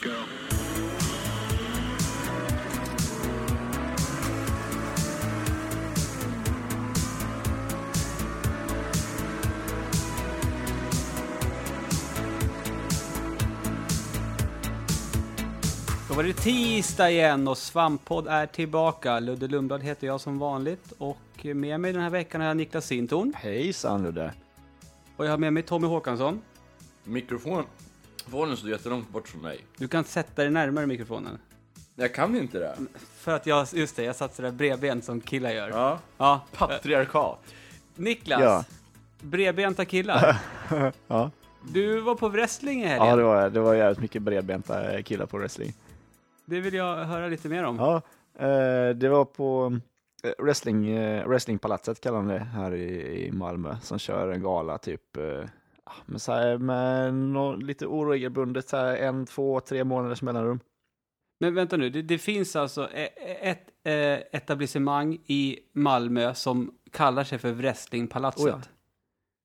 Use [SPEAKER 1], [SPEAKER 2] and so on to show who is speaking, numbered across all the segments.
[SPEAKER 1] go.
[SPEAKER 2] Då var det tisdag igen och Svamppodd är tillbaka. Ludde Lundblad heter jag som vanligt och med mig den här veckan har jag Niklas Sintorn
[SPEAKER 3] Hejsan Ludde.
[SPEAKER 2] och jag har med mig Tommy Håkansson.
[SPEAKER 4] Mikrofonen Fonen står jättelångt bort från mig.
[SPEAKER 2] Du kan sätta dig närmare mikrofonen.
[SPEAKER 4] Jag kan inte det.
[SPEAKER 2] För att jag, just det, jag satt sådär bredbent som killar gör. Ja.
[SPEAKER 4] Ja.
[SPEAKER 3] Patriarkat.
[SPEAKER 2] Niklas,
[SPEAKER 3] Ja.
[SPEAKER 2] bredbenta killar.
[SPEAKER 3] Ja.
[SPEAKER 2] Du var på wrestling i helgen.
[SPEAKER 3] Ja, det var jag. Det var jävligt mycket bredbenta eh, killar på wrestling.
[SPEAKER 2] Det vill jag höra lite mer om.
[SPEAKER 3] Ja, eh, det var på eh, wrestling, eh, wrestlingpalatset kallar de det här i, i Malmö som kör en gala typ eh, ah, men så här, med nå- lite oregelbundet så här, en, två, tre månaders mellanrum.
[SPEAKER 2] Men vänta nu, det, det finns alltså e- e- ett eh, etablissemang i Malmö som kallar sig för Wrestlingpalatset.
[SPEAKER 3] Oh ja.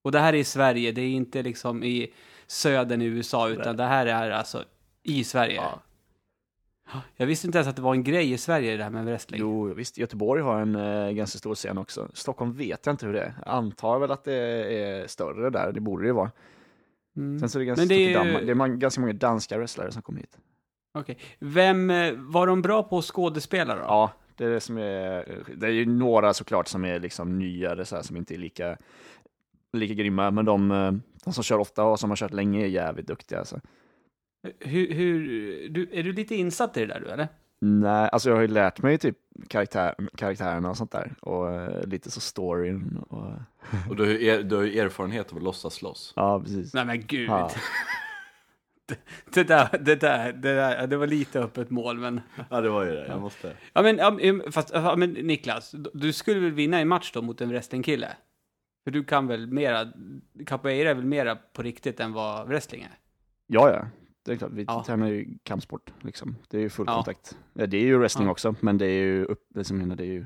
[SPEAKER 2] Och det här är i Sverige, det är inte liksom i södern i USA, utan det här är alltså i Sverige.
[SPEAKER 3] Ja.
[SPEAKER 2] Jag visste inte ens att det var en grej i Sverige det här med wrestling.
[SPEAKER 3] Jo, visst, Göteborg har en eh, ganska stor scen också. Stockholm vet jag inte hur det är. Jag antar väl att det är större där, det borde det ju vara.
[SPEAKER 2] Mm.
[SPEAKER 3] Sen så är det ganska,
[SPEAKER 2] Men det
[SPEAKER 3] stort
[SPEAKER 2] är
[SPEAKER 3] i
[SPEAKER 2] ju-
[SPEAKER 3] Danmark. Det är man, ganska många danska wrestlare som kommer hit.
[SPEAKER 2] Okej. Vem, eh, var de bra på att skådespela då?
[SPEAKER 3] Ja, det är det som är, det är ju några såklart som är liksom nyare så här, som inte är lika, lika grymma, men de, eh, de som kör ofta och som har kört länge är jävligt duktiga alltså.
[SPEAKER 2] Hur, hur, du, är du lite insatt i det där du eller?
[SPEAKER 3] Nej, alltså jag har ju lärt mig typ karaktär, karaktärerna och sånt där och eh, lite så storyn och
[SPEAKER 4] Och du har, ju er, du har ju erfarenhet av att låtsas slåss.
[SPEAKER 3] ja, precis.
[SPEAKER 2] Nej men gud.
[SPEAKER 3] Ja,
[SPEAKER 2] Det, där, det, där, det där, det var lite öppet mål men.
[SPEAKER 4] Ja, det var ju det. Jag måste.
[SPEAKER 2] Ja men, ja, men- fast, ja, men Niklas, du skulle väl vinna en match då mot en wrestlingkille? För du kan väl mera, capoeira är väl mera på riktigt än vad wrestling är?
[SPEAKER 3] ja, ja. det är klart. Vi
[SPEAKER 2] Ja.
[SPEAKER 3] tränar ju kampsport liksom. Det är ju full
[SPEAKER 2] Ja.
[SPEAKER 3] kontakt. Ja, det är ju wrestling
[SPEAKER 2] Ja.
[SPEAKER 3] också, men det är ju upp, det som händer, det är ju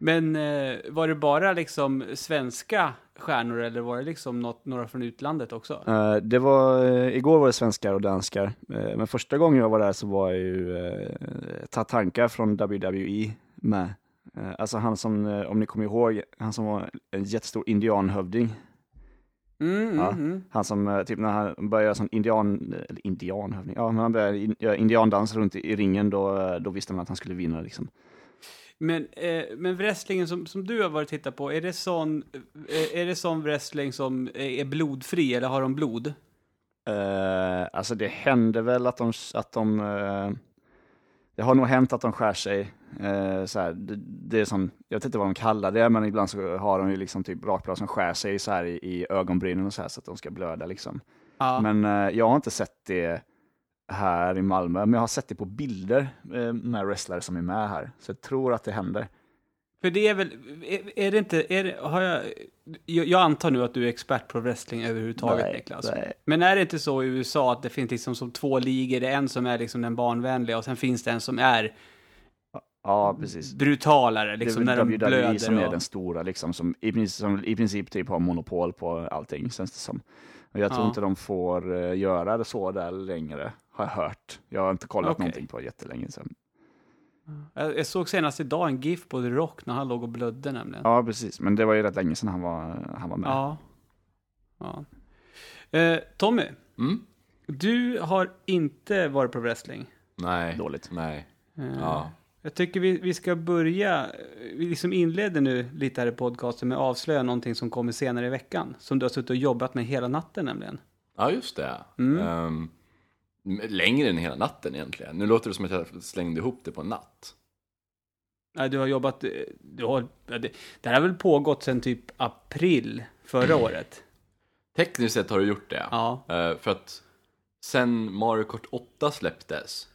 [SPEAKER 2] Men eh, var det bara liksom svenska stjärnor eller var det liksom något, några från utlandet också?
[SPEAKER 3] Eh, det var, eh, igår var det svenskar och danskar, Eh, men första gången jag var där så var ju uh, Tatanka från WWE med. Eh, alltså han som, eh, om ni kommer ihåg, han som var en jättestor indianhövding.
[SPEAKER 2] Mm, mm,
[SPEAKER 3] Ja.
[SPEAKER 2] mm.
[SPEAKER 3] Han som, eh, typ när han började göra sån indian, eh, eller indianhövding, ja men han började in, göra indiandans runt i, i ringen då, eh, då visste man att han skulle vinna liksom.
[SPEAKER 2] Men, eh, men wrestlingen som, som du har varit och tittat på, är det, sån, eh, är det sån wrestling som eh, är blodfri eller har de blod?
[SPEAKER 3] Eh, alltså det hände väl att de, att de eh, det har nog hänt att de skär sig. eh, så här, det, det är som, jag vet inte vad de kallar det, men ibland så har de ju liksom typ rakblad som skär sig så här i, i ögonbrynen och så här så att de ska blöda liksom.
[SPEAKER 2] Ja.
[SPEAKER 3] Men eh, jag har inte sett det här i Malmö, men jag har sett det på bilder eh, med wrestlare som är med här. Så jag tror att det händer.
[SPEAKER 2] För det är väl, är, är det inte, är det, har jag, jag, jag antar nu att du är expert på wrestling överhuvudtaget
[SPEAKER 3] Nej,
[SPEAKER 2] Niklas.
[SPEAKER 3] nej.
[SPEAKER 2] Men är det inte så i USA att det finns liksom som två ligor, det är en som är liksom den barnvänliga och sen finns det en som är
[SPEAKER 3] Ja, precis.
[SPEAKER 2] brutalare, liksom
[SPEAKER 3] det är
[SPEAKER 2] när de
[SPEAKER 3] väl WWE
[SPEAKER 2] blöder
[SPEAKER 3] som är
[SPEAKER 2] och...
[SPEAKER 3] den stora, liksom, som, i princip, som i princip typ har monopol på allting, känns det som. Och jag tror
[SPEAKER 2] Ja.
[SPEAKER 3] inte de får eh, göra det så där längre, har jag hört. Jag har inte kollat
[SPEAKER 2] Okej.
[SPEAKER 3] någonting på jättelänge sedan.
[SPEAKER 2] Jag, jag såg senast idag en GIF på The Rock när han låg och blödde nämligen.
[SPEAKER 3] Ja, precis. Men det var ju rätt länge sedan han var, han var med.
[SPEAKER 2] Ja. Ja. Eh, Tommy,
[SPEAKER 4] Mm?
[SPEAKER 2] du har inte varit på wrestling.
[SPEAKER 4] Nej.
[SPEAKER 3] Dåligt.
[SPEAKER 4] Nej.
[SPEAKER 2] Eh,
[SPEAKER 4] Ja.
[SPEAKER 2] Jag tycker vi, vi ska börja, eh, vi liksom inleder nu lite här i podcasten med att avslöja någonting som kommer senare i veckan. Som du har suttit och jobbat med hela natten nämligen.
[SPEAKER 4] Ja, just det. Ehm, längre än hela natten egentligen. Nu låter det som att jag slängde ihop det på en natt.
[SPEAKER 2] Nej, du har jobbat, eh, du har, ja, det, det här har väl pågått sedan typ april förra året?
[SPEAKER 4] Tekniskt sett har du gjort det.
[SPEAKER 2] Ja.
[SPEAKER 4] Eh, för att sen Mario Kart 8 släpptes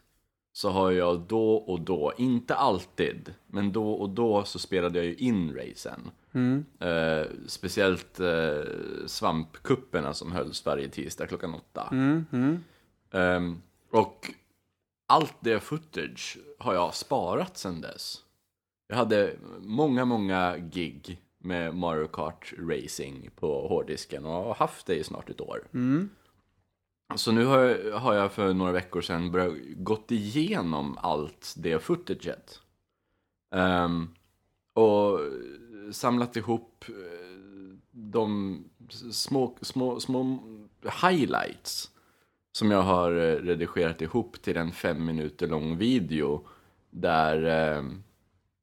[SPEAKER 4] så har jag då och då, inte alltid, men då och då så spelade jag ju in racen.
[SPEAKER 2] Mm,
[SPEAKER 4] Eh, speciellt eh, svampkupperna som hölls varje tisdag klockan åtta.
[SPEAKER 2] Mm.
[SPEAKER 4] Ehm, och allt det footage har jag sparat sen dess. Jag hade många, många gig med
[SPEAKER 2] mm,
[SPEAKER 4] Mario Kart Racing på hårddisken och har haft det i snart ett år. Så nu har jag, har jag för några veckor sedan börjat gått igenom allt det footaget. Ehm, och samlat ihop eh, de små, små, små highlights som jag har eh, redigerat ihop till en fem minuter lång video där eh,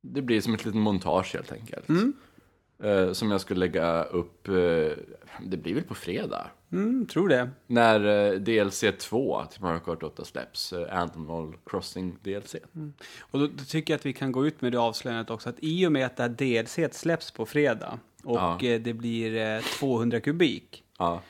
[SPEAKER 4] det blir som ett litet montage helt enkelt. Eh, som jag skulle lägga upp, eh, det blir väl på fredag?
[SPEAKER 2] Mm, tror det.
[SPEAKER 4] När eh, DLC 2 till Mario Kart 8 släpps, eh, Animal Crossing DLC.
[SPEAKER 2] Och då, då tycker jag att vi kan gå ut med det avslöjandet också, att i och med att det här DLC släpps på fredag och
[SPEAKER 4] Ja.
[SPEAKER 2] eh, det blir eh, 200 kubik,
[SPEAKER 4] Ja.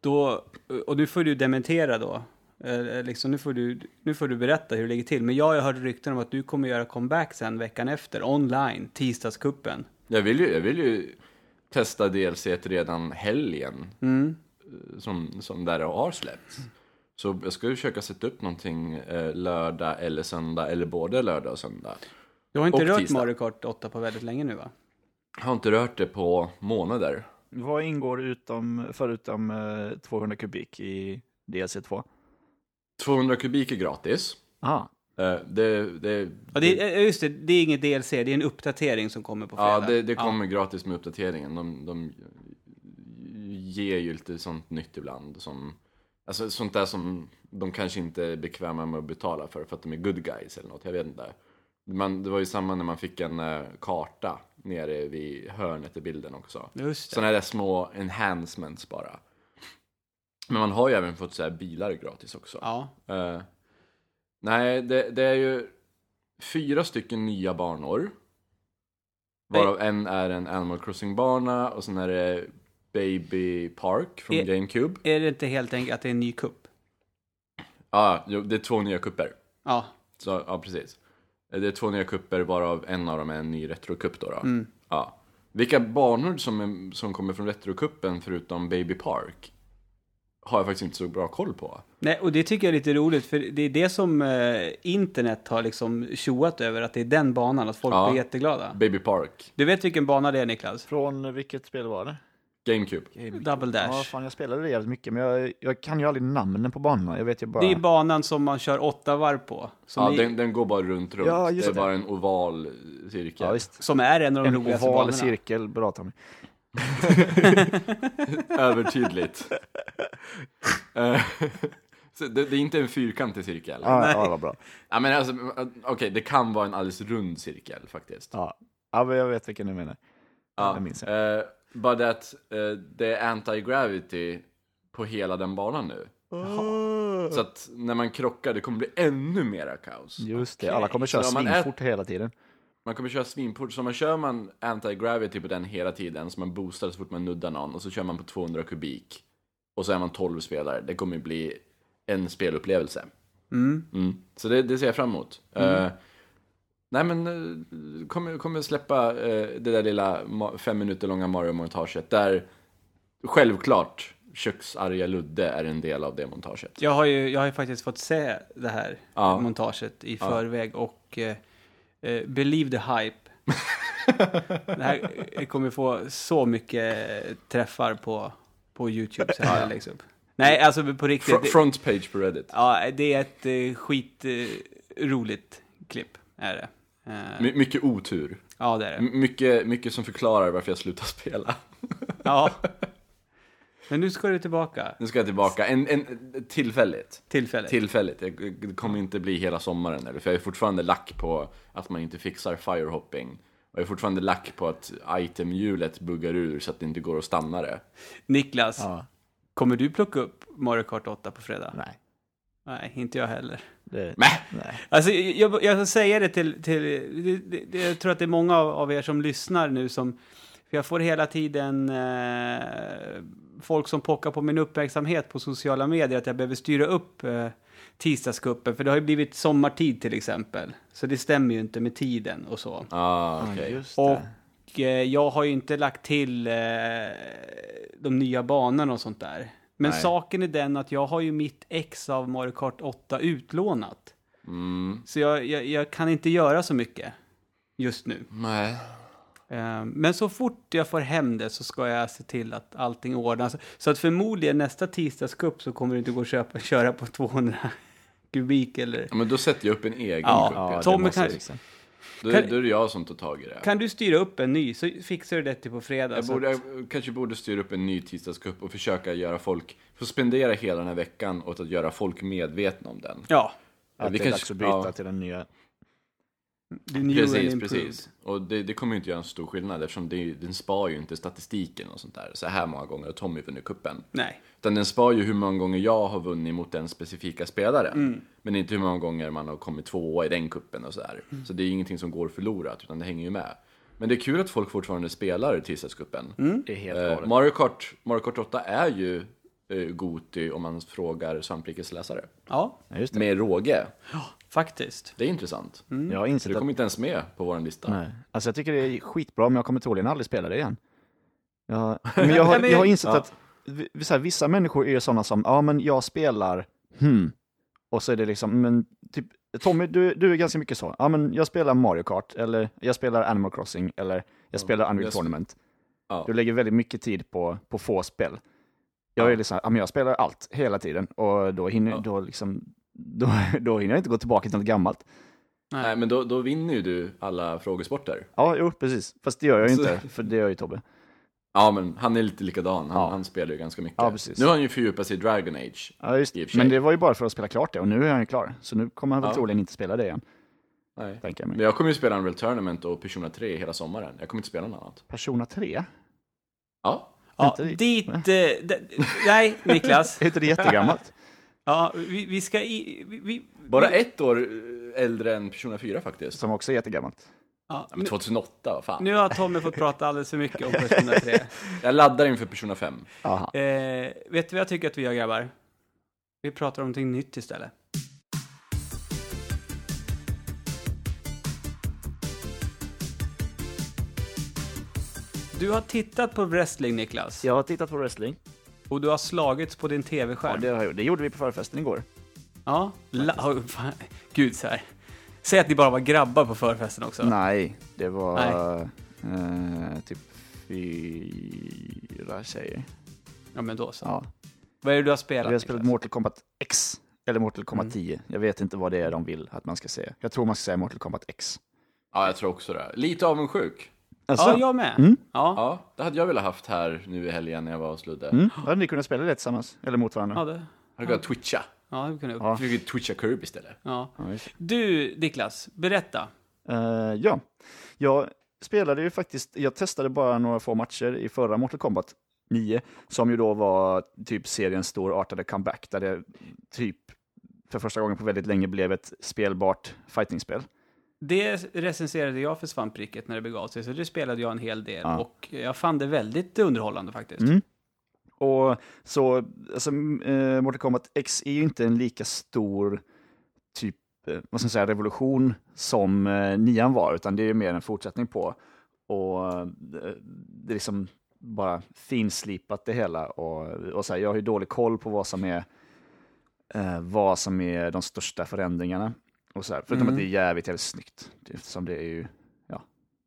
[SPEAKER 2] då, och nu får du dementera då, eh, liksom, nu, får du, nu får du berätta hur det ligger till. Men jag har ju hört rykten om att du kommer göra comeback sen veckan efter, online, tisdagskuppen.
[SPEAKER 4] Jag, vill ju, jag vill ju testa DLC redan helgen,
[SPEAKER 2] Mm.
[SPEAKER 4] eh, som, som där det har släppts. Så jag ska ju försöka sätta upp någonting eh, lördag eller söndag, eller både lördag och söndag.
[SPEAKER 2] Du har inte
[SPEAKER 4] Och
[SPEAKER 2] rört
[SPEAKER 4] tisdag.
[SPEAKER 2] Mario Kart 8 på väldigt länge nu va?
[SPEAKER 4] Jag har inte rört det på månader.
[SPEAKER 3] Vad ingår utom, förutom eh, 200 kubik i DLC2?
[SPEAKER 4] 200 kubik är gratis.
[SPEAKER 3] Aha.
[SPEAKER 4] Eh, det, det,
[SPEAKER 2] Ja, det, är- eh, just det, det är inget DLC, det är en uppdatering som kommer på fredag.
[SPEAKER 4] Ja, det, det kommer gratis med uppdateringen. De, de ger ju lite sånt nytt ibland. Som, alltså sånt där som de kanske inte är bekväma med att betala för, för att de är good guys eller något. Jag vet inte. Man, det var ju samma när man fick en eh, karta nere vid hörnet i bilden också.
[SPEAKER 2] Ja, just det.
[SPEAKER 4] Sådana där små enhancements bara. Men man har ju även fått så här bilar gratis också.
[SPEAKER 2] Ja.
[SPEAKER 4] Eh, nej, det, det är ju fyra stycken nya banor. Varav en är en Animal Crossing-bana och sen är det Baby Park från
[SPEAKER 2] Eh.
[SPEAKER 4] GameCube.
[SPEAKER 2] Är det inte helt enkelt att det är en ny kupp?
[SPEAKER 4] Ja, jo, det är två nya kupper.
[SPEAKER 2] Ja.
[SPEAKER 4] Så, ja, precis. Eh, Det är två nya kupper varav en av dem är en ny retrokupp då. då.
[SPEAKER 2] Mm.
[SPEAKER 4] Ja. Vilka banor som, är, som kommer från retrokuppen förutom Baby Park har jag faktiskt inte så bra koll på.
[SPEAKER 2] Nej, och det tycker jag är lite roligt, för det är det som eh, internet har liksom tjoat över, att det är den banan, att folk
[SPEAKER 4] Ja.
[SPEAKER 2] blir jätteglada.
[SPEAKER 4] Baby Park,
[SPEAKER 2] Du vet vilken bana det är, Niklas?
[SPEAKER 3] Från vilket spel var det?
[SPEAKER 4] GameCube.
[SPEAKER 2] Double
[SPEAKER 3] Ja,
[SPEAKER 2] Dash.
[SPEAKER 3] fan jag spelade det jävligt mycket, men jag, jag kan ju aldrig namnen på banorna. Jag vet ju bara...
[SPEAKER 2] det är banan som man kör åtta varv på, som,
[SPEAKER 4] Ja,
[SPEAKER 2] är,
[SPEAKER 4] den, den går bara runt, runt.
[SPEAKER 3] Ja,
[SPEAKER 4] det
[SPEAKER 3] just
[SPEAKER 4] är
[SPEAKER 3] det.
[SPEAKER 4] bara en oval cirkel.
[SPEAKER 3] ja, visst.
[SPEAKER 2] som är en av de
[SPEAKER 3] En
[SPEAKER 2] roligaste
[SPEAKER 3] oval
[SPEAKER 2] banorna.
[SPEAKER 3] cirkel, bra Tommy.
[SPEAKER 4] Övertydligt. Eh, så det, det är inte en fyrkantig cirkel. Ja.
[SPEAKER 3] Ja, ja, vad bra.
[SPEAKER 4] men alltså, okej, det kan vara en alldeles rund cirkel faktiskt.
[SPEAKER 3] Ja. ja, men jag vet vilken du menar. det minns
[SPEAKER 4] jag. bara det att eh, det är anti-gravity på hela den banan nu. Så att när man krockar, det kommer bli ännu mera kaos.
[SPEAKER 3] Just det, alla kommer köra
[SPEAKER 4] Så om man är-
[SPEAKER 3] svinfort hela tiden.
[SPEAKER 4] Man kommer köra svinfort, så man kör man anti-gravity på den hela tiden, så man boostar så fort man nuddar någon, och så kör man på 200 kubik, och så är man 12 spelare. Det kommer bli en spelupplevelse. Mm. Så det, det ser jag fram emot.
[SPEAKER 2] Mm.
[SPEAKER 4] Eh, nej men, eh, kommer, kommer släppa eh, det där lilla ma- fem minuter långa Mario-montaget, där självklart köksarga Ludde är en del av det montaget.
[SPEAKER 2] Jag har ju jag har ju faktiskt fått se det här
[SPEAKER 4] Ja.
[SPEAKER 2] montaget i förväg och eh, eh, believe the hype. det här eh, kommer få så mycket eh, träffar på, på YouTube sen när det läggs upp. Nej, alltså på riktigt.
[SPEAKER 4] Fr-
[SPEAKER 2] det-
[SPEAKER 4] front page på Reddit.
[SPEAKER 2] Ja, det är ett eh, skit eh, roligt klipp, är det. Eh,
[SPEAKER 4] My- mycket otur.
[SPEAKER 2] ja, det är det.
[SPEAKER 4] My- mycket, mycket som förklarar varför jag slutar spela.
[SPEAKER 2] Ja. Men nu ska du tillbaka,
[SPEAKER 4] Nu ska jag tillbaka. En, en, tillfälligt.
[SPEAKER 2] tillfället.
[SPEAKER 4] Tillfälligt. Jag- Det kommer inte bli hela sommaren eller för jag är fortfarande lack på att man inte fixar firehopping. Och jag är fortfarande lack på att itemhjulet buggar ur så att det inte går att stanna det.
[SPEAKER 2] Niklas,
[SPEAKER 3] Ja.
[SPEAKER 2] kommer du plocka upp Mario Kart 8 på fredag?
[SPEAKER 3] Nej.
[SPEAKER 2] Nej, inte jag heller.
[SPEAKER 3] Det...
[SPEAKER 4] Mäh!
[SPEAKER 3] Nej.
[SPEAKER 2] Alltså, jag, jag ska säga det till... till det, det, det, jag tror att det är många av, av er som lyssnar nu som... För jag får hela tiden eh, folk som pockar på min uppmärksamhet på sociala medier att jag behöver styra upp eh, tisdagskuppen. För det har ju blivit sommartid till exempel. Så det stämmer ju inte med tiden och så.
[SPEAKER 4] Ah, okej.
[SPEAKER 3] Ja, just det.
[SPEAKER 2] Och eh, jag har ju inte lagt till eh, de nya banorna och sånt där. Men
[SPEAKER 4] Nej.
[SPEAKER 2] saken är den att jag har ju mitt ex av Mario Kart 8 utlånat.
[SPEAKER 4] Mm.
[SPEAKER 2] Så jag, jag, jag kan inte göra så mycket just nu.
[SPEAKER 4] Nej.
[SPEAKER 2] Eh, Men så fort jag får hem det så ska jag se till att allting ordnas. Så att förmodligen nästa tisdagscup så kommer det inte gå att köpa, köra på 200 kubik eller...
[SPEAKER 4] Ja, men då sätter jag upp en egen
[SPEAKER 2] Ja,
[SPEAKER 4] kupp.
[SPEAKER 3] Ja, det
[SPEAKER 4] Ja.
[SPEAKER 2] Tommy
[SPEAKER 3] måste
[SPEAKER 2] kan-
[SPEAKER 3] jag fixa.
[SPEAKER 4] Då,
[SPEAKER 2] Kan-
[SPEAKER 4] då är det jag som tar tag i det.
[SPEAKER 2] Kan du styra upp en ny så fixar du det till på fredag.
[SPEAKER 4] Jag,
[SPEAKER 2] så
[SPEAKER 4] borde,
[SPEAKER 2] att-
[SPEAKER 4] jag kanske borde styra upp en ny tisdagscup och försöka göra folk, få spendera hela den här veckan åt att göra folk medvetna om den.
[SPEAKER 2] Ja,
[SPEAKER 3] Att
[SPEAKER 4] vi
[SPEAKER 3] det är
[SPEAKER 4] kanske-
[SPEAKER 3] dags att byta
[SPEAKER 4] ja.
[SPEAKER 3] till den nya.
[SPEAKER 2] the new and
[SPEAKER 4] Precis,
[SPEAKER 2] improved.
[SPEAKER 4] precis. Och det, det kommer ju inte göra en stor skillnad eftersom det, den spar ju inte statistiken och sånt där. Så här många gånger har Tommy vunnit kuppen.
[SPEAKER 2] Nej,
[SPEAKER 4] Utan den spar ju hur många gånger jag har vunnit mot den specifika spelaren. Men inte hur många gånger man har kommit tvåa i den kuppen och sådär. Så det är ju ingenting som går förlorat, utan det hänger ju med. Men det är kul att folk fortfarande spelar i tisdagscupen.
[SPEAKER 3] Det är helt
[SPEAKER 4] Eh,
[SPEAKER 3] galet.
[SPEAKER 4] Mario, Kart, Mario Kart 8 är ju eh, Goti om man frågar Svamprikes läsare.
[SPEAKER 2] ja,
[SPEAKER 3] Ja, Mm. just det.
[SPEAKER 4] Med råge.
[SPEAKER 2] faktiskt.
[SPEAKER 4] Det är intressant.
[SPEAKER 3] Jag har insett
[SPEAKER 4] Det
[SPEAKER 3] att
[SPEAKER 4] kom inte ens med på vår lista.
[SPEAKER 3] Nej. Alltså jag tycker det är skitbra, men jag kommer troligen aldrig spela det igen. Jag, men jag har,
[SPEAKER 2] men-
[SPEAKER 3] jag har insett
[SPEAKER 4] Ja.
[SPEAKER 3] att vi- så här, vissa människor är ju sådana som, ja men jag spelar, hmm. Och så är det liksom, men typ, Tommy, du, du är ganska mycket så. Ja men jag spelar Mario Kart, eller jag spelar Animal Crossing, eller jag spelar Unreal
[SPEAKER 4] jag sp-
[SPEAKER 3] Tournament.
[SPEAKER 4] Ja.
[SPEAKER 3] Du lägger väldigt mycket tid på, på få spel. Jag är liksom, ja men jag spelar allt, hela tiden. Och då hinner,
[SPEAKER 4] Ja.
[SPEAKER 3] då liksom, då, då hinner jag inte gå tillbaka till något gammalt.
[SPEAKER 4] Nej, men då, då vinner ju du alla frågesporter.
[SPEAKER 3] Ja, jo, precis. Fast det gör jag ju
[SPEAKER 4] Så-
[SPEAKER 3] inte, för det gör ju Tobbe.
[SPEAKER 4] Ja, men han är lite likadan. Han,
[SPEAKER 3] Ja.
[SPEAKER 4] han spelar ju ganska mycket.
[SPEAKER 3] Ja, precis.
[SPEAKER 4] Nu har han ju fördjupat sig i Dragon Age.
[SPEAKER 3] Ja, just
[SPEAKER 4] i och
[SPEAKER 3] det.
[SPEAKER 4] för
[SPEAKER 3] Men
[SPEAKER 4] sig.
[SPEAKER 3] det var ju bara för att spela klart det och nu är han ju klar. Så nu kommer han väl
[SPEAKER 4] Ja.
[SPEAKER 3] troligen inte spela det igen,
[SPEAKER 4] Nej.
[SPEAKER 3] tänker jag mig.
[SPEAKER 4] Men jag kommer ju spela Unreal Tournament och Persona 3 hela sommaren. Jag kommer inte spela något annat.
[SPEAKER 3] Persona 3?
[SPEAKER 4] Ja,
[SPEAKER 2] Ja,
[SPEAKER 3] Inte riktigt.
[SPEAKER 2] dit... eh, d- nej, Niklas.
[SPEAKER 3] Är inte det jättegammalt?
[SPEAKER 2] Ja, vi, vi ska... I, vi, vi,
[SPEAKER 4] bara
[SPEAKER 2] vi,
[SPEAKER 4] ett år eh, äldre än Persona 4 faktiskt.
[SPEAKER 3] Som också är jättegammalt.
[SPEAKER 2] Ja,
[SPEAKER 4] Men 2008, vad fan.
[SPEAKER 2] Nu har Tommy fått prata alldeles för mycket om Persona 3.
[SPEAKER 4] Jag laddar inför Persona 5.
[SPEAKER 3] Aha.
[SPEAKER 2] Eh, vet du vad jag tycker att vi gör grabbar? Vi pratar om någonting nytt istället. Du har tittat på wrestling Niklas.
[SPEAKER 3] Jag har tittat på wrestling.
[SPEAKER 2] Och du har slagits på din
[SPEAKER 3] Ja,
[SPEAKER 2] tv-skärm.
[SPEAKER 3] det, har jag, gjort. det gjorde vi på förfesten igår.
[SPEAKER 2] Ja, la- oh, fan. Gud så här. Säg att ni bara var grabbar på förfesten också.
[SPEAKER 3] Nej, det var eh, typ fyra tjejer.
[SPEAKER 2] Ja, men då så.
[SPEAKER 3] Ja.
[SPEAKER 2] Vad är det du har spelat?
[SPEAKER 3] Vi har spelat
[SPEAKER 2] Niklas?
[SPEAKER 3] Mortal Kombat X, eller Mortal Kombat
[SPEAKER 4] Mm.
[SPEAKER 3] 10. Jag vet inte vad det är de vill att man ska säga. Jag tror man ska säga Mortal Kombat X.
[SPEAKER 4] Ja, jag tror också det. Lite avundsjuk.
[SPEAKER 2] Ja,
[SPEAKER 3] Alltså,
[SPEAKER 2] jag med. Ja,
[SPEAKER 4] Ja, det hade jag velat haft här nu i helgen när jag var och sludde.
[SPEAKER 3] mm, hade ni kunnat spela det tillsammans? Eller mot varandra?
[SPEAKER 2] ja, det,
[SPEAKER 4] Hade kunnat twitcha.
[SPEAKER 2] ja, det kunde jag.
[SPEAKER 3] Ja.
[SPEAKER 4] Jag fick ju twitcha Kirby istället.
[SPEAKER 2] Ja.
[SPEAKER 3] Ja, visst.
[SPEAKER 2] Du, Niklas, berätta.
[SPEAKER 3] Eh, ja, jag spelade ju faktiskt, jag testade bara några få matcher i förra Mortal Kombat 9, som ju då var typ seriens storartade comeback, där det typ för första gången på väldigt länge blev ett spelbart fightingspel.
[SPEAKER 2] Det recenserade jag för svampriket när det begav sig, så det spelade jag en hel del.
[SPEAKER 3] Ja.
[SPEAKER 2] Och jag fann det väldigt underhållande faktiskt.
[SPEAKER 3] Mm. Och så, alltså, eh, Mortal Kombat X är ju inte en lika stor typ, eh, vad ska man säga, revolution som eh, nian var, utan det är ju mer en fortsättning på. Och eh, det är liksom bara finslipat det hela. Och, och så här, jag har ju dålig koll på vad som är, eh, vad som är de största förändringarna. Och så här, förutom att det är jävligt, jävligt snyggt, eftersom det är ju ja,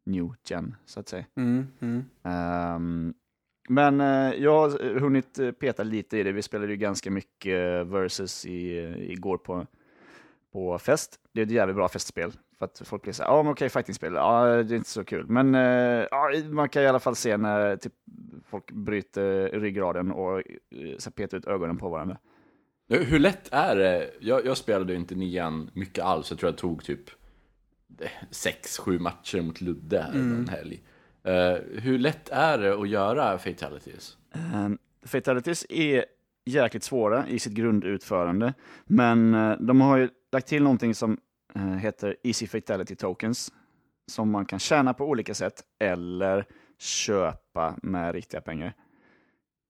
[SPEAKER 3] new gen, så att säga.
[SPEAKER 2] Mm, mm.
[SPEAKER 3] Ehm, men eh, jag har hunnit eh, peta lite i det. Vi spelade ju ganska mycket eh, versus i, eh, igår på, på fest. Det är ett jävligt bra festspel. För att folk blir så här, ja men okej, fightingspel, ja det är inte så kul. Men eh, ja, man kan i alla fall se när typ, folk bryter ryggraden och eh, så här, petar ut ögonen på varandra.
[SPEAKER 4] Hur hur lätt är det? Jag, jag spelade ju inte nian mycket alls. Jag tror jag tog typ sex, sju matcher mot Ludde här någon helg. Eh, hur lätt är det att göra fatalities?
[SPEAKER 3] Um, fatalities är jäkligt svåra i sitt grundutförande, men eh, de har ju lagt till någonting som eh, heter Easy Fatality Tokens, som man kan tjäna på olika sätt eller köpa med riktiga pengar.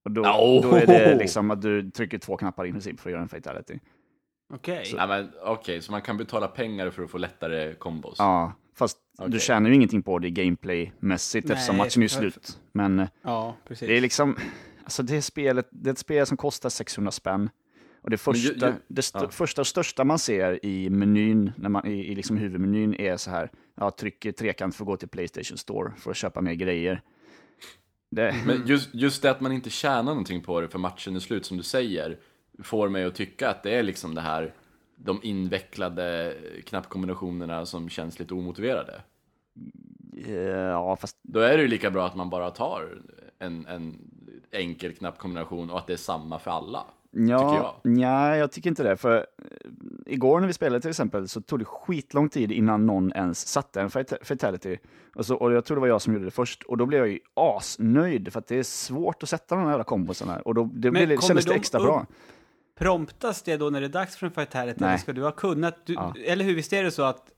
[SPEAKER 3] Och då,
[SPEAKER 4] Oh!
[SPEAKER 3] då är det liksom att du trycker två knappar i princip för att göra en fatality.
[SPEAKER 2] Okej.
[SPEAKER 4] Nej men okej, så man kan betala pengar för att få lättare kombos?
[SPEAKER 3] Ja, fast du
[SPEAKER 4] Okej.
[SPEAKER 3] tjänar ju ingenting på det gameplaymässigt eftersom
[SPEAKER 2] Nej,
[SPEAKER 3] matchen är ju
[SPEAKER 2] för-
[SPEAKER 3] slut. Men eh,
[SPEAKER 2] Ja, precis.
[SPEAKER 3] Det är liksom, alltså det är spelet, det är ett spel som kostar 600 spänn Och det första,
[SPEAKER 4] ju- ju-
[SPEAKER 3] det st-
[SPEAKER 4] ja.
[SPEAKER 3] första och största man ser i menyn, när man, i, i liksom huvudmenyn, är så här, ja, tryck i trekant för att gå till Playstation Store för att köpa mer grejer. Det,
[SPEAKER 4] Men just, just det att man inte tjänar någonting på det för matchen är slut, som du säger, får mig att tycka att det är liksom det här, de invecklade knappkombinationerna som känns lite omotiverade.
[SPEAKER 3] eh, ja, fast
[SPEAKER 4] Då är det ju lika bra att man bara tar en, en enkel knappkombination och att det är samma för alla.
[SPEAKER 3] Ja,
[SPEAKER 4] tycker
[SPEAKER 3] Nej, jag tycker inte det. För eh, igår när vi spelade till exempel så tog det skitlång tid innan någon ens satte en fat- fatality. Och, så, och jag tror det var jag som gjorde det först. Och då blev jag ju asnöjd för att det är svårt att sätta de här jävla kombosarna. Och då
[SPEAKER 2] Men
[SPEAKER 3] det blev,
[SPEAKER 2] kommer
[SPEAKER 3] kändes det
[SPEAKER 2] de
[SPEAKER 3] extra
[SPEAKER 2] upp?
[SPEAKER 3] bra.
[SPEAKER 2] Promptas det då när det är dags för en fatality?
[SPEAKER 3] Nej.
[SPEAKER 2] Eller ska du ha kunnat? Du,
[SPEAKER 3] Ja.
[SPEAKER 2] Eller hur, visst är det så att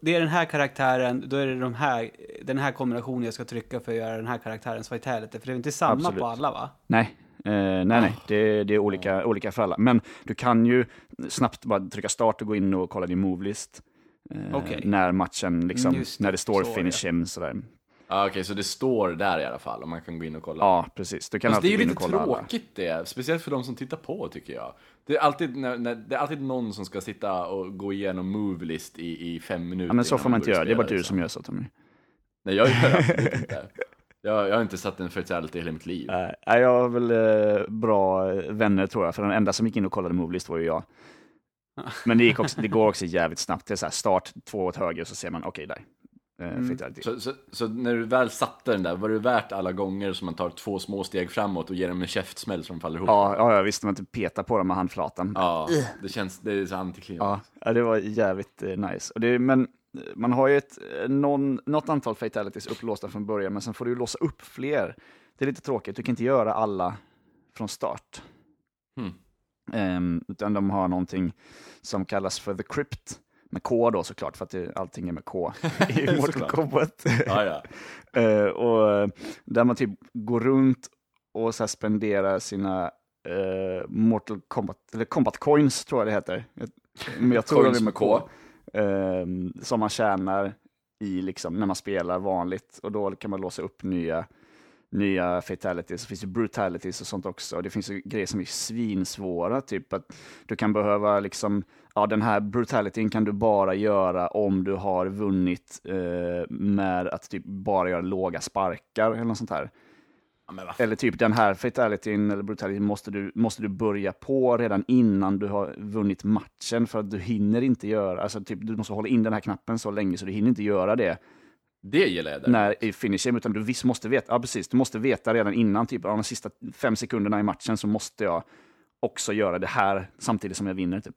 [SPEAKER 2] det är den här karaktären, då är det de här, den här kombinationen jag ska trycka för att göra den här karaktärens fatality. För det är inte samma
[SPEAKER 3] Absolut.
[SPEAKER 2] på alla va?
[SPEAKER 3] Nej, eh, nej, nej. Det, det är olika, olika för alla. Men du kan ju snabbt bara trycka start och gå in och kolla din movelist. Eh,
[SPEAKER 2] Okej.
[SPEAKER 3] När matchen, liksom,
[SPEAKER 2] Just det.
[SPEAKER 3] när det står
[SPEAKER 2] Så,
[SPEAKER 3] finish him sådär.
[SPEAKER 4] Ja, Okej, så det står där i alla fall och man kan gå in och kolla.
[SPEAKER 3] Ja, precis. Du kan
[SPEAKER 4] Fast det är ju
[SPEAKER 3] alltid gå in
[SPEAKER 4] lite
[SPEAKER 3] och kolla alla.
[SPEAKER 4] tråkigt det, speciellt för de som tittar på tycker jag. Det är alltid, när, när, det är alltid någon som ska sitta och gå igenom movelist i, i fem minuter.
[SPEAKER 3] Ja, men så
[SPEAKER 4] innan
[SPEAKER 3] får man inte
[SPEAKER 4] börjar
[SPEAKER 3] göra. Det är bara
[SPEAKER 4] spela,
[SPEAKER 3] du som
[SPEAKER 4] liksom.
[SPEAKER 3] gör så, Tommy.
[SPEAKER 4] Nej, jag gör absolut inte. Jag, jag har inte satt en fatality i hela mitt liv.
[SPEAKER 3] Nej, nej, jag har väl eh, bra vänner tror jag, för den enda som gick in och kollade Movelist var ju jag. Men det, gick också, det går också jävligt snabbt. Det är så här start, två åt höger, så ser man okej där. Eh, fick jag det.
[SPEAKER 4] Så, så, så när du väl satte den där, var det värt alla gånger som man tar två små steg framåt och ger dem en käftsmäll som faller ihop?
[SPEAKER 3] Ja, ja, ja, visst, man inte petar på dem med handflatan.
[SPEAKER 4] Ja, det känns, det är så antiklimax.
[SPEAKER 3] Ja, ja, det var jävligt eh, nice. Och det, men eh, man har ju ett, eh, någon, något antal fatalities upplåsta från början, men sen får du ju låsa upp fler. Det är lite tråkigt, du kan inte göra alla från start.
[SPEAKER 4] Hmm.
[SPEAKER 3] Ehm, utan de har någonting som kallas för The Crypt, med K då såklart, för att det, allting är med K i Mortal
[SPEAKER 4] Såklart.
[SPEAKER 3] Kombat.
[SPEAKER 4] Ja, ja.
[SPEAKER 3] Eh, och eh, där man typ går runt och så här spenderar sina eh, Mortal Kombat, eller Combat Coins tror jag det heter. Jag, men jag tror
[SPEAKER 4] Coins
[SPEAKER 3] det är med
[SPEAKER 4] med
[SPEAKER 3] K.
[SPEAKER 4] K.
[SPEAKER 3] Ehm, som man tjänar i liksom, när man spelar vanligt och då kan man låsa upp nya nya fatalities, det finns ju brutalities och sånt också. Och det finns ju grejer som är svinsvåra, typ att du kan behöva liksom, ja den här brutalityn kan du bara göra om du har vunnit eh, med att typ bara göra låga sparkar eller något sånt här.
[SPEAKER 4] ja men vad fan.
[SPEAKER 3] Eller typ den här fatalityn eller brutalityn måste du, måste du börja på redan innan du har vunnit matchen för att du hinner inte göra, alltså typ du måste hålla in den här knappen så länge så du hinner inte göra det
[SPEAKER 4] Det gillar jag där.
[SPEAKER 3] när i finishen, utan du visst måste veta, ja precis, du måste veta redan innan, typ av de sista fem sekunderna i matchen så måste jag också göra det här samtidigt som jag vinner. Typ.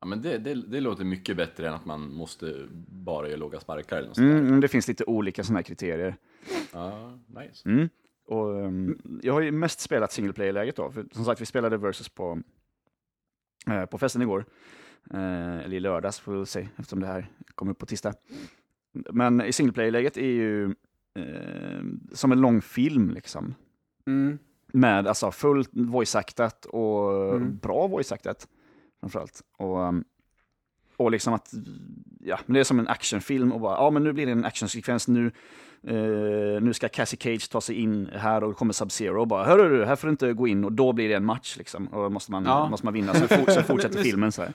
[SPEAKER 4] Ja, men det, det, det låter mycket bättre än att man måste bara göra låga sparkar eller något sånt
[SPEAKER 3] Mm, det finns lite olika sådana här kriterier.
[SPEAKER 4] Ja, nice.
[SPEAKER 3] Mm. Och, ehm, jag har ju mest spelat single player-läget då, för som sagt vi spelade versus på, eh, på festen igår. Eh, eller i lördags får vi väl se, eftersom det här kommer upp på tisdag. Men i single player-läget är ju eh, som en lång film liksom.
[SPEAKER 2] Mm.
[SPEAKER 3] Med alltså fullt voice-actat och
[SPEAKER 2] Mm.
[SPEAKER 3] bra voice-actat framförallt. Och, um, och liksom att, ja, men det är som en actionfilm och bara, ja men nu blir det en actionsekvens, nu, eh, nu ska Cassie Cage ta sig in här och då kommer Sub-Zero och bara, hörru du, här får du inte gå in och då blir det en match liksom. Och då måste man,
[SPEAKER 2] Ja.
[SPEAKER 3] måste man vinna, så, for, så fortsätter
[SPEAKER 2] Men-
[SPEAKER 3] filmen så här.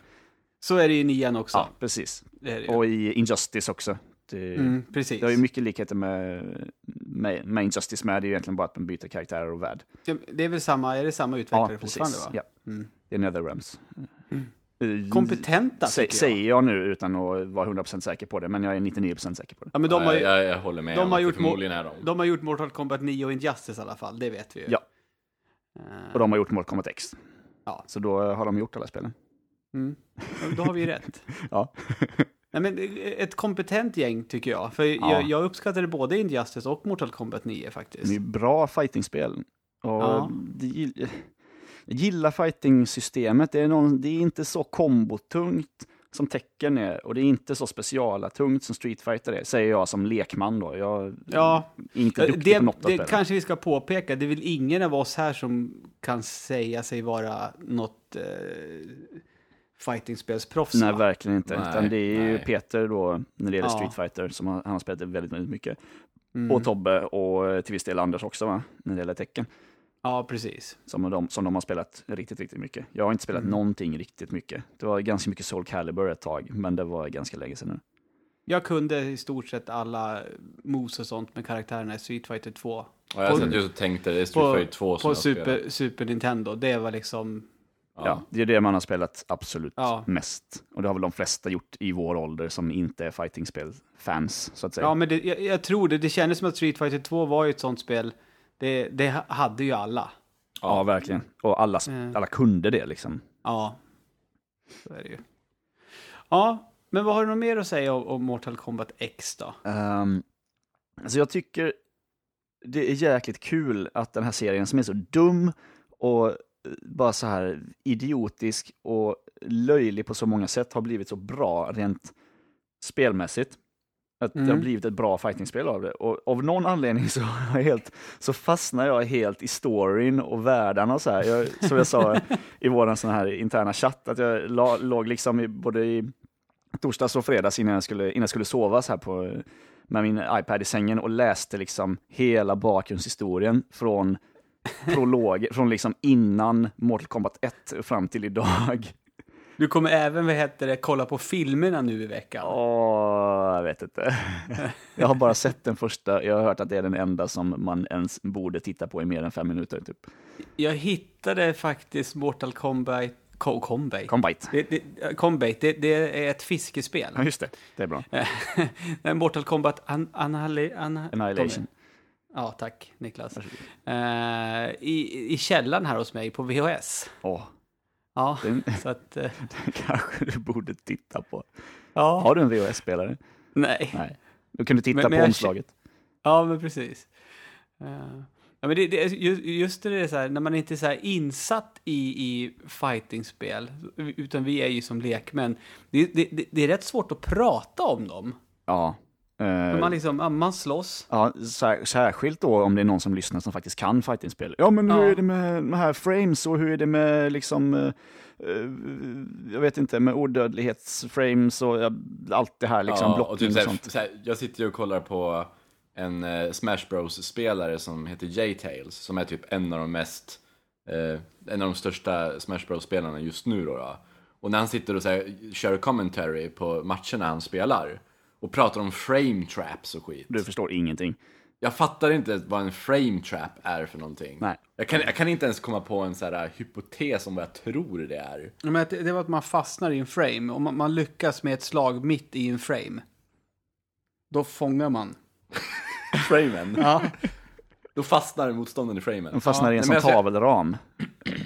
[SPEAKER 2] Så är det ju i nian också.
[SPEAKER 3] Ja, precis.
[SPEAKER 2] Det är det ju.
[SPEAKER 3] Och i Injustice också. Det,
[SPEAKER 2] mm, precis.
[SPEAKER 3] det har ju mycket likheter med, med, med Injustice med, det är ju egentligen bara att man byter karaktärer och värld.
[SPEAKER 2] Det är väl samma, är det samma utvecklare fortfarande va?
[SPEAKER 3] Ja.
[SPEAKER 2] Mm.
[SPEAKER 3] Det är Netherrealms. Eh,
[SPEAKER 2] Kompetenta
[SPEAKER 3] sä-
[SPEAKER 2] tycker jag.
[SPEAKER 3] Säger jag nu utan att vara 100% säker på det, men jag är 99% säker på det.
[SPEAKER 2] Ja, men de har ju,
[SPEAKER 4] ja, jag, jag håller med
[SPEAKER 2] de
[SPEAKER 4] om
[SPEAKER 2] har
[SPEAKER 4] att det
[SPEAKER 2] gjort mo-
[SPEAKER 4] förmodligen är de.
[SPEAKER 2] de har gjort Mortal Kombat 9 och Injustice i alla fall, det vet vi ju.
[SPEAKER 3] Ja.
[SPEAKER 2] Eh,
[SPEAKER 3] Och de har gjort Mortal Kombat X.
[SPEAKER 2] Ja.
[SPEAKER 3] Så då har de gjort alla spelen.
[SPEAKER 2] Mm. Då har vi ju rätt.
[SPEAKER 3] Ja.
[SPEAKER 2] Nej, men eh, ett kompetent gäng tycker jag. För
[SPEAKER 3] Ja.
[SPEAKER 2] jag, jag uppskattade både Injustice och Mortal Kombat 9 faktiskt.
[SPEAKER 3] Det är bra fightingspel. Och
[SPEAKER 2] Ja.
[SPEAKER 3] det gill- jag gillar fighting-systemet. Det är, någon, det är inte så kombotungt som tecken är och det är inte så speciala tungt som Street Fighter är, säger jag som lekman då. Jag är
[SPEAKER 2] Ja, Eh,
[SPEAKER 3] inte
[SPEAKER 2] det,
[SPEAKER 3] duktig på något av
[SPEAKER 2] det
[SPEAKER 3] spelen.
[SPEAKER 2] kanske vi ska påpeka. Det är väl ingen av oss här som kan säga sig vara något eh, fightingspelsproffs.
[SPEAKER 3] Nej,
[SPEAKER 2] va?
[SPEAKER 3] verkligen inte.
[SPEAKER 4] Nej,
[SPEAKER 3] Utan det är ju
[SPEAKER 4] nej.
[SPEAKER 3] Peter då, när det gäller
[SPEAKER 2] Ja.
[SPEAKER 3] Street Fighter, som har, han har spelat det väldigt, väldigt mycket.
[SPEAKER 2] Mm.
[SPEAKER 3] Och Tobbe och eh, till viss del Anders också, va? När det gäller tecken.
[SPEAKER 2] Ja, precis.
[SPEAKER 3] Som de, som de har spelat riktigt, riktigt mycket. Jag har inte spelat
[SPEAKER 2] Mm.
[SPEAKER 3] någonting riktigt mycket. Det var ganska mycket Soul Calibur ett tag, men det var ganska länge sedan nu.
[SPEAKER 2] Jag kunde i stort sett alla moves och sånt med karaktärerna i Street Fighter 2.
[SPEAKER 4] Och jag
[SPEAKER 2] På-
[SPEAKER 4] satt just och tänkte, det är Street Fighter 2 som
[SPEAKER 2] på
[SPEAKER 4] jag spelar.
[SPEAKER 2] Super, Super Nintendo. Det var liksom...
[SPEAKER 3] Ja.
[SPEAKER 4] Ja.
[SPEAKER 3] det är det man har spelat absolut
[SPEAKER 2] Ja.
[SPEAKER 3] mest. Och det har väl de flesta gjort i vår ålder som inte är fightingspel-fans, så att säga.
[SPEAKER 2] Ja, men det, jag, jag tror det. Det kändes som att Street Fighter 2 var ju ett sånt spel. Det, det ha- hade ju alla.
[SPEAKER 3] Ja, verkligen. Och alla, sp-
[SPEAKER 2] Mm.
[SPEAKER 3] alla kunde det liksom.
[SPEAKER 2] Ja, så är det ju. Ja, men vad har du något mer att säga om, om Mortal Kombat X då?
[SPEAKER 3] Um, alltså jag tycker det är jäkligt kul att den här serien som är så dum och eh, bara så här idiotisk och löjlig på så många sätt har blivit så bra rent spelmässigt. Att det har
[SPEAKER 2] Mm.
[SPEAKER 3] blivit ett bra fightingspel av det. Och av någon anledning så, har jag helt, så fastnar jag helt i storyn och världarna och så här. Jag, som jag sa i vår sån här interna chatt, att jag la, låg liksom i, både i torsdags och fredags innan jag skulle, innan jag skulle sova så här på, med min iPad i sängen och läste liksom hela bakgrundshistorien från prolog, från liksom innan Mortal Kombat 1 fram till idag.
[SPEAKER 2] Du kommer även, vad heter det, kolla på filmerna nu i veckan.
[SPEAKER 3] Åh, jag vet inte. Jag har bara sett den första, jag har hört att det är den enda som man ens borde titta på i mer än fem minuter. Typ.
[SPEAKER 2] Jag hittade faktiskt Mortal Kombat... Ko- Kombat?
[SPEAKER 3] Combite.
[SPEAKER 2] Det, det, ja, Combat, det, det är ett fiskespel.
[SPEAKER 3] Ja, just det. Det är bra.
[SPEAKER 2] Eh, Mortal Kombat an, anali, an,
[SPEAKER 3] Annihilation.
[SPEAKER 2] Ja, tack Niklas. Eh, i, I källaren här hos mig på VHS.
[SPEAKER 3] Åh,
[SPEAKER 2] Ja,
[SPEAKER 3] den,
[SPEAKER 2] så att... eh,
[SPEAKER 3] den kanske du borde titta på.
[SPEAKER 2] ja.
[SPEAKER 3] Har du en VHS-spelare?
[SPEAKER 2] Nej.
[SPEAKER 3] Nej. Då kan du titta
[SPEAKER 2] Men- men
[SPEAKER 3] på
[SPEAKER 2] jag-
[SPEAKER 3] omslaget.
[SPEAKER 2] Ja, men precis. Eh, ja, men det, det, är ju- just det där, så här, när man inte är så här insatt i, i fightingspel, utan vi är ju som lekmän, det, det, det- det är rätt svårt att prata om dem.
[SPEAKER 3] Ja. Eh,
[SPEAKER 2] Man, liksom, ja, man slåss.
[SPEAKER 3] Ja, sär, särskilt då om det är någon som lyssnar som faktiskt kan fightingspel. Ja, men hur
[SPEAKER 2] Ja.
[SPEAKER 3] är det med de här frames och hur är det med liksom, eh, eh, jag vet inte, med odödlighetsframes och ja, allt det här liksom,
[SPEAKER 4] och
[SPEAKER 3] blocking
[SPEAKER 4] typ
[SPEAKER 3] och,
[SPEAKER 4] såhär,
[SPEAKER 3] sånt.
[SPEAKER 4] såhär, jag sitter ju och kollar på en eh, Smash Bros-spelare som heter J-Tails, som är typ en av de mest, eh, en av de största Smash Bros-spelarna just nu då. då. Och när han sitter och såhär, kör commentary på matcherna han spelar och pratar om frame traps och skit.
[SPEAKER 3] Du förstår ingenting.
[SPEAKER 4] Jag fattar inte vad en frame trap är för någonting.
[SPEAKER 3] Nej.
[SPEAKER 4] Jag kan, jag kan inte ens komma på en såhär hypotes om vad jag tror det är.
[SPEAKER 2] Ja, Men det, det var att man fastnar i en frame, och man, man lyckas med ett slag mitt i en frame. Då fångar man.
[SPEAKER 4] Framen?
[SPEAKER 2] Ja.
[SPEAKER 4] Då fastnar motståndaren i framen.
[SPEAKER 3] De fastnar i en
[SPEAKER 4] Nej,
[SPEAKER 3] sån
[SPEAKER 4] men alltså jag ska-
[SPEAKER 3] tavelram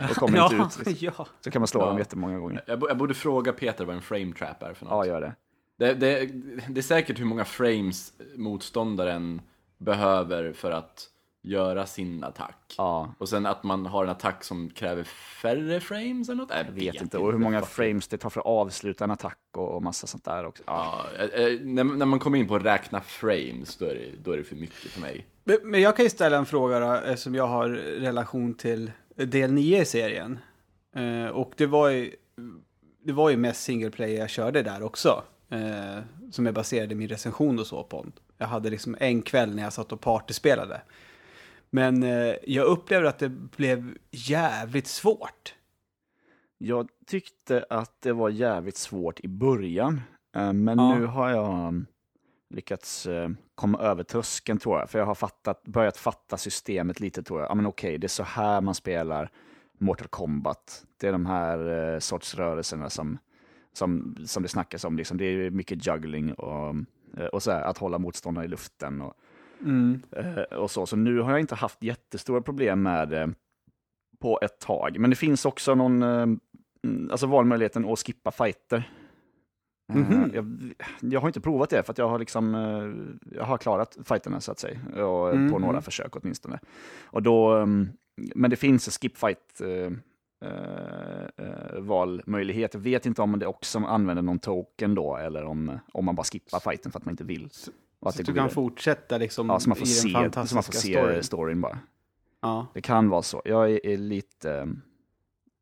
[SPEAKER 3] och kommer
[SPEAKER 2] Ja,
[SPEAKER 3] inte ut.
[SPEAKER 2] ja.
[SPEAKER 3] Så kan man slå
[SPEAKER 4] Ja.
[SPEAKER 3] dem jättemånga gånger.
[SPEAKER 4] Jag, bo- jag borde fråga Peter vad en frame trap är för något.
[SPEAKER 3] Ja, gör det.
[SPEAKER 4] Det, det, det är säkert hur många frames motståndaren behöver för att göra sin attack.
[SPEAKER 3] Ja,
[SPEAKER 4] Och sen att man har en attack som kräver färre frames eller något? Jag
[SPEAKER 3] vet inte. Och hur många frames det tar för att avsluta en attack och, och massa sånt där också. Ja.
[SPEAKER 4] Ja, eh, eh, när, när man kommer in på att räkna frames, då är det, då är det för mycket för mig.
[SPEAKER 2] Men- Men jag kan ju ställa en fråga då, eftersom jag har relation till del 9 i serien. Eh, och det var ju, det var ju mest single player jag körde där också. Eh, som jag baserade min recension och så på. Jag hade liksom en kväll när jag satt och partyspelade. Men eh, jag upplevde att det blev jävligt svårt.
[SPEAKER 3] Jag tyckte att det var jävligt svårt i början, eh, men
[SPEAKER 2] Ja.
[SPEAKER 3] nu har jag mm, lyckats eh, komma över tröskeln tror jag. För jag har fattat, börjat fatta systemet lite tror jag. Ja men okej, det är så här man spelar Mortal Kombat. Det är de här eh, sorts rörelserna som, som, som det snackas om. Liksom. Det är mycket juggling och, eh, och så här, att hålla motståndare i luften. Och, Eh, och så. Så nu har jag inte haft jättestora problem med det på ett tag. Men det finns också någon, eh, mm, alltså valmöjligheten att skippa fighter. Eh,
[SPEAKER 2] Mhm.
[SPEAKER 3] Jag, jag har inte provat det för att jag har liksom, eh, jag har klarat fighterna så att säga. Och, eh,
[SPEAKER 2] Mm,
[SPEAKER 3] På några
[SPEAKER 2] mm.
[SPEAKER 3] försök åtminstone. Och då, mm, men det finns en skip fight eh, eh, eh, valmöjlighet. Jag vet inte om det också använder någon token då eller om, om man bara skippar fighten för att man inte vill. Och att
[SPEAKER 2] Så
[SPEAKER 3] det
[SPEAKER 2] att
[SPEAKER 3] går
[SPEAKER 2] du kan
[SPEAKER 3] vidare.
[SPEAKER 2] fortsätta liksom
[SPEAKER 3] Ja, så man får
[SPEAKER 2] i den
[SPEAKER 3] se, så
[SPEAKER 2] fantastiska
[SPEAKER 3] man får se
[SPEAKER 2] storyn.
[SPEAKER 3] storyn bara.
[SPEAKER 2] Ja.
[SPEAKER 3] Det kan vara så. Jag är, är lite, eh,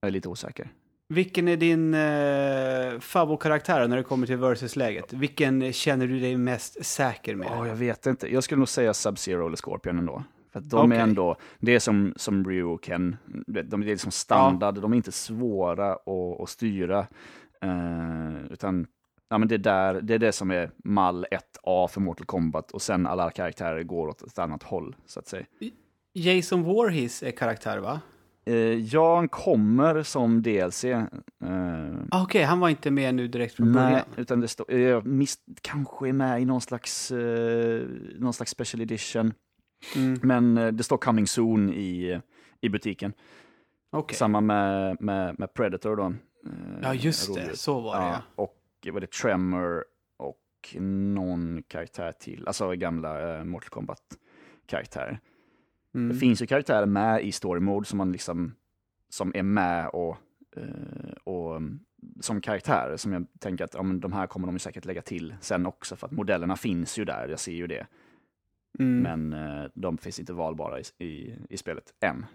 [SPEAKER 3] jag är lite osäker.
[SPEAKER 2] Vilken är din eh, favoritkaraktär när det kommer till versus-läget? Vilken känner du dig mest säker med?
[SPEAKER 3] Ja, jag vet inte. Jag skulle nog säga Sub-Zero eller Scorpion ändå. För att de
[SPEAKER 2] Okej.
[SPEAKER 3] är ändå, det är som, som Ryu och Ken, du vet, de det är liksom standard, de är inte svåra att, att styra. Eh, utan ja, men det, är där, det är det som är mall 1A för Mortal Kombat och sen alla karaktärer går åt ett annat håll, så att säga.
[SPEAKER 2] Jason Voorhees är karaktär, va?
[SPEAKER 3] Eh, Jan kommer som DLC. eh,
[SPEAKER 2] Ah, Okej, han var inte med nu direkt från
[SPEAKER 3] Nej,
[SPEAKER 2] början.
[SPEAKER 3] utan det står... Jag miss, kanske är med i någon slags, eh, någon slags special edition.
[SPEAKER 2] Mm.
[SPEAKER 3] Men eh, det står coming soon i, i butiken.
[SPEAKER 2] Okej.
[SPEAKER 3] Samma med, med, med Predator då. eh,
[SPEAKER 2] Ja, just det.
[SPEAKER 3] rodjuret.
[SPEAKER 2] Så var det, ja.
[SPEAKER 3] Och var det Tremor och någon karaktär till. Alltså gamla eh, Mortal Kombat-karaktärer.
[SPEAKER 2] Mm.
[SPEAKER 3] Det finns ju karaktärer med i story mode som man liksom som är med och, eh, och mm, som karaktärer som jag tänker att ja, men de här kommer de ju säkert lägga till sen också för att modellerna finns ju där, jag ser ju det.
[SPEAKER 2] Mm.
[SPEAKER 3] Men eh, de finns inte valbara i, i, i spelet än.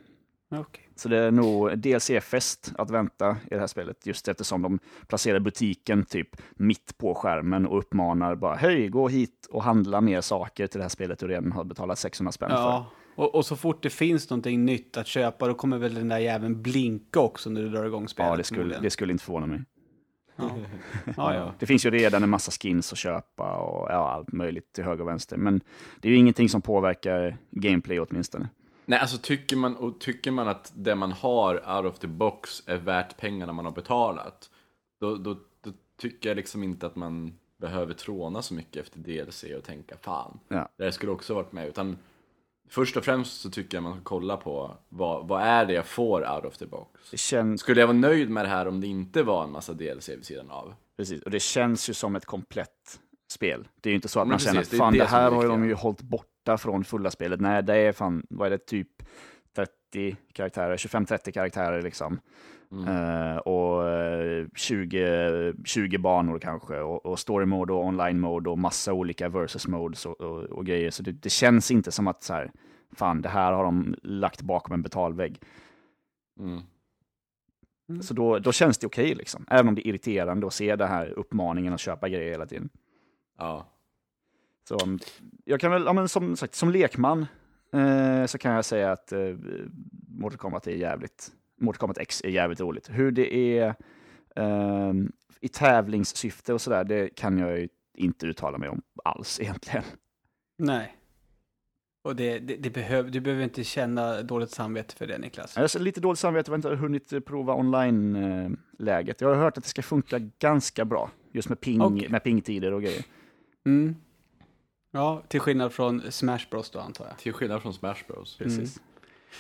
[SPEAKER 2] Okej.
[SPEAKER 3] Så det är nog DLC-fest att vänta i det här spelet, just eftersom de placerar butiken typ mitt på skärmen och uppmanar bara hej, gå hit och handla mer saker till det här spelet du redan har betalat 600 spänn för.
[SPEAKER 2] Ja, och, och så fort det finns någonting nytt att köpa då kommer väl den där jäveln blinka också när du drar igång spelet.
[SPEAKER 3] Ja, det skulle,
[SPEAKER 2] förmodligen.
[SPEAKER 3] det skulle inte förvåna mig.
[SPEAKER 2] ja, ja.
[SPEAKER 3] Det finns ju redan en massa skins att köpa och ja, allt möjligt till höger och vänster. Men det är ju ingenting som påverkar gameplay åtminstone.
[SPEAKER 4] Nej, alltså tycker man, och tycker man att det man har out of the box är värt pengarna man har betalat, då, då, då tycker jag liksom inte att man behöver tråna så mycket efter DLC och tänka fan,
[SPEAKER 3] Ja.
[SPEAKER 4] det här skulle också varit med. Utan först och främst så tycker jag man ska kolla på vad, vad är det jag får out of the box?
[SPEAKER 3] Det känns,
[SPEAKER 4] Skulle jag vara nöjd med det här om det inte var en massa DLC vid sidan av?
[SPEAKER 3] precis, och det känns ju som ett komplett spel. Det är ju inte så att
[SPEAKER 4] Men
[SPEAKER 3] man känner att
[SPEAKER 4] precis, det är
[SPEAKER 3] fan, det,
[SPEAKER 4] det som är
[SPEAKER 3] här har ju
[SPEAKER 4] viktigt.
[SPEAKER 3] de ju hållit borta från fulla spelet. Nej, det är fan, vad är det, typ 30 karaktärer, 25-30 karaktärer liksom.
[SPEAKER 4] Mm.
[SPEAKER 3] Eh, och eh, 20, 20 banor kanske, och, och story mode och online mode och massa olika versus modes och, och, och grejer. Så det, det känns inte som att så här, fan, det här har de lagt bakom en betalvägg.
[SPEAKER 4] Mm.
[SPEAKER 3] Så då, då känns det okej, liksom. även om det är irriterande att se den här uppmaningen att köpa grejer hela tiden.
[SPEAKER 4] Ja.
[SPEAKER 3] Så, um, jag kan väl, ja, men som sagt, som lekman eh, så kan jag säga att eh, Mortal Kombat är jävligt, Mortal Kombat X är jävligt roligt. Hur det är ehm, i tävlingssyfte och sådär, det kan jag ju inte uttala mig om alls egentligen.
[SPEAKER 2] Nej. Och det, det, det behöv, du behöver inte känna dåligt samvete för det, Niklas.
[SPEAKER 3] Jag har lite dåligt samvete för att jag inte har hunnit prova online-läget. Jag har hört att det ska funka ganska bra, just med, ping,
[SPEAKER 2] Okej.
[SPEAKER 3] med pingtider och grejer.
[SPEAKER 2] Mm. Ja, till skillnad från Smash Bros då, antar jag.
[SPEAKER 4] Till skillnad från Smash Bros.
[SPEAKER 3] Precis.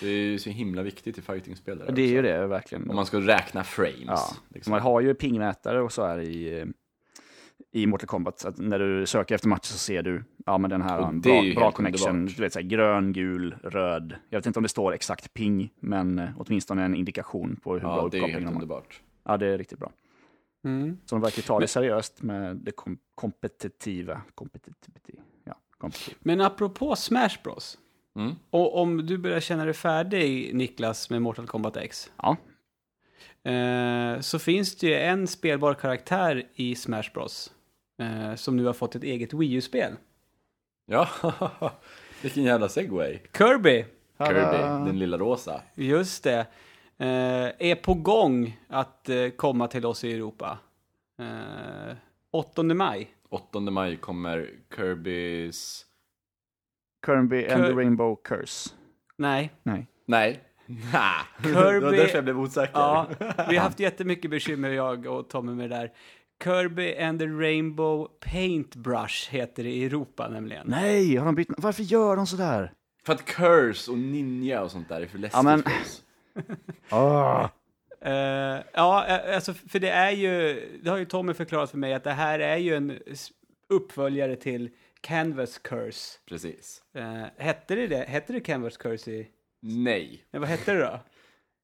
[SPEAKER 4] Det är ju så himla viktigt i fightingspel. där
[SPEAKER 3] Mm. Det är
[SPEAKER 4] också.
[SPEAKER 3] ju det, verkligen.
[SPEAKER 4] Om man ska räkna frames.
[SPEAKER 3] Ja,
[SPEAKER 4] liksom.
[SPEAKER 3] man har ju pingmätare och så här i, eh, i Mortal Kombat. Så att när du söker efter matcher så ser du, ja men den här
[SPEAKER 4] Och
[SPEAKER 3] har en
[SPEAKER 4] det
[SPEAKER 3] bra,
[SPEAKER 4] är ju
[SPEAKER 3] bra
[SPEAKER 4] helt
[SPEAKER 3] connection.
[SPEAKER 4] underbart.
[SPEAKER 3] Du vet, så här, grön, gul, röd. Jag vet inte om det står exakt ping, men eh, åtminstone en indikation på hur bra
[SPEAKER 4] Ja, det är ju
[SPEAKER 3] uppkopplingen
[SPEAKER 4] helt
[SPEAKER 3] de har.
[SPEAKER 4] underbart.
[SPEAKER 3] Ja, det är riktigt bra.
[SPEAKER 2] Mm.
[SPEAKER 3] Så de verkar ta det seriöst med det kom kompetitiva. Kompetitivity. Ja, kompetitiv.
[SPEAKER 2] Men apropå Smash Bros.
[SPEAKER 4] Mm.
[SPEAKER 2] Och om du börjar känna dig färdig, Niklas, med Mortal Kombat X.
[SPEAKER 3] Ja.
[SPEAKER 2] Eh, så finns det ju en spelbar karaktär i Smash Bros. Eh, som nu har fått ett eget Wii U-spel.
[SPEAKER 4] Ja, vilken jävla segway.
[SPEAKER 2] Kirby,
[SPEAKER 4] Kirby, den lilla rosa.
[SPEAKER 2] just det, eh, är på gång att eh, komma till oss i Europa. Eh, 8 maj.
[SPEAKER 4] 8 maj kommer Kirbys...
[SPEAKER 3] Kirby and
[SPEAKER 2] Kir-
[SPEAKER 3] the Rainbow Curse.
[SPEAKER 2] Nej.
[SPEAKER 3] Nej.
[SPEAKER 4] Nej. Nä. Det var
[SPEAKER 2] Kirby-
[SPEAKER 4] därför jag blev osäker.
[SPEAKER 2] Ja, vi har haft jättemycket bekymmer jag och Tommy med det där. Kirby and the Rainbow Paintbrush heter det i Europa nämligen.
[SPEAKER 3] Nej, har de bytt? Varför gör de sådär?
[SPEAKER 4] För att curse och ninja och sånt där är för läskigt
[SPEAKER 3] Ja, men-
[SPEAKER 4] för oss.
[SPEAKER 3] Ah.
[SPEAKER 2] Eh, ja, eh, alltså för det är ju, det har ju Tommy förklarat för mig att det här är ju en s- uppföljare till Canvas Curse.
[SPEAKER 4] Precis.
[SPEAKER 2] Eh, hette det det? Hette det Canvas Curse i?
[SPEAKER 4] Nej.
[SPEAKER 2] Nej, vad hette det då?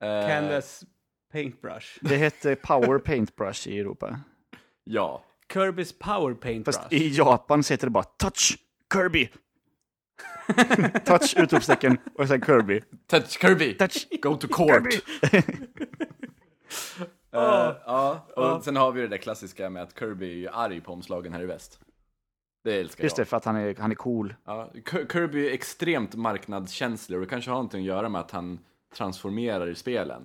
[SPEAKER 4] Eh,
[SPEAKER 2] Canvas Paintbrush.
[SPEAKER 3] Det hette Power Paintbrush i Europa.
[SPEAKER 4] Ja.
[SPEAKER 2] Kirby's Power Paintbrush.
[SPEAKER 3] Fast i Japan så heter det bara Touch Kirby. touch utropstecken och sen Kirby.
[SPEAKER 4] Touch Kirby!
[SPEAKER 3] Touch
[SPEAKER 4] Go to court! Eh, Ah. ja, och sen har vi det där klassiska med att Kirby är ju arg på omslagen här i väst. Det älskar
[SPEAKER 3] Just det,
[SPEAKER 4] jag.
[SPEAKER 3] för att han är, han är cool.
[SPEAKER 4] Ja, K- Kirby är extremt marknadskänslig och det kanske har någonting att göra med att han transformerar i spelen.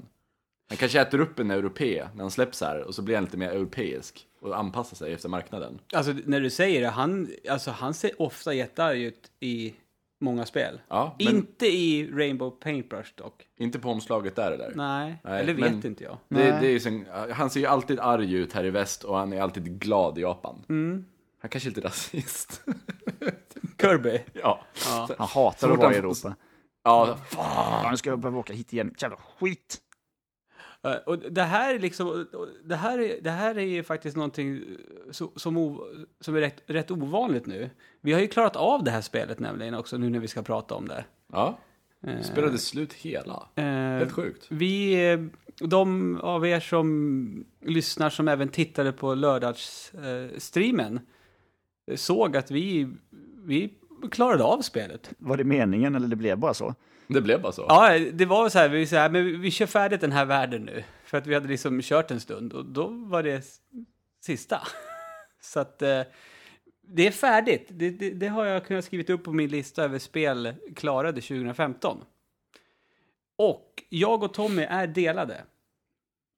[SPEAKER 4] Han kanske äter upp en europé när han släpps här och så blir han lite mer europeisk och anpassar sig efter marknaden.
[SPEAKER 2] Alltså när du säger det, han, alltså, han ser ofta jättearg ut i många spel.
[SPEAKER 4] Ja, men
[SPEAKER 2] Inte i Rainbow Paintbrush dock.
[SPEAKER 4] inte på omslaget där eller?
[SPEAKER 2] Nej,
[SPEAKER 4] Nej,
[SPEAKER 2] eller
[SPEAKER 4] men-
[SPEAKER 2] vet inte jag.
[SPEAKER 4] Det, det är ju sen, han ser ju alltid arg ut här i väst och han är alltid glad i Japan.
[SPEAKER 2] Mm.
[SPEAKER 4] Han kanske är lite rasist.
[SPEAKER 2] Kirby.
[SPEAKER 4] ja. ja.
[SPEAKER 3] Han hatar att
[SPEAKER 4] fort
[SPEAKER 3] vara i
[SPEAKER 4] han-
[SPEAKER 3] Europa.
[SPEAKER 4] ja.
[SPEAKER 3] Fan, nu ska jag behöva åka hit igen. Jävla skit!
[SPEAKER 2] Eh, Och det här är liksom, och- och det här är, det här är ju faktiskt någonting eh, so- som, o, som är rätt, rätt ovanligt nu. Vi har ju klarat av det här spelet nämligen också nu när vi ska prata om det.
[SPEAKER 4] ja. Spelade slut hela.
[SPEAKER 2] Eh,
[SPEAKER 4] Helt sjukt.
[SPEAKER 2] vi, eh, de av er som lyssnar som även tittade på lördagsstreamen eh, såg att vi, vi klarade av spelet.
[SPEAKER 3] Var det meningen eller det blev bara så?
[SPEAKER 4] Det blev bara så.
[SPEAKER 2] Ja, det var så här, vi, så här men vi, vi kör färdigt den här världen nu. För att vi hade liksom kört en stund och då var det s- sista. Så att eh, det är färdigt. Det, det, det har jag kunnat skrivit upp på min lista över spel klarade 2015. Och jag och Tommy är delade.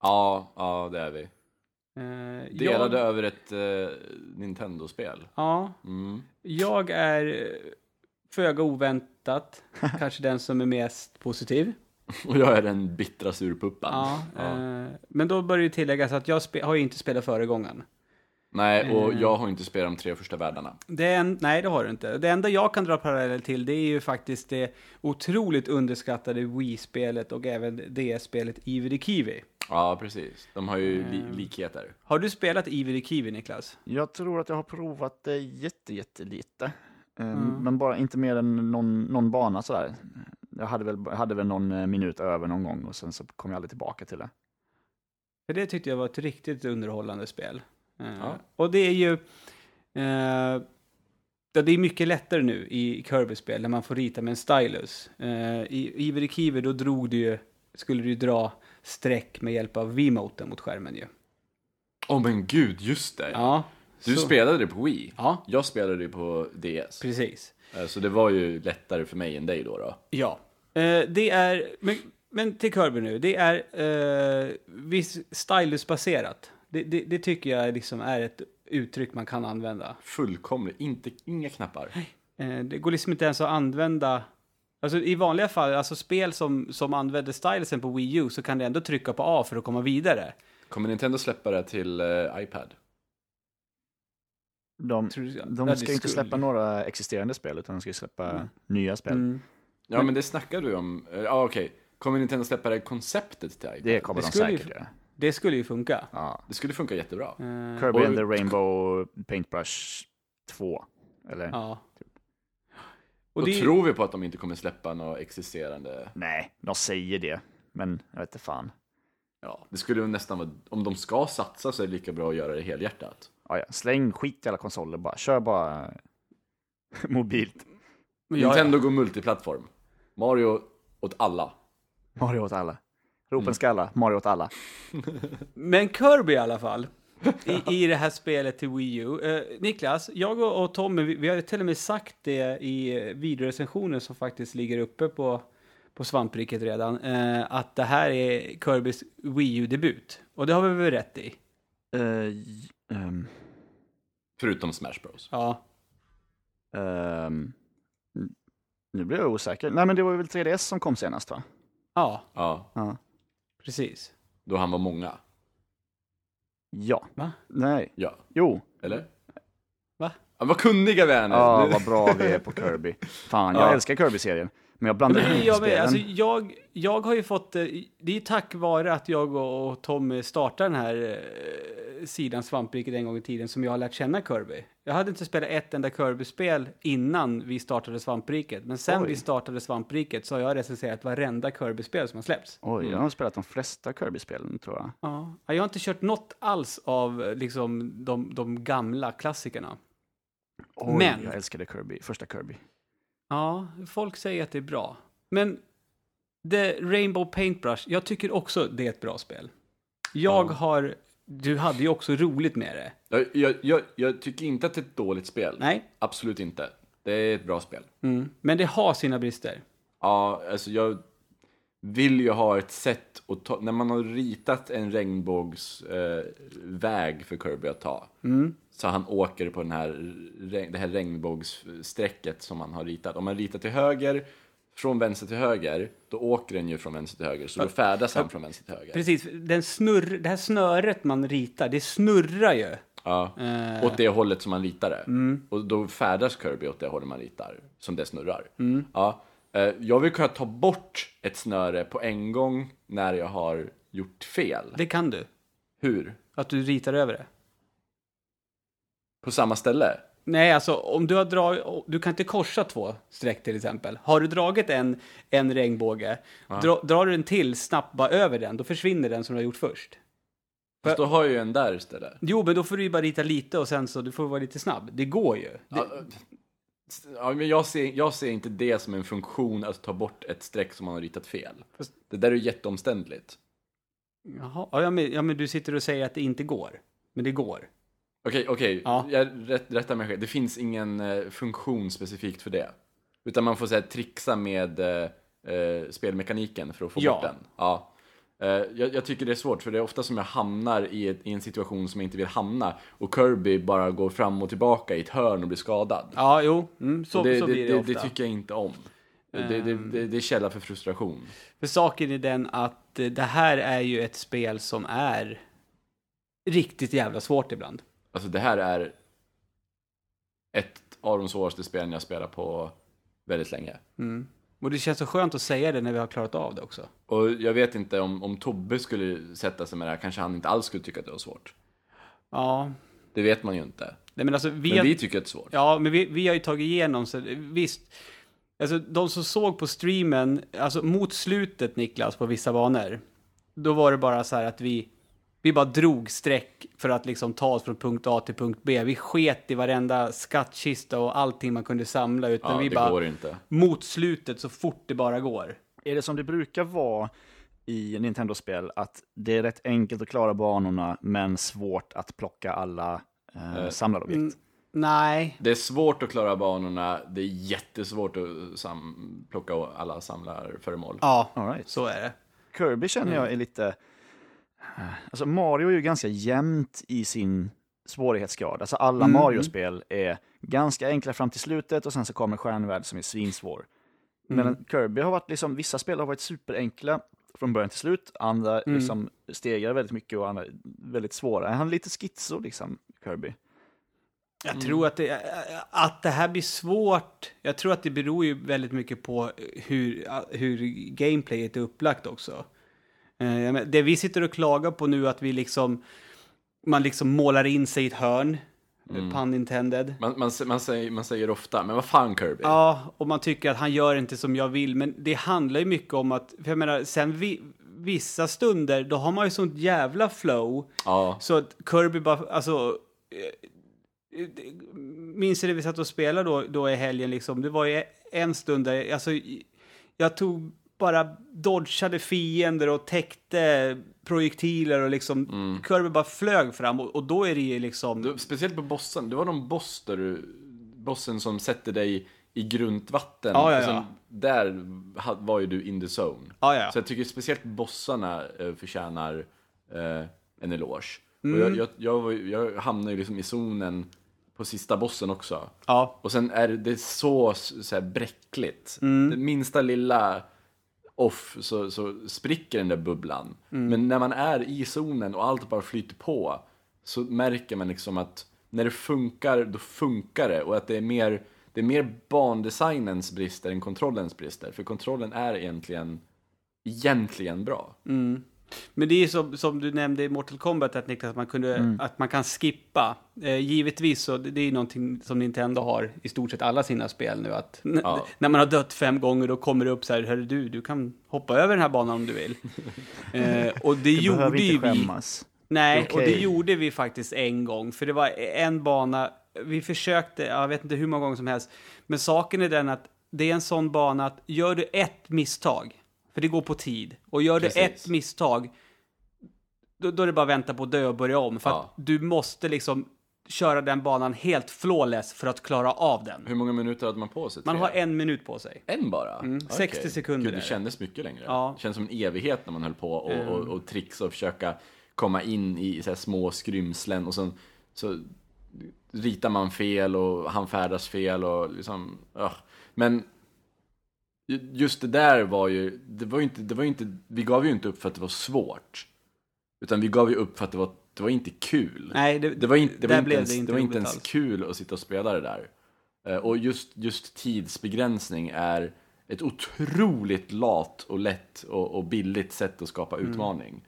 [SPEAKER 4] Ja, ja det är vi.
[SPEAKER 2] Eh,
[SPEAKER 4] Delade
[SPEAKER 2] Jag,
[SPEAKER 4] över ett eh, Nintendo-spel.
[SPEAKER 2] ja,
[SPEAKER 4] Mm.
[SPEAKER 2] jag är eh, föga oväntat kanske den som är mest positiv.
[SPEAKER 4] Och jag är den bittra surpuppan.
[SPEAKER 2] Ja,
[SPEAKER 4] Ja.
[SPEAKER 2] Eh, men då bör det ju tilläggas att jag spe- har ju inte spelat föregångaren.
[SPEAKER 4] Nej, och
[SPEAKER 2] eh.
[SPEAKER 4] jag har inte spelat de tre första världarna.
[SPEAKER 2] Det är en, nej, det har du inte. Det enda jag kan dra paralleller till det är ju faktiskt det otroligt underskattade Wii-spelet och även DS-spelet Ivy Kiwi.
[SPEAKER 4] Ja, precis. De har ju
[SPEAKER 2] Eh.
[SPEAKER 4] li- likheter.
[SPEAKER 2] Har du spelat Ivy Kiwi, Niklas?
[SPEAKER 3] Jag tror att jag har provat det jätte, jättelite. Eh, Men bara inte mer än någon, någon bana sådär. Jag hade väl, jag hade väl någon eh, minut över någon gång och sen så kom jag aldrig tillbaka till det.
[SPEAKER 2] För det tyckte jag var ett riktigt underhållande spel. Eh,
[SPEAKER 4] Ja.
[SPEAKER 2] Och det är ju... Eh, ja, det är mycket lättare nu i Kirby-spel när man får rita med en stylus. Eh, I Ivy Kiwi då drog du ju, skulle du ju dra streck med hjälp av Wiimoten mot skärmen ju.
[SPEAKER 4] Åh oh, men gud, just det!
[SPEAKER 2] Ja.
[SPEAKER 4] du
[SPEAKER 2] så-
[SPEAKER 4] spelade det på Wii.
[SPEAKER 2] Ja,
[SPEAKER 4] Jag spelade det på DS.
[SPEAKER 2] precis.
[SPEAKER 4] Eh, Så det var ju lättare för mig än dig då. då.
[SPEAKER 2] Ja. Eh, det är... Men, men till Kirby nu. Det är eh, visst stylus-baserat. Det, det, det tycker jag liksom är ett uttryck man kan använda.
[SPEAKER 4] Fullkomligt, inte, inga knappar.
[SPEAKER 2] Eh, det går liksom inte ens att använda... Alltså i vanliga fall, alltså spel som, som använder stylusen på Wii U så kan du ändå trycka på A för att komma vidare.
[SPEAKER 4] Kommer Nintendo släppa det till eh, iPad?
[SPEAKER 3] De,
[SPEAKER 2] Tror du- ja, det
[SPEAKER 3] de ska ju inte
[SPEAKER 2] skulle-
[SPEAKER 3] släppa några existerande spel utan de ska ju släppa nya spel.
[SPEAKER 2] Mm.
[SPEAKER 4] Ja, men det snackar du om. Eh, Ja, okej. Kommer Nintendo släppa det konceptet till iPad?
[SPEAKER 3] Det kommer
[SPEAKER 2] Det
[SPEAKER 3] de
[SPEAKER 2] skulle ju-
[SPEAKER 3] säkert göra.
[SPEAKER 2] Det skulle ju funka.
[SPEAKER 3] Ja.
[SPEAKER 4] Det skulle funka jättebra.
[SPEAKER 2] Eh,
[SPEAKER 3] Kirby
[SPEAKER 4] Och-
[SPEAKER 3] and the Rainbow Paintbrush 2. Eller?
[SPEAKER 2] ja.
[SPEAKER 4] Då
[SPEAKER 2] Och det,
[SPEAKER 4] tror vi på att de inte kommer släppa något existerande.
[SPEAKER 3] Nej, de säger det. Men jag vet inte fan.
[SPEAKER 4] Ja, det skulle ju nästan vara, om de ska satsa så är det lika bra att göra det helhjärtat.
[SPEAKER 3] Ja, ja. Släng skit i alla konsoler bara. Kör bara mobilt.
[SPEAKER 2] Ja, ja.
[SPEAKER 4] Nintendo går multiplattform. Mario åt alla.
[SPEAKER 3] Mario åt alla. Ropen ska alla. Mario åt alla.
[SPEAKER 2] Men Kirby i alla fall. I, I det här spelet till Wii U. Eh, Niklas, jag och, och Tommy, vi, vi har ju till och med sagt det i eh, videorecensionen som faktiskt ligger uppe på, på svampriket redan. Eh, att det här är Kirbys Wii U-debut. Och det har vi väl rätt i?
[SPEAKER 3] Eh, j- ehm,
[SPEAKER 4] Förutom Smash Bros.
[SPEAKER 2] Ja.
[SPEAKER 3] ehm. nu blir jag osäker. Nej, men det var väl 3DS som kom senast, va?
[SPEAKER 2] Ja,
[SPEAKER 4] Ja,
[SPEAKER 3] Ja.
[SPEAKER 2] precis.
[SPEAKER 4] då han var många.
[SPEAKER 3] Ja.
[SPEAKER 2] Va?
[SPEAKER 3] Nej.
[SPEAKER 4] Ja,
[SPEAKER 3] Jo.
[SPEAKER 4] eller?
[SPEAKER 2] Va?
[SPEAKER 4] Ja, vad kunniga vi är nu!
[SPEAKER 3] Ja,
[SPEAKER 4] Nu-
[SPEAKER 3] Ah, vad bra vi är på Kirby. Fan, jag
[SPEAKER 4] Ja.
[SPEAKER 3] älskar Kirby-serien. Men jag blandar
[SPEAKER 2] Men det är
[SPEAKER 3] ihop
[SPEAKER 2] jag, med.
[SPEAKER 3] spelen.
[SPEAKER 2] Alltså, jag, jag har ju fått, eh, det är tack vare att jag och, och Tommy startade den här eh, sidan Svampriket en gång i tiden som jag har lärt känna Kirby. Jag hade inte spelat ett enda Kirby-spel innan vi startade Svampriket, men sen
[SPEAKER 3] Oj.
[SPEAKER 2] vi startade Svampriket så har jag recenserat varenda Kirby-spel som har släppts.
[SPEAKER 3] Oj, jag har spelat de flesta Kirby-spelen, tror jag.
[SPEAKER 2] Ja. Jag har inte kört något alls av eh, liksom, de, de gamla klassikerna.
[SPEAKER 3] Oj,
[SPEAKER 2] Men-
[SPEAKER 3] jag älskade Kirby, första Kirby.
[SPEAKER 2] Ja, folk säger att det är bra. Men The Rainbow Paintbrush, jag tycker också det är ett bra spel. Jag
[SPEAKER 4] Ja.
[SPEAKER 2] har du hade ju också roligt med det.
[SPEAKER 4] Jag, jag, jag, jag tycker inte att det är ett dåligt spel.
[SPEAKER 2] Nej,
[SPEAKER 4] Absolut inte. Det är ett bra spel.
[SPEAKER 2] mm. men det har sina brister.
[SPEAKER 4] Ja, alltså jag vill ju ha ett sätt att ta, när man har ritat en regnbågsväg eh, väg för Kirby att ta. Så han åker på den här, reg- det här regnbågssträcket som man har ritat. Om man ritar till höger, från vänster till höger, då åker den ju från vänster till höger. Så då färdas han från vänster till höger.
[SPEAKER 2] Precis, den snurr, det här snöret man ritar, det snurrar ju.
[SPEAKER 4] Ja.
[SPEAKER 2] Eh, mm,
[SPEAKER 4] Åt det hållet som man ritar det. Och då färdas Kirby åt det hållet man ritar, som det snurrar.
[SPEAKER 2] mm.
[SPEAKER 4] Ja. Eh, Jag vill kunna ta bort ett snöre på en gång när jag har gjort fel.
[SPEAKER 2] det kan du,
[SPEAKER 4] Hur?
[SPEAKER 2] att du ritar över det.
[SPEAKER 4] På samma ställe?
[SPEAKER 2] Nej, alltså om du har dragit, du kan inte korsa två streck till exempel. Har du dragit en, en regnbåge, dra, drar du en till snabbt bara över den, då försvinner den som du har gjort först.
[SPEAKER 4] Fast då har jag ju en där istället.
[SPEAKER 2] Jo, men då får du ju bara rita lite och sen så, du får vara lite snabb. Det går ju. Det,
[SPEAKER 4] Ja, eh, Ja, men jag, ser, jag ser inte det som en funktion att ta bort ett streck som man har ritat fel.
[SPEAKER 2] Fast-
[SPEAKER 4] Det där är ju jätteomständligt.
[SPEAKER 2] Jaha, ja, ja, men, ja, men du sitter och säger att det inte går. Men det går.
[SPEAKER 4] Okej, okej.
[SPEAKER 2] Ja.
[SPEAKER 4] Jag rätt, rättar mig själv. Det finns ingen eh, funktion specifikt för det. Utan man får så här, trixa med eh, eh, spelmekaniken för att få
[SPEAKER 2] Ja.
[SPEAKER 4] bort den. Ja. Eh, jag, jag tycker det är svårt, för det är ofta som jag hamnar i, ett, i en situation som jag inte vill hamna. Och Kirby bara går fram och tillbaka i ett hörn och blir skadad.
[SPEAKER 2] Ja, jo, mm, så,
[SPEAKER 4] Och det,
[SPEAKER 2] så
[SPEAKER 4] det,
[SPEAKER 2] blir det,
[SPEAKER 4] det,
[SPEAKER 2] ofta.
[SPEAKER 4] det tycker jag inte om. Det, det, det, det är källa för frustration.
[SPEAKER 2] För saken är den att eh, det här är ju ett spel som är riktigt jävla svårt ibland.
[SPEAKER 4] Alltså det här är ett av de svåraste spelen jag spelat på väldigt länge.
[SPEAKER 2] Och det känns så skönt att säga det när vi har klarat av det också.
[SPEAKER 4] Och jag vet inte om, om Tobbe skulle sätta sig med det här, kanske han inte alls skulle tycka att det var svårt.
[SPEAKER 2] Ja,
[SPEAKER 4] Det vet man ju inte.
[SPEAKER 2] nej men alltså vi...
[SPEAKER 4] Men
[SPEAKER 2] har-
[SPEAKER 4] vi tycker att det är svårt.
[SPEAKER 2] Ja, men vi, vi har ju tagit igenom, så visst. Alltså de som såg på streamen, alltså mot slutet Niklas, på vissa banor. Då var det bara så här att vi, vi bara drog streck för att liksom ta oss från punkt A till punkt B. Vi sket i varenda skattkista och allting man kunde samla. Utan
[SPEAKER 4] Ja,
[SPEAKER 2] vi
[SPEAKER 4] det
[SPEAKER 2] bara,
[SPEAKER 4] går inte.
[SPEAKER 2] mot slutet så fort det bara går.
[SPEAKER 3] Är det som det brukar vara i Nintendo-spel, att det är rätt enkelt att klara banorna, men svårt att plocka alla eh, samlade objekt?
[SPEAKER 2] Nej,
[SPEAKER 4] Det är svårt att klara banorna, det är jättesvårt att sam- plocka alla samlarföremål.
[SPEAKER 2] ja,
[SPEAKER 3] All right.
[SPEAKER 2] så är det.
[SPEAKER 3] Kirby känner
[SPEAKER 2] Mm.
[SPEAKER 3] jag är lite... Alltså Mario är ju ganska jämnt i sin svårighetsgrad. Alltså alla
[SPEAKER 2] Mm.
[SPEAKER 3] Mario-spel är ganska enkla fram till slutet och sen så kommer Stjärnvärld som är svinsvår.
[SPEAKER 2] Mm.
[SPEAKER 3] Men Kirby har varit liksom, vissa spel har varit superenkla från början till slut, andra
[SPEAKER 2] Mm.
[SPEAKER 3] liksom stegar väldigt mycket och andra är väldigt svåra. Han är lite schizo liksom, Kirby.
[SPEAKER 2] Jag tror att det, att det här blir svårt. Jag tror att det beror ju väldigt mycket på hur, hur gameplayet är upplagt också. Eh, jag men- Det vi sitter och klagar på nu att vi liksom, man liksom målar in sig i ett hörn, mm. pun intended.
[SPEAKER 4] Man, man, sä- man, säger, man säger ofta, men vad fan Kirby?
[SPEAKER 2] Ja, och man tycker att han gör inte som jag vill, men det handlar ju mycket om att, för jag menar, sen vi, vissa stunder, då har man ju sånt jävla flow.
[SPEAKER 4] Ja.
[SPEAKER 2] Så att Kirby bara, alltså... eh, eh, Minns jag det vi satt och spelade då, då i helgen liksom. Det var ju en stund där, alltså... i- Jag tog bara dodgade fiender och täckte projektiler och liksom... Kirby bara flög fram och, och då är det ju liksom...
[SPEAKER 4] Du, speciellt på bossen, det var någon boss där du, bossen som sätter dig i grundvatten.
[SPEAKER 2] Ja, ja,
[SPEAKER 4] Och sen-
[SPEAKER 2] ja.
[SPEAKER 4] Där ha- var ju du in the zone.
[SPEAKER 2] Ja, ja, ja.
[SPEAKER 4] Så jag tycker speciellt bossarna eh, förtjänar eh, en eloge.
[SPEAKER 2] Mm.
[SPEAKER 4] Och jag, jag, jag, var ju- jag hamnade ju liksom i zonen på sista bossen också.
[SPEAKER 2] Ja.
[SPEAKER 4] Och sen är det, det är så, så här bräckligt.
[SPEAKER 2] Mm.
[SPEAKER 4] Det minsta lilla off så, så spricker den där bubblan.
[SPEAKER 2] Mm.
[SPEAKER 4] Men när man är i zonen och allt bara flyter på så märker man liksom att när det funkar, då funkar det. Och att det är mer, det är mer bandesignens brister än kontrollens brister. För kontrollen är egentligen, egentligen bra.
[SPEAKER 2] Mm. Men det är ju som, som du nämnde i Mortal Kombat, att, Niklas, att, man, kunde,
[SPEAKER 3] Mm.
[SPEAKER 2] att man kan skippa. Eh, givetvis, så det, det är ju någonting som Nintendo har i stort sett alla sina spel nu. Att n-
[SPEAKER 4] Ja.
[SPEAKER 2] När man har dött fem gånger, då kommer det upp så här, hörru du, du kan hoppa över den här banan om du vill. eh, och det
[SPEAKER 3] Du
[SPEAKER 2] gjorde
[SPEAKER 3] behöver
[SPEAKER 2] ju
[SPEAKER 3] inte
[SPEAKER 2] vi.
[SPEAKER 3] skämmas.
[SPEAKER 2] Nej,
[SPEAKER 3] Det är
[SPEAKER 2] och det
[SPEAKER 3] okej.
[SPEAKER 2] gjorde vi faktiskt en gång, för det var en bana, vi försökte, jag vet inte hur många gånger som helst, men saken är den att det är en sån bana att gör du ett misstag, för det går på tid, och gör
[SPEAKER 4] Precis.
[SPEAKER 2] du ett misstag, då, då är det bara att vänta på att dö och börja om. För
[SPEAKER 4] Ja.
[SPEAKER 2] att du måste liksom köra den banan helt flawless för att klara av den.
[SPEAKER 4] Hur många minuter hade man på sig?
[SPEAKER 2] Man
[SPEAKER 4] till
[SPEAKER 2] har
[SPEAKER 4] det?
[SPEAKER 2] en minut på sig.
[SPEAKER 4] En bara? Okej.
[SPEAKER 2] 60 Mm, sekunder
[SPEAKER 4] Gud,
[SPEAKER 2] är
[SPEAKER 4] det
[SPEAKER 2] det.
[SPEAKER 4] kändes mycket längre.
[SPEAKER 2] Ja. Eh.
[SPEAKER 4] Det känns som en evighet när man höll på och, och, och trixa och försöka komma in i så här små skrymslen och sen så ritar man fel och han färdas fel och liksom... ugh. Men ju- just det där var ju, det var ju inte, det var ju inte, vi gav ju inte upp för att det var svårt. Utan vi gav ju upp för att det var, det var inte kul.
[SPEAKER 2] Nej, det,
[SPEAKER 4] Det var inte, det var
[SPEAKER 2] där
[SPEAKER 4] inte,
[SPEAKER 2] blev
[SPEAKER 4] ens,
[SPEAKER 2] det
[SPEAKER 4] det
[SPEAKER 2] inte
[SPEAKER 4] var
[SPEAKER 2] roligt
[SPEAKER 4] inte ens
[SPEAKER 2] alls.
[SPEAKER 4] kul att sitta och spela det där. Eh, Och just, just tidsbegränsning är ett otroligt lat och lätt och, och billigt sätt att skapa
[SPEAKER 2] Mm.
[SPEAKER 4] utmaning.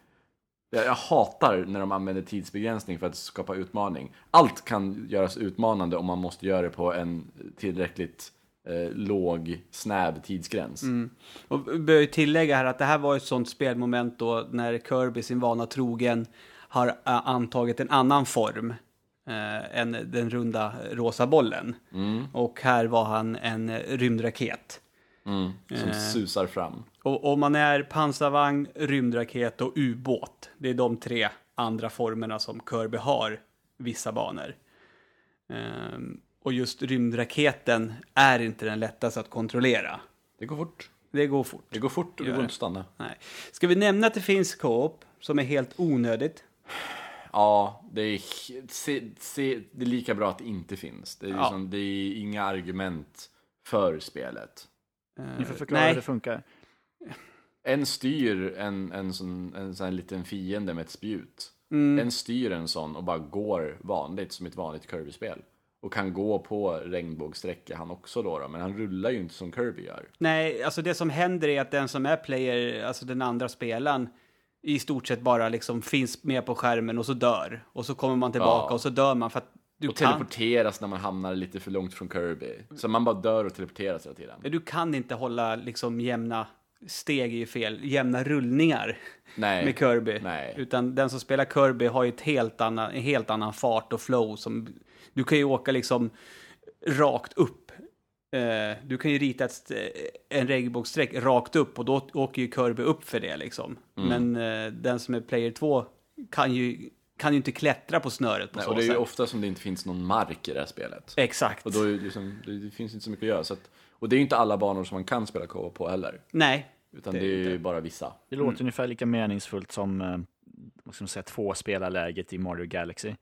[SPEAKER 4] Jag, jag hatar när de använder tidsbegränsning för att skapa utmaning. Allt kan göras utmanande om man måste göra det på en tillräckligt eh, låg, snäv tidsgräns.
[SPEAKER 2] Mm. Och vi bör ju tillägga här att det här var ett sånt spelmoment då när Kirby sin vana trogen har ä, antagit en annan form eh, än den runda rosa bollen. Och här var han en eh, rymdraket.
[SPEAKER 4] Mm. Som
[SPEAKER 2] Eh.
[SPEAKER 4] susar fram.
[SPEAKER 2] Och om man är pansarvagn, rymdraket och ubåt, det är de tre andra formerna som Kirby har vissa banor. Ehm, och just rymdraketen är inte den lättaste att kontrollera.
[SPEAKER 4] Det går fort.
[SPEAKER 2] Det går fort.
[SPEAKER 4] Det går fort och det
[SPEAKER 2] Gör
[SPEAKER 4] går
[SPEAKER 2] det.
[SPEAKER 4] inte att stanna.
[SPEAKER 2] Nej. Ska vi nämna att det finns co-op som är helt onödigt?
[SPEAKER 4] Ja, det är, se, se, det är lika bra att det inte finns. Det är,
[SPEAKER 2] Ja.
[SPEAKER 4] liksom, det är inga argument för spelet.
[SPEAKER 3] Ni får förklara
[SPEAKER 2] Eh, nej.
[SPEAKER 3] hur det funkar.
[SPEAKER 4] En styr en, en, sån, en sån här liten fiende med ett spjut. En styr en sån och bara går vanligt som ett vanligt Kirby-spel. Och kan gå på regnbågssträcka han också då, då, men han rullar ju inte som Kirby gör.
[SPEAKER 2] Nej, alltså det som händer är att den som är player, alltså den andra spelaren, i stort sett bara liksom finns med på skärmen och så dör. Och så kommer man tillbaka
[SPEAKER 4] Ja.
[SPEAKER 2] och så dör man för att du
[SPEAKER 4] Och
[SPEAKER 2] kan,
[SPEAKER 4] teleporteras när man hamnar lite för långt från Kirby. Så man bara dör och teleporteras hela tiden.
[SPEAKER 2] du kan inte hålla liksom jämna steg är ju fel, jämna rullningar
[SPEAKER 4] Nej.
[SPEAKER 2] med Kirby.
[SPEAKER 4] Nej.
[SPEAKER 2] Utan den som spelar Kirby har ju ett helt annan, en helt annan fart och flow som, du kan ju åka liksom rakt upp. Eh, du kan ju rita ett, st- en regnbågsstreck rakt upp och då åker ju Kirby upp för det liksom.
[SPEAKER 4] Mm.
[SPEAKER 2] Men eh, den som är player 2 kan ju, kan ju inte klättra på snöret på
[SPEAKER 4] Nej,
[SPEAKER 2] så
[SPEAKER 4] och det är ju
[SPEAKER 2] sätt.
[SPEAKER 4] ofta som det inte finns någon mark i det här spelet.
[SPEAKER 2] Exakt.
[SPEAKER 4] Och då är det, liksom, det, det finns inte så mycket att göra. Så att, och det är ju inte alla banor som man kan spela co-op på heller.
[SPEAKER 2] Nej.
[SPEAKER 4] Utan
[SPEAKER 2] Det
[SPEAKER 4] det,
[SPEAKER 2] är
[SPEAKER 4] är
[SPEAKER 2] inte.
[SPEAKER 4] ju bara vissa.
[SPEAKER 3] Det
[SPEAKER 2] Mm.
[SPEAKER 3] låter ungefär lika meningsfullt som eh, vad ska man säga, tvåspelarläget i Mario Galaxy.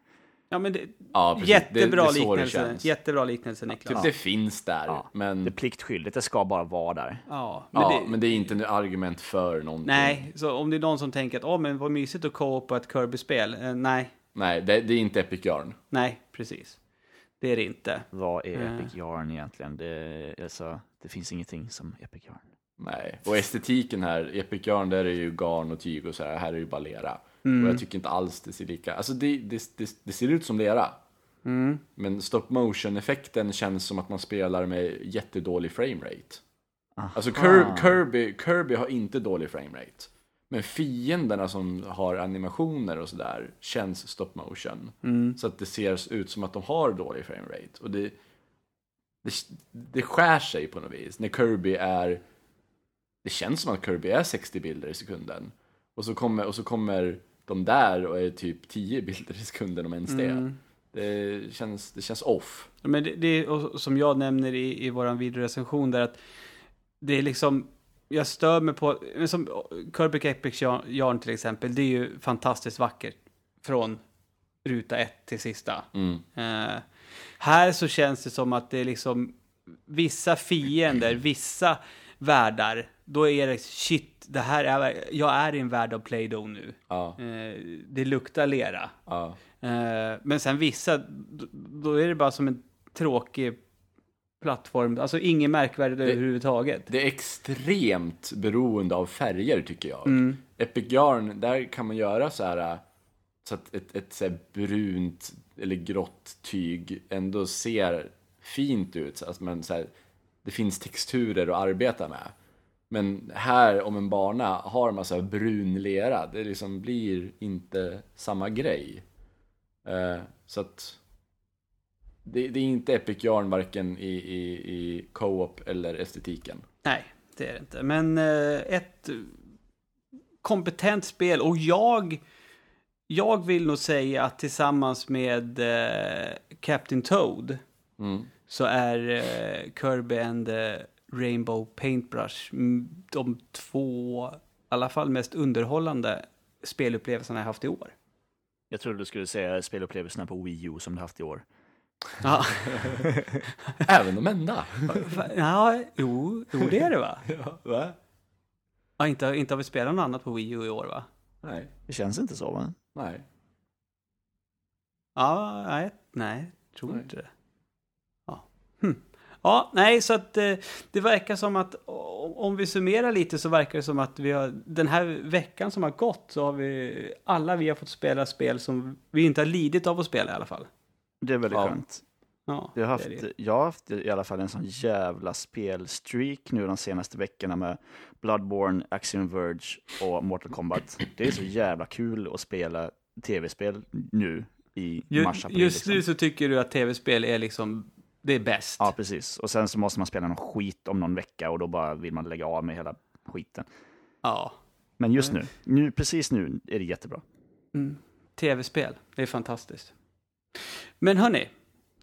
[SPEAKER 2] Ja, men det,
[SPEAKER 4] Ja, precis.
[SPEAKER 2] jättebra,
[SPEAKER 4] Det- det är så det
[SPEAKER 2] liknelse.
[SPEAKER 4] känns.
[SPEAKER 2] jättebra liknelse, Niklas.
[SPEAKER 4] Typ det finns där,
[SPEAKER 3] Ja,
[SPEAKER 4] men,
[SPEAKER 3] Det är
[SPEAKER 4] det,
[SPEAKER 3] pliktskyldigt, det ska bara vara där.
[SPEAKER 2] Ja, men
[SPEAKER 4] ja,
[SPEAKER 2] det,
[SPEAKER 4] men det är inte en argument för någonting.
[SPEAKER 2] Nej, så om det är någon som tänker att åh, men vad mysigt att co-op på ett Kirby-spel. Eh, nej,
[SPEAKER 4] Nej, det, det är inte Epic Yarn.
[SPEAKER 2] nej, precis. Det är det inte.
[SPEAKER 3] Vad är
[SPEAKER 2] Mm.
[SPEAKER 3] Epic Yarn egentligen? Det, alltså, det finns ingenting som Epic Yarn.
[SPEAKER 4] Nej. Och estetiken här, Epic Yarn, där är ju garn och tyg och så här. Här är ju bara lera.
[SPEAKER 2] Mm.
[SPEAKER 4] Och jag tycker inte alls det ser lika... Alltså det, det, det, det ser ut som lera.
[SPEAKER 2] Mm,
[SPEAKER 4] Men stop motion-effekten känns som att man spelar med jättedålig framerate.
[SPEAKER 3] Ah.
[SPEAKER 4] Alltså Kir- Kirby, Kirby har inte dålig framerate. Men fienderna som har animationer och sådär känns stop motion.
[SPEAKER 2] mm.
[SPEAKER 4] Så att det ser ut som att de har dålig framerate. Och det, det, det skär sig på något vis. När Kirby är... Det känns som att Kirby är 60 bilder i sekunden. Och så kommer, och så kommer de där och är typ 10 bilder i sekunden om ens det.
[SPEAKER 2] Mm.
[SPEAKER 4] Det, känns, det känns off.
[SPEAKER 2] Men det, det är och som jag nämner i, i vår videorecension där att det är liksom, jag stör mig på, men som Kirby Epic Yarn till exempel, det är ju fantastiskt vackert från ruta ett till sista. Eh, här så känns det som att det är liksom vissa fiender, vissa världar, då är det shit, det här är, jag är i en värld av Play-Doh nu.
[SPEAKER 4] Ja,
[SPEAKER 2] Eh, det luktar lera.
[SPEAKER 4] ja.
[SPEAKER 2] Eh, Men sen vissa, d- då är det bara som en tråkig plattform. Alltså inget märkvärdigt överhuvudtaget.
[SPEAKER 4] Det är extremt beroende av färger tycker jag. Epic Yarn, där kan man göra så här äh, så att ett, ett så här brunt eller grått tyg ändå ser fint ut. Så att man, så här, det finns texturer att arbeta med. Men här, om en bana har massa brun lera, det liksom blir inte samma grej. Eh, så att det, det är inte Epic Yarn varken i, i, i co-op eller estetiken.
[SPEAKER 2] Nej, det är det inte. Men eh, ett kompetent spel och jag jag vill nog säga att tillsammans med eh, Captain Toad
[SPEAKER 4] Mm.
[SPEAKER 2] så är eh, Kirby and the Rainbow Paintbrush mm, de två, i alla fall mest underhållande spelupplevelserna jag haft i år.
[SPEAKER 3] Jag trodde du skulle säga spelupplevelserna på Wii U som du haft i år.
[SPEAKER 2] Ja,
[SPEAKER 4] Även de enda.
[SPEAKER 2] va- ja jo, jo, det är det va?
[SPEAKER 4] ja, va?
[SPEAKER 2] Ja, inte, inte har vi spelat något annat på Wii U i år va?
[SPEAKER 4] Nej.
[SPEAKER 3] Det känns inte så va?
[SPEAKER 4] Nej.
[SPEAKER 2] Ja, nej, nej tror
[SPEAKER 4] Nej.
[SPEAKER 2] inte det. Ja. Hm. ja, nej, så att eh, det verkar som att o- om vi summerar lite så verkar det som att vi har den här veckan som har gått så har vi alla vi har fått spela spel som vi inte har lidit av att spela i alla fall.
[SPEAKER 3] Det är väldigt
[SPEAKER 4] Ja.
[SPEAKER 3] skönt.
[SPEAKER 2] Ja,
[SPEAKER 3] Jag
[SPEAKER 2] det
[SPEAKER 3] har, haft,
[SPEAKER 2] är det.
[SPEAKER 3] jag har haft i alla fall en sån jävla spelstreak nu de senaste veckorna med Bloodborne, Axiom Verge och Mortal Kombat. Det är så jävla kul att spela tv-spel nu i
[SPEAKER 2] Ju,
[SPEAKER 3] mars, april.
[SPEAKER 2] just nu
[SPEAKER 3] liksom.
[SPEAKER 2] så tycker du att tv-spel är liksom, det är bäst.
[SPEAKER 4] Typ.
[SPEAKER 3] Ja, precis. Och sen så måste man spela någon skit om någon vecka och då bara vill man lägga av med hela skiten.
[SPEAKER 2] Ja.
[SPEAKER 3] Men just
[SPEAKER 4] Mm.
[SPEAKER 3] nu, nu, precis nu är det jättebra.
[SPEAKER 2] Mm. Tv-spel, det är fantastiskt. Men hörni,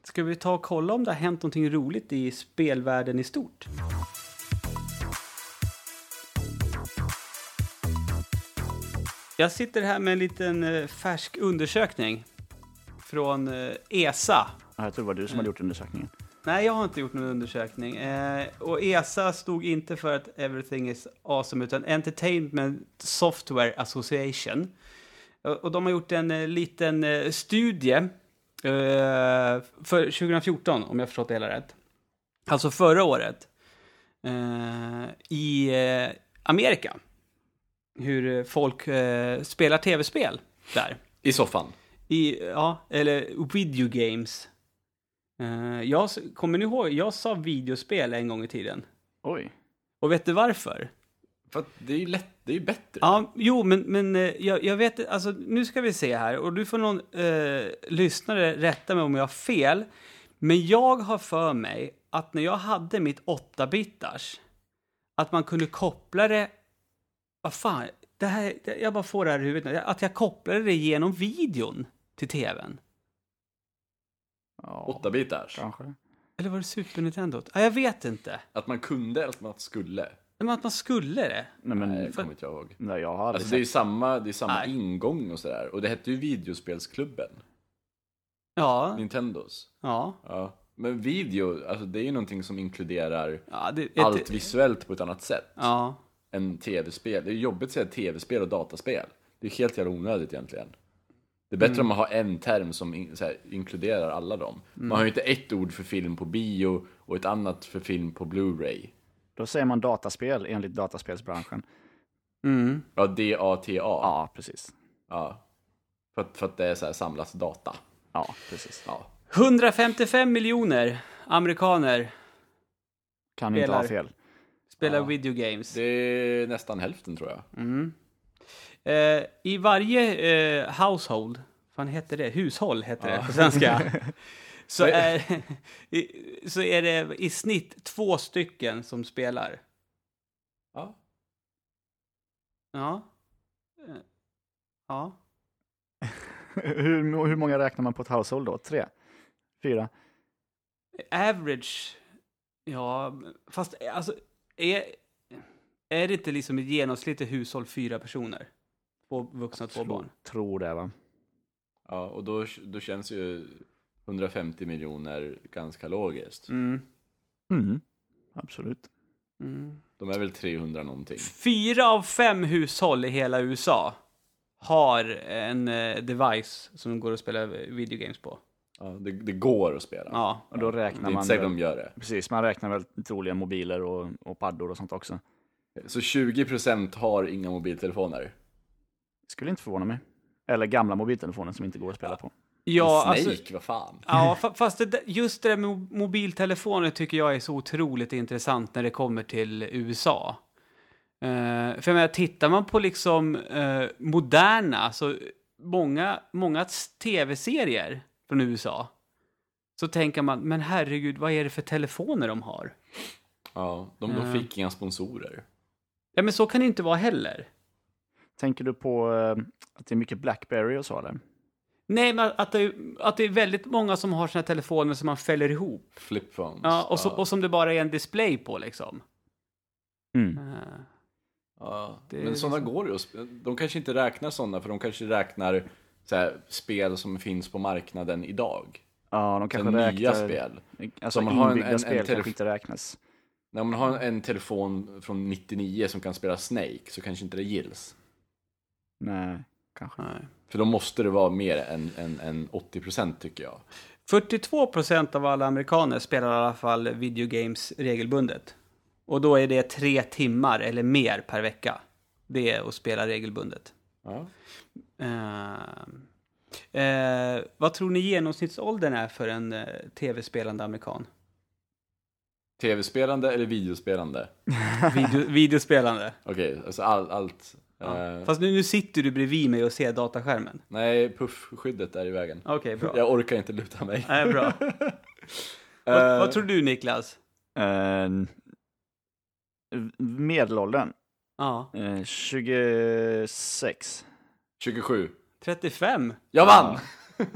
[SPEAKER 2] ska vi ta och kolla om det har hänt någonting roligt i spelvärlden i stort? Jag sitter här med en liten eh, färsk undersökning från eh, ESA.
[SPEAKER 3] Ja, Jag tror det var du som
[SPEAKER 4] Mm.
[SPEAKER 3] hade gjort undersökningen.
[SPEAKER 2] Nej, jag har inte gjort någon undersökning. Eh, och ESA stod inte för att everything is awesome, utan Entertainment Software Association. Eh, Och de har gjort en eh, liten eh, studie eh, för 2014, om jag förstått det hela rätt. Alltså förra året. Eh, I eh, Amerika. Hur eh, folk eh, spelar tv-spel där.
[SPEAKER 4] I soffan.
[SPEAKER 2] I, ja, eller video games. Eh, jag, s- kommer ni ihåg, jag sa videospel en gång i tiden.
[SPEAKER 3] Oj.
[SPEAKER 2] Och vet du varför?
[SPEAKER 4] För att det är ju lätt, det är ju bättre.
[SPEAKER 2] Ja, jo, men, men eh, jag, jag vet alltså nu ska vi se här. Och du får någon eh, lyssnare rätta mig om jag har fel. Men jag har för mig att när jag hade mitt 8-bitars, att man kunde koppla det... Vad fan, det här, det- jag bara får det här i huvudet nu. Att jag kopplade det genom videon till tvn.
[SPEAKER 3] Ja,
[SPEAKER 4] Åtta bitars.
[SPEAKER 3] kanske.
[SPEAKER 2] Eller var det Super Nintendo? Ja, jag vet inte.
[SPEAKER 4] Att man kunde eller att man skulle.
[SPEAKER 2] Men att man skulle det.
[SPEAKER 3] Nej, men
[SPEAKER 4] Nej, det
[SPEAKER 3] nej,
[SPEAKER 4] kommer inte jag ihåg.
[SPEAKER 3] jag har aldrig
[SPEAKER 4] Alltså det är ju samma, det är samma
[SPEAKER 2] Nej.
[SPEAKER 4] ingång och sådär. Och det hette ju videospelsklubben.
[SPEAKER 2] Ja,
[SPEAKER 4] Nintendos.
[SPEAKER 2] ja.
[SPEAKER 4] Ja. Men video, alltså det är ju någonting som inkluderar
[SPEAKER 2] ja det, ett,
[SPEAKER 4] allt visuellt på ett annat sätt
[SPEAKER 2] Ja.
[SPEAKER 4] än tv-spel. Det är ju jobbigt att säga tv-spel och dataspel. Det är helt jävla onödigt egentligen. Det är bättre om man har en term som in, så här, inkluderar alla dem. Man har ju inte ett ord för film på bio och ett annat för film på Blu-ray.
[SPEAKER 3] Då säger man dataspel enligt dataspelsbranschen.
[SPEAKER 2] Mm.
[SPEAKER 4] Ja, D-A-T-A. Ja.
[SPEAKER 3] Ja, precis.
[SPEAKER 4] För, att, för att det är så här samlas data.
[SPEAKER 3] Ja, precis.
[SPEAKER 4] Ja.
[SPEAKER 2] 155 miljoner amerikaner
[SPEAKER 3] Kan inte ha
[SPEAKER 2] Spelar.
[SPEAKER 3] fel.
[SPEAKER 2] spelar
[SPEAKER 4] Ja.
[SPEAKER 2] video games.
[SPEAKER 4] Det är nästan hälften tror jag.
[SPEAKER 2] Mm. Eh, I varje eh, household, fan heter det? Hushåll heter det på svenska. så,
[SPEAKER 4] Men-
[SPEAKER 2] är, i, så är det i snitt två stycken som spelar.
[SPEAKER 4] Ja.
[SPEAKER 2] Ja. Eh, Ja.
[SPEAKER 3] hur, hur många räknar man på ett household då? Tre? Fyra?
[SPEAKER 2] Average, ja, fast alltså, är, är det inte liksom ett genomsnittligt hushåll fyra personer? Två vuxna, två barn.
[SPEAKER 3] Tror det, va?
[SPEAKER 4] Ja, och då, då känns ju 150 miljoner ganska logiskt.
[SPEAKER 2] Mm.
[SPEAKER 3] Mm. Absolut.
[SPEAKER 2] Mm.
[SPEAKER 4] De är väl 300 någonting.
[SPEAKER 2] Fyra av fem hushåll i hela USA har en eh, device som går att spela videogames på.
[SPEAKER 4] Ja, det, det går att spela.
[SPEAKER 2] Ja.
[SPEAKER 3] Och då
[SPEAKER 4] det
[SPEAKER 3] räknar
[SPEAKER 4] är inte
[SPEAKER 3] man...
[SPEAKER 4] säkert de gör det.
[SPEAKER 3] Precis, man räknar väl troligen mobiler och, och paddor och sånt också.
[SPEAKER 4] Så 20% har inga mobiltelefoner.
[SPEAKER 3] Skulle inte förvåna mig. Eller gamla mobiltelefoner som inte går att spela på.
[SPEAKER 2] Ja,
[SPEAKER 4] Snake,
[SPEAKER 2] alltså,
[SPEAKER 4] vad fan.
[SPEAKER 2] ja, fa- fast det, där- just det där med mo- mobiltelefoner tycker jag är så otroligt intressant när det kommer till USA. Eh, för jag menar, tittar man på liksom eh, moderna, så många, många tv-serier från USA, så tänker man, men herregud, vad är det för telefoner de har?
[SPEAKER 4] Ja, de, de fick inga sponsorer.
[SPEAKER 2] Ja, men så kan det inte vara heller.
[SPEAKER 3] Tänker du på eh, att det är mycket Blackberry och så
[SPEAKER 4] Mm.
[SPEAKER 3] eller?
[SPEAKER 2] Nej, men att det, att det är väldigt många som har sina telefoner som man fäller ihop.
[SPEAKER 4] Flip phones.
[SPEAKER 2] Ja, och, så, och som det bara är en display på liksom.
[SPEAKER 3] Mm.
[SPEAKER 2] Eh,
[SPEAKER 4] Ja,
[SPEAKER 2] Det är liksom-
[SPEAKER 4] men sådana går ju att sp- De kanske inte räknar sådana för de kanske räknar så här, spel som finns på marknaden idag.
[SPEAKER 3] Ja, de
[SPEAKER 4] Så
[SPEAKER 3] kanske
[SPEAKER 4] nya
[SPEAKER 3] räknar...
[SPEAKER 4] spel.
[SPEAKER 3] Alltså
[SPEAKER 4] Om man har en-
[SPEAKER 3] inbyggda
[SPEAKER 4] en- en
[SPEAKER 3] spel
[SPEAKER 4] telef-
[SPEAKER 3] kanske inte räknas.
[SPEAKER 4] När man har en telefon från 99 som kan spela Snake så kanske inte det gills.
[SPEAKER 3] Nej, kanske.
[SPEAKER 2] nej.
[SPEAKER 4] För då måste det vara mer än, än, än 80% tycker jag.
[SPEAKER 2] 42 procent av alla amerikaner spelar i alla fall video games regelbundet. Och då är det tre timmar eller mer per vecka. Det är att spela regelbundet.
[SPEAKER 4] Ja.
[SPEAKER 2] Eh, eh, vad tror ni genomsnittsåldern är för en eh, tv-spelande amerikan?
[SPEAKER 4] Tv-spelande eller videospelande?
[SPEAKER 2] Video, videospelande.
[SPEAKER 4] Okej, alltså all, allt.
[SPEAKER 2] Ja.
[SPEAKER 4] Eh,
[SPEAKER 2] Fast nu, nu sitter du bredvid mig och ser dataskärmen.
[SPEAKER 4] nej, puffskyddet är i vägen.
[SPEAKER 2] Okej, bra.
[SPEAKER 4] Jag orkar inte luta mig.
[SPEAKER 2] Nej, bra.
[SPEAKER 4] eh.
[SPEAKER 2] vad, vad tror du Niklas?
[SPEAKER 3] Uh, medelåldern?
[SPEAKER 2] Ja.
[SPEAKER 3] eh, 26.
[SPEAKER 4] 27.
[SPEAKER 2] 35?
[SPEAKER 4] Jag vann!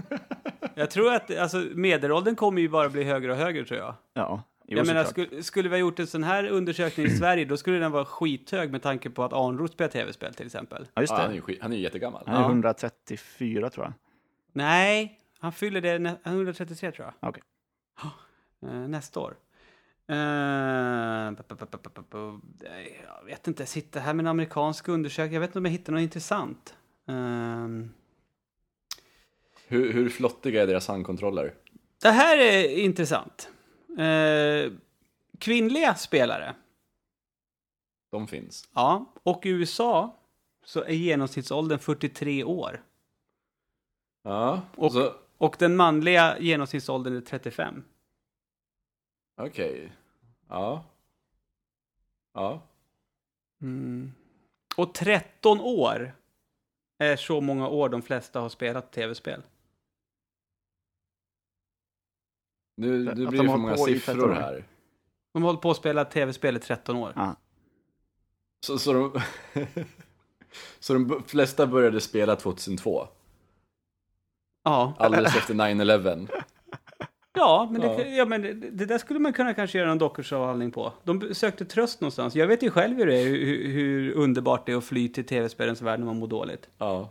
[SPEAKER 2] Jag tror att alltså, medelåldern kommer ju bara bli högre och högre tror jag.
[SPEAKER 3] Ja, jo,
[SPEAKER 2] Jag menar,
[SPEAKER 3] såklart.
[SPEAKER 2] skulle, skulle vi ha gjort en sån här undersökning i Sverige, då skulle den vara skithög med tanke på att Arnroth spelar tv-spel till exempel.
[SPEAKER 3] Ja, just
[SPEAKER 4] Ja,
[SPEAKER 3] det.
[SPEAKER 4] han, är ju, skit- han är ju jättegammal.
[SPEAKER 3] Han är
[SPEAKER 2] Ja.
[SPEAKER 3] 134 tror jag.
[SPEAKER 2] Nej, han fyller det nä- 133 tror jag.
[SPEAKER 3] Okej.
[SPEAKER 2] Eh, Nästa år. Eh, pa- pa- pa- pa- pa- pa- pa- nej, Jag vet inte, jag sitter här med en amerikansk undersökning. Jag vet inte om jag hittar något intressant. Ehm,
[SPEAKER 4] Hur, hur flottiga är deras handkontroller?
[SPEAKER 2] Det här är intressant. Eh, Kvinnliga spelare.
[SPEAKER 4] De finns.
[SPEAKER 2] Ja, och i USA så är genomsnittsåldern 43 år.
[SPEAKER 4] Ja,
[SPEAKER 2] Och-
[SPEAKER 4] och så...
[SPEAKER 2] Och den manliga genomsnittsåldern är 35.
[SPEAKER 4] Okej. Ja. Ja. Mm.
[SPEAKER 2] Och 13 år är så många år de flesta har spelat tv-spel.
[SPEAKER 4] Nu,
[SPEAKER 3] Att
[SPEAKER 4] nu
[SPEAKER 3] de
[SPEAKER 4] blir det för
[SPEAKER 3] har
[SPEAKER 4] många
[SPEAKER 3] på i
[SPEAKER 4] siffror
[SPEAKER 3] 13 år.
[SPEAKER 4] här.
[SPEAKER 2] De har hållit på att spela tv-spel i 13 år.
[SPEAKER 3] Ja.
[SPEAKER 4] Så, så de... så de b- flesta började spela 2002.
[SPEAKER 2] Ja,
[SPEAKER 4] Alldeles efter 9-11.
[SPEAKER 2] ja men, det,
[SPEAKER 4] Ja.
[SPEAKER 2] ja, men det, det där skulle man kunna kanske göra en doktorsavhandling på. De sökte tröst någonstans. Jag vet ju själv hur det är, hur, hur underbart det är att fly till tv-spelens värld när man mår dåligt.
[SPEAKER 4] Ja.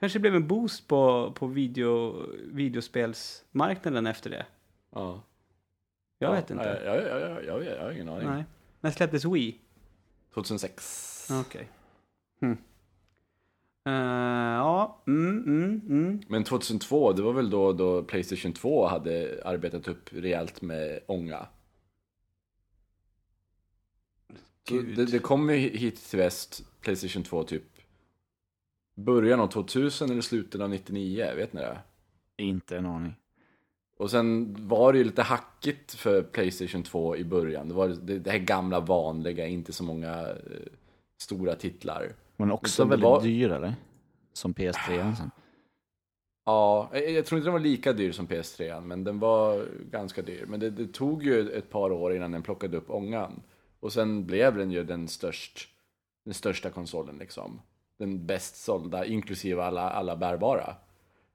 [SPEAKER 2] Kanske blev en boost på, på video, videospelsmarknaden efter det.
[SPEAKER 4] ja.
[SPEAKER 2] Jag
[SPEAKER 4] ja.
[SPEAKER 2] vet inte.
[SPEAKER 4] Ja, ja, ja, ja, ja, jag har ingen aning.
[SPEAKER 2] Nej. När släpptes Wii?
[SPEAKER 4] 2006.
[SPEAKER 2] Okej. Hmm. Eh, ja, mm, mm, mm.
[SPEAKER 4] Men 2002, det var väl då, då Playstation 2 hade arbetat upp rejält med ånga. Så
[SPEAKER 2] Gud.
[SPEAKER 4] det, det kom ju hit till väst, Playstation 2, typ början av 2000 eller slutet av 99, vet ni det?
[SPEAKER 3] Inte en aning.
[SPEAKER 4] Och sen var det ju lite hackigt för Playstation 2 i början. Det var det, det här gamla vanliga, inte så många eh, stora titlar.
[SPEAKER 3] Men också
[SPEAKER 4] det
[SPEAKER 3] väldigt
[SPEAKER 4] var- Ah.
[SPEAKER 3] dyr eller? Som PS3 sen.
[SPEAKER 4] Ja, jag, jag tror inte den var lika dyr som PS3, men den var ganska dyr. Men det, det tog ju ett par år innan den plockade upp ångan. Och sen blev den ju den, störst, den största konsolen liksom. Den bäst sålda, inklusive alla, alla bärbara.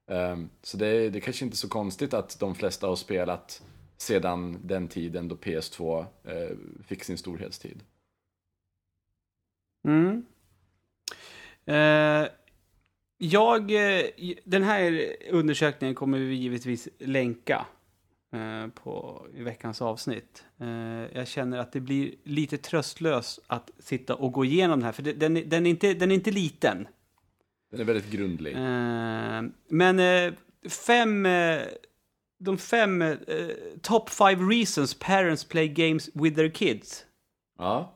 [SPEAKER 4] Ehm, så det, det kanske inte är så konstigt att de flesta har spelat sedan den tiden då PS2 eh, fick sin storhetstid.
[SPEAKER 2] Mm. Eh, jag, eh, den här undersökningen kommer vi givetvis länka eh, på, i veckans avsnitt. Eh, jag känner att det blir lite tröstlöst att sitta och gå igenom den här, för det- den, är- den, är, inte, den är inte liten.
[SPEAKER 4] Den är väldigt grundlig.
[SPEAKER 2] Eh, men eh, fem, eh, de fem eh, top five reasons parents play games with their kids.
[SPEAKER 4] Ja,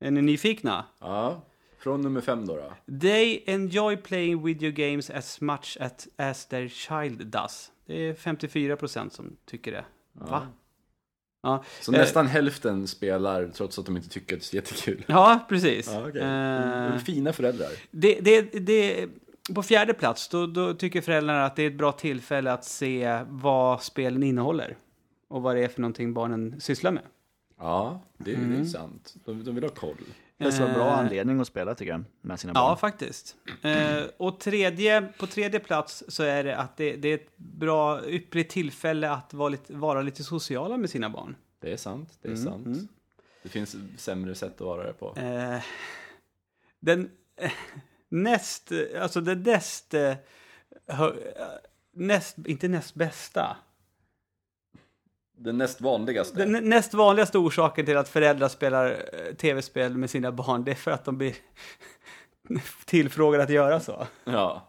[SPEAKER 2] Är ni nyfikna?
[SPEAKER 4] ja. Från nummer fem då. då.
[SPEAKER 2] They enjoy playing video games as much at, as their child does. Det är 54% som tycker det. Va? Ja,
[SPEAKER 4] Så
[SPEAKER 2] Eh,
[SPEAKER 4] nästan hälften spelar trots att de inte tycker att det är jättekul.
[SPEAKER 2] ja precis.
[SPEAKER 4] Ja, okej. Mm.
[SPEAKER 2] Eh,
[SPEAKER 4] Fina föräldrar.
[SPEAKER 2] det, det, det, på fjärde plats, då, då tycker föräldrarna att det är ett bra tillfälle att se vad spelen innehåller. Och vad det är för någonting barnen sysslar med.
[SPEAKER 4] Mm. Ja, det är ju sant. De, de vill ha koll.
[SPEAKER 3] Det är en
[SPEAKER 2] Eh,
[SPEAKER 3] bra anledning att spela tycker jag, med sina
[SPEAKER 2] Ja,
[SPEAKER 3] barn.
[SPEAKER 2] faktiskt. Eh, och tredje, på tredje plats så är det att det, det är ett bra, ypperligt tillfälle att vara lite, vara lite sociala med sina barn.
[SPEAKER 4] Det är sant, det är sant. Det finns sämre sätt att vara det på.
[SPEAKER 2] Mm, Eh, den eh, näst, eh, alltså den näst, eh, hö, eh, näst, inte näst bästa,
[SPEAKER 4] Den näst vanligaste.
[SPEAKER 2] den nä- näst vanligaste orsaken till att föräldrar spelar eh, tv-spel med sina barn, det är för att de blir tillfrågade att göra så.
[SPEAKER 4] Ja.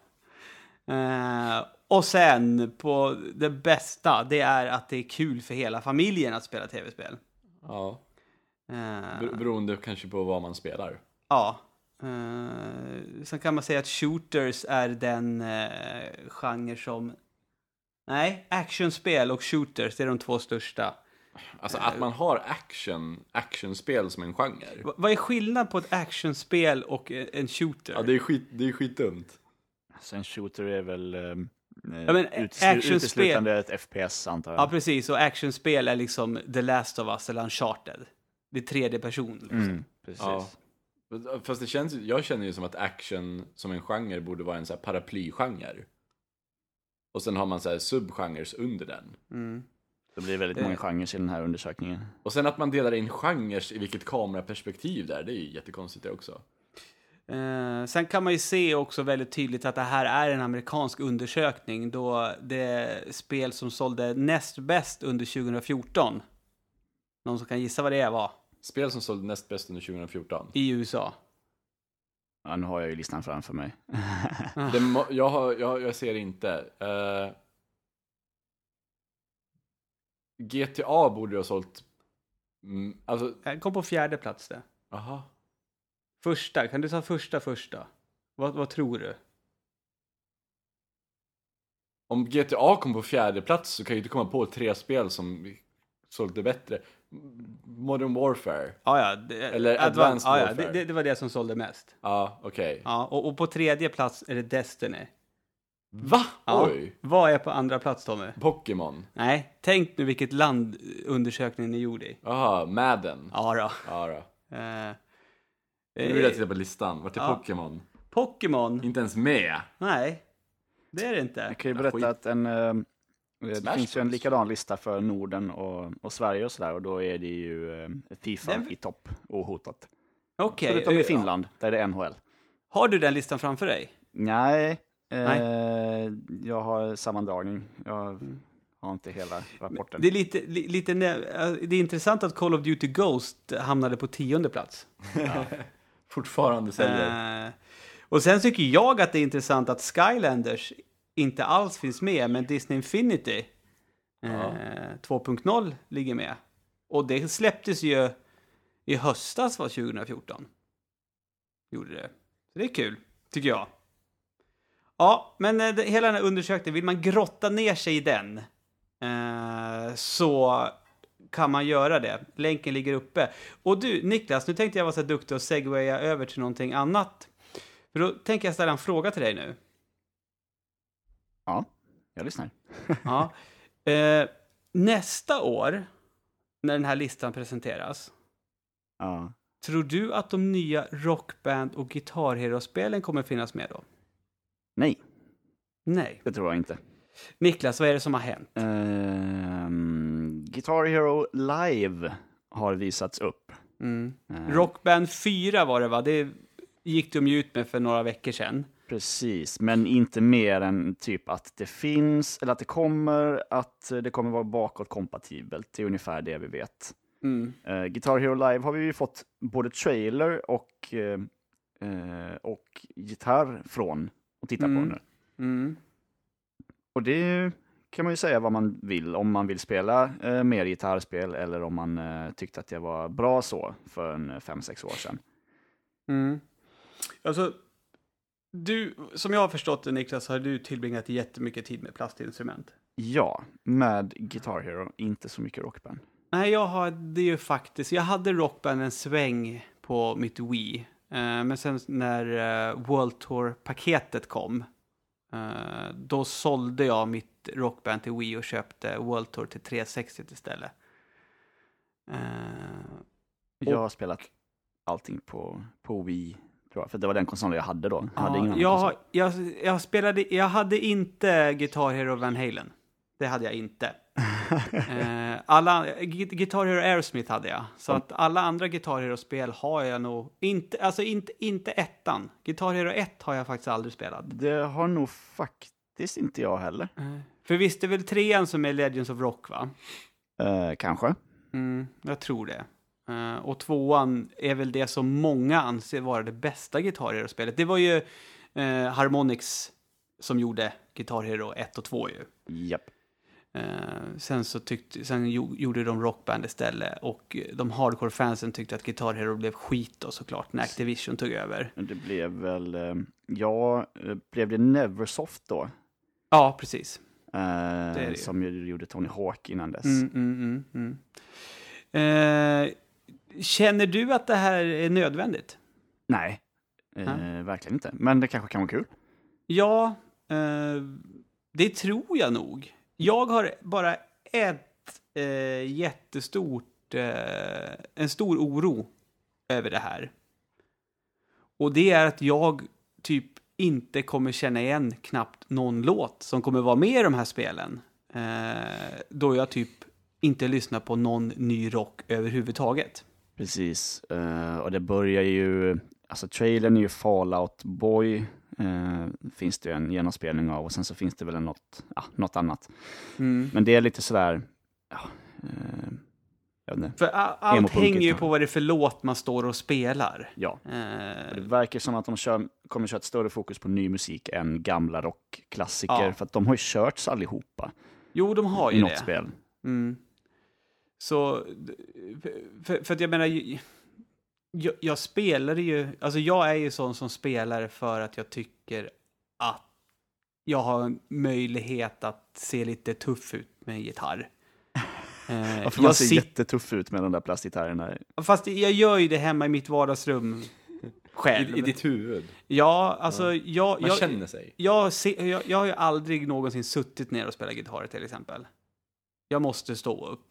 [SPEAKER 2] Eh, och sen på det bästa, det är att det är kul för hela familjen att spela tv-spel.
[SPEAKER 4] ja.
[SPEAKER 2] Eh,
[SPEAKER 4] Bero- Beroende kanske på vad man spelar.
[SPEAKER 2] Ja. Uh, sen kan man säga att shooters är den uh, genre som... Nej, actionspel och shooters, det är de två största.
[SPEAKER 4] Alltså att man har action, actionspel som en genre.
[SPEAKER 2] Eh. Va- vad är skillnaden på ett actionspel och eh, en shooter?
[SPEAKER 4] Ja, det är, skit, det är skitdumt.
[SPEAKER 3] Sen shooter är väl um,
[SPEAKER 2] Ja, men actionspel-
[SPEAKER 3] uteslutande ett FPS antar jag.
[SPEAKER 2] Ja, precis. Och actionspel är liksom The Last of Us eller Uncharted. Det är tredje person. Liksom.
[SPEAKER 3] mm, precis.
[SPEAKER 4] Ja. Fast det känns, ju- jag känner ju som att action som en genre borde vara en så här paraplygenre. Och sen har man så här subgenres under den.
[SPEAKER 2] Mm.
[SPEAKER 3] Det blir väldigt många genrer i den här undersökningen.
[SPEAKER 4] Och sen att man delar in genres i vilket kameraperspektiv där, det är ju jättekonstigt det också.
[SPEAKER 2] Eh, sen kan man ju se också väldigt tydligt att det här är en amerikansk undersökning då det spel som sålde näst bäst under 2014. Någon som kan gissa vad det var
[SPEAKER 4] Spel som sålde näst bäst under 2014.
[SPEAKER 2] i USA?
[SPEAKER 3] Ja, nu har jag ju listan framför mig.
[SPEAKER 4] Det må, jag, har, jag, jag ser inte. Eh, GTA borde ju ha sålt... Mm, alltså,
[SPEAKER 2] Jag kom på fjärde plats det.
[SPEAKER 4] aha.
[SPEAKER 2] Första, kan du ta första första? Vad, vad tror du?
[SPEAKER 4] Om GTA kom på fjärde plats så kan jag ju inte komma på tre spel som sålde bättre. Modern Warfare.
[SPEAKER 2] Ah, ja, det,
[SPEAKER 4] Eller
[SPEAKER 2] Advan-
[SPEAKER 4] Advanced
[SPEAKER 2] ah, ja,
[SPEAKER 4] Warfare.
[SPEAKER 2] det, det, det var det som sålde mest.
[SPEAKER 4] Ja, okej.
[SPEAKER 2] Ja, och, och på tredje plats är det Destiny.
[SPEAKER 4] Va?
[SPEAKER 2] Ja.
[SPEAKER 4] Oj!
[SPEAKER 2] Vad är på andra plats Tommy?
[SPEAKER 4] Pokémon.
[SPEAKER 2] Nej, tänk nu vilket land undersökningen är gjord i.
[SPEAKER 4] Jaha, Madden.
[SPEAKER 2] Ja då.
[SPEAKER 4] Ja då.
[SPEAKER 2] Eh,
[SPEAKER 4] Nu vill jag
[SPEAKER 2] eh,
[SPEAKER 4] titta på listan. Vart är
[SPEAKER 2] Ja.
[SPEAKER 4] Pokémon?
[SPEAKER 2] Pokémon?
[SPEAKER 4] Inte ens med.
[SPEAKER 2] Nej, det är det inte.
[SPEAKER 3] Jag kan ju
[SPEAKER 4] Ja,
[SPEAKER 3] berätta
[SPEAKER 4] skit.
[SPEAKER 3] att en, eh, det
[SPEAKER 4] Smash
[SPEAKER 3] finns ju en
[SPEAKER 4] Bros.
[SPEAKER 3] likadan lista för Norden och, och Sverige och sådär och då är det ju eh, Fifa
[SPEAKER 2] Den-
[SPEAKER 3] i topp ohotat.
[SPEAKER 2] Okej,
[SPEAKER 3] Förutom i
[SPEAKER 2] eh,
[SPEAKER 3] Finland, där det är NHL.
[SPEAKER 2] har du den listan framför dig?
[SPEAKER 3] Nej, eh, jag har sammandragning. Jag har inte hela rapporten.
[SPEAKER 2] Det är, lite, li, lite, nä- eh, det är intressant att Call of Duty Ghost hamnade på tionde plats.
[SPEAKER 4] Fortfarande säljer.
[SPEAKER 2] Eh, och sen tycker jag att det är intressant att Skylanders inte alls finns med, men Disney Infinity eh,
[SPEAKER 4] Ja.
[SPEAKER 2] 2.0 ligger med. Och det släpptes ju i höstas, var 2014. Gjorde det. Så det är kul, tycker jag. Ja, men eh, det, hela den här undersökningen, vill man grotta ner sig i den eh, så kan man göra det. Länken ligger uppe. Och du, Niklas, nu tänkte jag vara så här duktig och segwaya över till någonting annat. För då tänker jag ställa en fråga till dig nu.
[SPEAKER 3] Ja, jag lyssnar.
[SPEAKER 2] Ja. Eh, nästa år, när den här listan presenteras,
[SPEAKER 3] Ja.
[SPEAKER 2] tror du att de nya Rockband och Guitar Hero-spelen kommer finnas med då?
[SPEAKER 3] Nej,
[SPEAKER 2] Nej.
[SPEAKER 3] det tror jag inte.
[SPEAKER 2] Niklas, vad är det som har hänt?
[SPEAKER 3] Ehm, Guitar Hero Live har visats upp. Eh,
[SPEAKER 2] Mm. Rockband 4 var det va? Det gick de ju ut med för några veckor sedan.
[SPEAKER 3] Precis, men inte mer än typ att det finns, eller att det kommer, att det kommer vara bakåtkompatibelt. Det är ungefär det vi vet.
[SPEAKER 2] Mm.
[SPEAKER 3] Eh, Guitar Hero Live har vi ju fått både trailer och, eh, eh, och gitarr från att titta på nu.
[SPEAKER 2] Mm.
[SPEAKER 3] Och det är ju- kan man ju säga vad man vill, om man vill spela eh, mer gitarrspel eller om man eh, tyckte att det var bra så för en eh, fem sex år sedan.
[SPEAKER 2] Mm. Alltså, du, som jag har förstått det Niklas, har du tillbringat jättemycket tid med plastinstrument.
[SPEAKER 3] Ja, med Guitar Hero, inte så mycket rockband.
[SPEAKER 2] Nej, jag hade ju faktiskt, jag hade rockband en sväng på mitt Wii. Eh, Men sen när eh, World Tour-paketet kom, eh, då sålde jag mitt rockband till Wii och köpte World Tour till 360 istället. Eh,
[SPEAKER 3] Jag har spelat allting på, på Wii, tror jag. För det var den konsolen jag hade då. Jag hade ingen
[SPEAKER 2] Ja,
[SPEAKER 3] annan
[SPEAKER 2] jag,
[SPEAKER 3] konsol.
[SPEAKER 2] har- jag, jag, spelade, jag hade inte Guitar Hero Van Halen. Det hade jag inte. eh, alla, Gu- Guitar Hero Aerosmith hade jag. Så att alla andra Guitar Hero-spel har jag nog inte. Alltså inte, inte ettan. Guitar Hero 1 har jag faktiskt aldrig spelat.
[SPEAKER 3] Det har nog faktiskt inte jag heller.
[SPEAKER 2] För visst är väl trean som är Legends of Rock va?
[SPEAKER 3] Eh, kanske.
[SPEAKER 2] Mm, jag tror det. Eh, och tvåan är väl det som många anser vara det bästa Guitar Hero-spelet. Det var ju eh, Harmonix som gjorde Guitar Hero 1 och 2 ju.
[SPEAKER 3] Japp.
[SPEAKER 2] Eh, sen så tyckte, sen jo, gjorde de Rockband istället och eh, de hardcore-fansen tyckte att Guitar Hero blev skit då såklart när Activision tog över.
[SPEAKER 3] Men Det blev väl, eh, ja, eh, blev det Neversoft då?
[SPEAKER 2] Ja, precis.
[SPEAKER 3] Eh,
[SPEAKER 2] det ju.
[SPEAKER 3] Som ju gjorde Tony Hawk innan dess.
[SPEAKER 2] Mm, mm, mm, mm. Eh, känner du att det här är nödvändigt?
[SPEAKER 3] Nej, eh, verkligen inte. Men det kanske kan vara kul.
[SPEAKER 2] Ja, eh, det tror jag nog. Jag har bara ett eh, jättestort, eh, en stor oro över det här. Och det är att jag typ inte kommer känna igen knappt någon låt som kommer vara med i de här spelen. Eh, då jag typ inte lyssnar på någon ny rock överhuvudtaget.
[SPEAKER 3] Precis, Eh, och det börjar ju, alltså trailern är ju Fallout Boy, eh, finns det ju en genomspelning av och sen så finns det väl en något, ja, något annat. Men det är lite sådär, ja, eh, jag vet inte.
[SPEAKER 2] För a- allt
[SPEAKER 3] Emo-punket,
[SPEAKER 2] hänger ju
[SPEAKER 3] ja.
[SPEAKER 2] på vad det är för låt man står och spelar.
[SPEAKER 3] Ja,
[SPEAKER 2] Eh,
[SPEAKER 3] det verkar som att de kör, kommer köra ett större fokus på ny musik än gamla rockklassiker,
[SPEAKER 2] Ja.
[SPEAKER 3] för att de har ju körts allihopa
[SPEAKER 2] jo, de har ju
[SPEAKER 3] i något
[SPEAKER 2] det.
[SPEAKER 3] spel.
[SPEAKER 2] Mm. Så, d- för, för att jag menar, ju- jag, jag spelar ju, alltså jag är ju sån som spelar för att jag tycker att jag har en möjlighet att se lite tuff ut med en gitarr. Eh,
[SPEAKER 3] Varför man
[SPEAKER 2] jag
[SPEAKER 3] ser
[SPEAKER 2] sit,
[SPEAKER 3] jättetuff ut med de där plastgitarrerna.
[SPEAKER 2] Fast jag gör ju det hemma i mitt vardagsrum själv.
[SPEAKER 4] I, I ditt huvud.
[SPEAKER 2] Ja, alltså jag...
[SPEAKER 4] Man
[SPEAKER 2] Eh, jag
[SPEAKER 4] känner sig.
[SPEAKER 2] jag, se, jag, jag har ju aldrig någonsin suttit ner och spelat gitarr till exempel. Jag måste stå upp.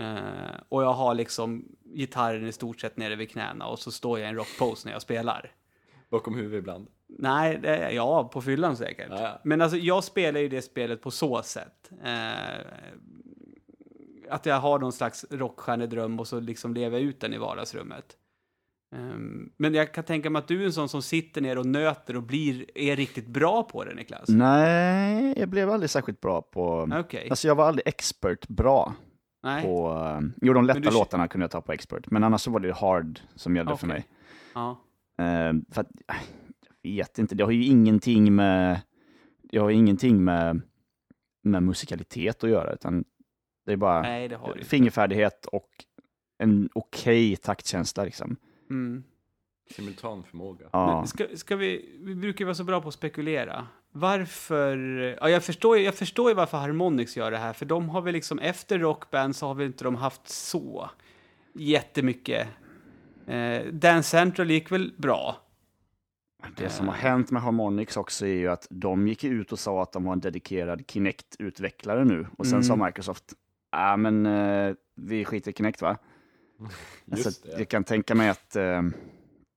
[SPEAKER 2] Eh, och jag har liksom gitarren i stort sett nere vid knäna och så står jag i en rockpose när jag spelar.
[SPEAKER 4] Bakom huvudet ibland.
[SPEAKER 2] Nej, det, ja, på fyllan säkert.
[SPEAKER 4] Ja, ja.
[SPEAKER 2] Men alltså, jag spelar ju det spelet på så sätt. Eh, att jag har någon slags rockstjärnedröm och så liksom lever jag ut den i vardagsrummet. Ehm, men jag kan tänka mig att du är en sån som sitter ner och nöter och blir, är riktigt bra på det, Niklas.
[SPEAKER 3] Nej, jag blev aldrig särskilt bra på...
[SPEAKER 2] Okej.
[SPEAKER 3] Alltså jag var aldrig expert bra
[SPEAKER 2] Nej.
[SPEAKER 3] på... eh, Jo, de lätta
[SPEAKER 2] Men du-
[SPEAKER 3] låtarna kunde jag ta på expert, men annars så var det hard som gällde för
[SPEAKER 2] Okej.
[SPEAKER 3] mig.
[SPEAKER 2] Ja.
[SPEAKER 3] Eh, för att, eh, jag vet inte, det har ju ingenting med... Jag har ju ingenting med, med musikalitet att göra, utan det är bara
[SPEAKER 2] Nej, det har du inte.
[SPEAKER 3] fingerfärdighet och en okej taktkänsla liksom.
[SPEAKER 2] Mm.
[SPEAKER 4] Simultan förmåga.
[SPEAKER 3] Ja.
[SPEAKER 2] Men ska, ska vi, vi brukar ju vara så bra på att spekulera. Varför... Ja, jag, förstår, ju- jag förstår ju varför Harmonix gör det här, för de har väl liksom efter Rockband så har väl inte de haft så jättemycket. Eh, Dance Central gick väl bra?
[SPEAKER 3] Det som har hänt med Harmonix också är ju att de gick ut och sa att de var en dedikerad Kinect-utvecklare nu. Och sen
[SPEAKER 2] Mm.
[SPEAKER 3] sa Microsoft, ja ah, men eh, vi skiter i Kinect va?
[SPEAKER 4] Just
[SPEAKER 3] alltså,
[SPEAKER 4] det.
[SPEAKER 3] Jag kan tänka mig att eh,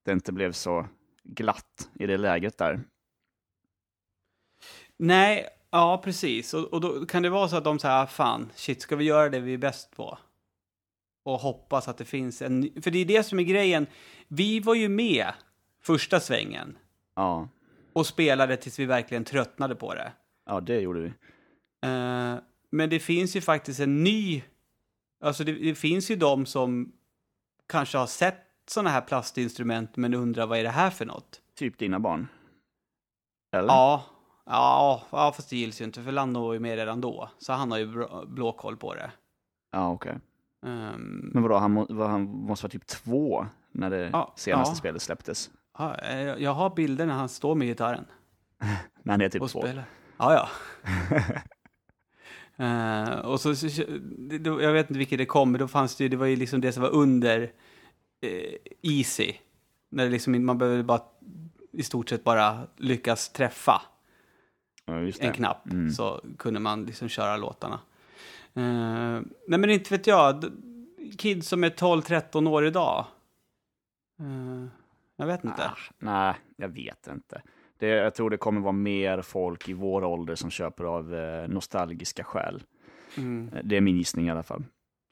[SPEAKER 3] det inte blev så glatt i det läget där.
[SPEAKER 2] Nej, ja precis. Och, och då kan det vara så att de säger, "Ah, fan, shit, ska vi göra det vi är bäst på? Och hoppas att det finns en... ny- För det är det som är grejen. Vi var ju med första svängen.
[SPEAKER 3] Ja,
[SPEAKER 2] och spelade tills vi verkligen tröttnade på det.
[SPEAKER 3] ja det gjorde vi.
[SPEAKER 2] Eh, men det finns ju faktiskt en ny... Alltså det, det finns ju de som kanske har sett sådana här plastinstrument men undrar vad är det här för något?
[SPEAKER 3] Typ dina barn. Eller?
[SPEAKER 2] Ja, ja, ja fast det gills ju inte för Lando var ju med redan då. Så han har ju bra, blå koll på det.
[SPEAKER 3] Ja, okej.
[SPEAKER 2] Ehm,
[SPEAKER 3] Men vadå, han, må, var, han måste vara typ två när det
[SPEAKER 2] Ja,
[SPEAKER 3] senaste
[SPEAKER 2] ja.
[SPEAKER 3] spelet släpptes.
[SPEAKER 2] ja, eh, jag har bilder när han står med gitarren.
[SPEAKER 3] När han är typ
[SPEAKER 2] och
[SPEAKER 3] två.
[SPEAKER 2] spela. Ja, ja. Eh, och så, så det, det, jag vet inte vilket det kom, men då fanns det ju, det var ju liksom det som var under eh, Easy. När det liksom, inte- man behöver bara i stort sett bara lyckas träffa
[SPEAKER 3] Ja, Mm. just
[SPEAKER 2] en
[SPEAKER 3] det.
[SPEAKER 2] knapp så kunde man liksom köra låtarna. Eh, nej men inte vet jag, d- kids som är 12-13 år idag Eh, jag vet inte.
[SPEAKER 3] Ah, nej, jag vet inte. Det, jag tror det kommer vara mer folk i vår ålder som köper av eh, nostalgiska skäl.
[SPEAKER 2] Mm.
[SPEAKER 3] Eh, Det är min gissning i alla fall.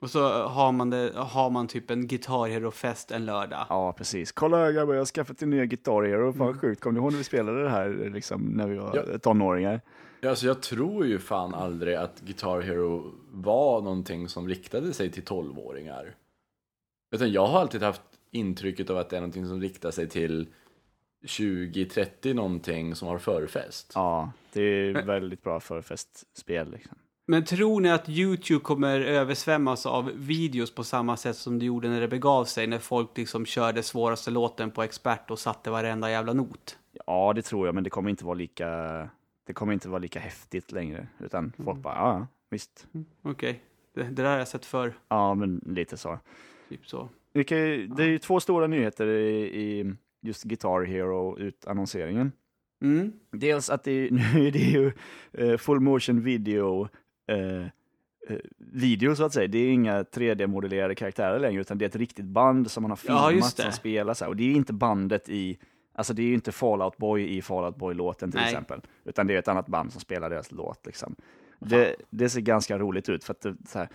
[SPEAKER 2] Och så har man, det, har man typ en Guitar Hero-fest en lördag.
[SPEAKER 3] Ja, precis. Kolla här grabbar, jag har skaffat en ny Guitar Hero. Fan sjukt, kommer du ihåg när vi spelade det här liksom, när vi var
[SPEAKER 4] Ja.
[SPEAKER 3] tonåringar?
[SPEAKER 4] Ja, Alltså jag tror ju fan aldrig att Guitar Hero var någonting som riktade sig till 12-åringar. Utan jag har alltid haft intrycket av att det är någonting som riktar sig till 20-30 någonting som har förfest.
[SPEAKER 3] Ja, det är väldigt bra för festspel. Liksom.
[SPEAKER 2] Men tror ni att YouTube kommer översvämmas av videos på samma sätt som det gjorde när det begav sig? När folk liksom körde svåraste låten på expert och satte varenda jävla not.
[SPEAKER 3] Ja, det tror jag, men det kommer inte vara lika, det kommer inte vara lika häftigt längre. Utan folk bara, ja, ja, visst.
[SPEAKER 2] Okej, det, det där har jag sett förr.
[SPEAKER 3] Ja, men lite så.
[SPEAKER 2] Typ så.
[SPEAKER 3] Vi kan ju, det är ju två stora nyheter i, i just Guitar Hero-utannonseringen.
[SPEAKER 2] Mm.
[SPEAKER 3] Dels att det, är- nu är det ju eh, full motion video eh, eh, video så att säga. Det är inga 3D-modellerade karaktärer längre utan det är ett riktigt band som man har
[SPEAKER 2] Ja,
[SPEAKER 3] filmat
[SPEAKER 2] just det.
[SPEAKER 3] som spelar så här. Och det är inte bandet i, alltså det är ju inte Fallout Boy i Fallout Boy-låten till
[SPEAKER 2] Nej.
[SPEAKER 3] exempel. Utan det är ett annat band som spelar deras låt liksom. Det, det ser ganska roligt ut för att det, så här,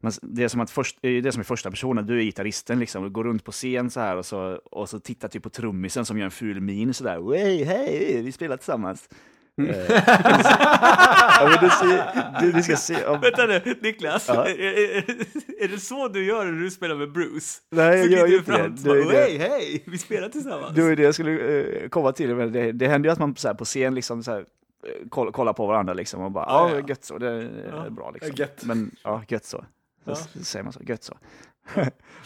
[SPEAKER 3] man, det är som att först, det är det som är första personen, du är gitarristen liksom, du går runt på scen så här och så, och så tittar typ på trummisen som gör en ful min så där, hej, hej, vi spelar tillsammans. Eh, ja, men du, ser, du, du ska se, om,
[SPEAKER 2] Vänta nu, Niklas.
[SPEAKER 3] Ja.
[SPEAKER 2] Är, är, är det så du gör när du spelar med Bruce?
[SPEAKER 3] Nej, jag
[SPEAKER 2] så glider
[SPEAKER 3] gör
[SPEAKER 2] du
[SPEAKER 3] ju inte
[SPEAKER 2] fram
[SPEAKER 3] det.
[SPEAKER 2] och
[SPEAKER 3] Det är
[SPEAKER 2] bara,
[SPEAKER 3] det.
[SPEAKER 2] Hej, hej, vi spelar tillsammans.
[SPEAKER 3] det var ju det jag skulle eh, komma till, men det, det händer ju att man så här, på scen liksom så här, eh, koll, kollar på varandra liksom och bara,
[SPEAKER 2] Ja,
[SPEAKER 3] ja,
[SPEAKER 2] ja.
[SPEAKER 3] gött så, det är
[SPEAKER 2] Ja,
[SPEAKER 3] bra liksom.
[SPEAKER 4] gött.
[SPEAKER 3] Men, ja, gött så. Så
[SPEAKER 2] Ja.
[SPEAKER 3] s- säger man så, gött så.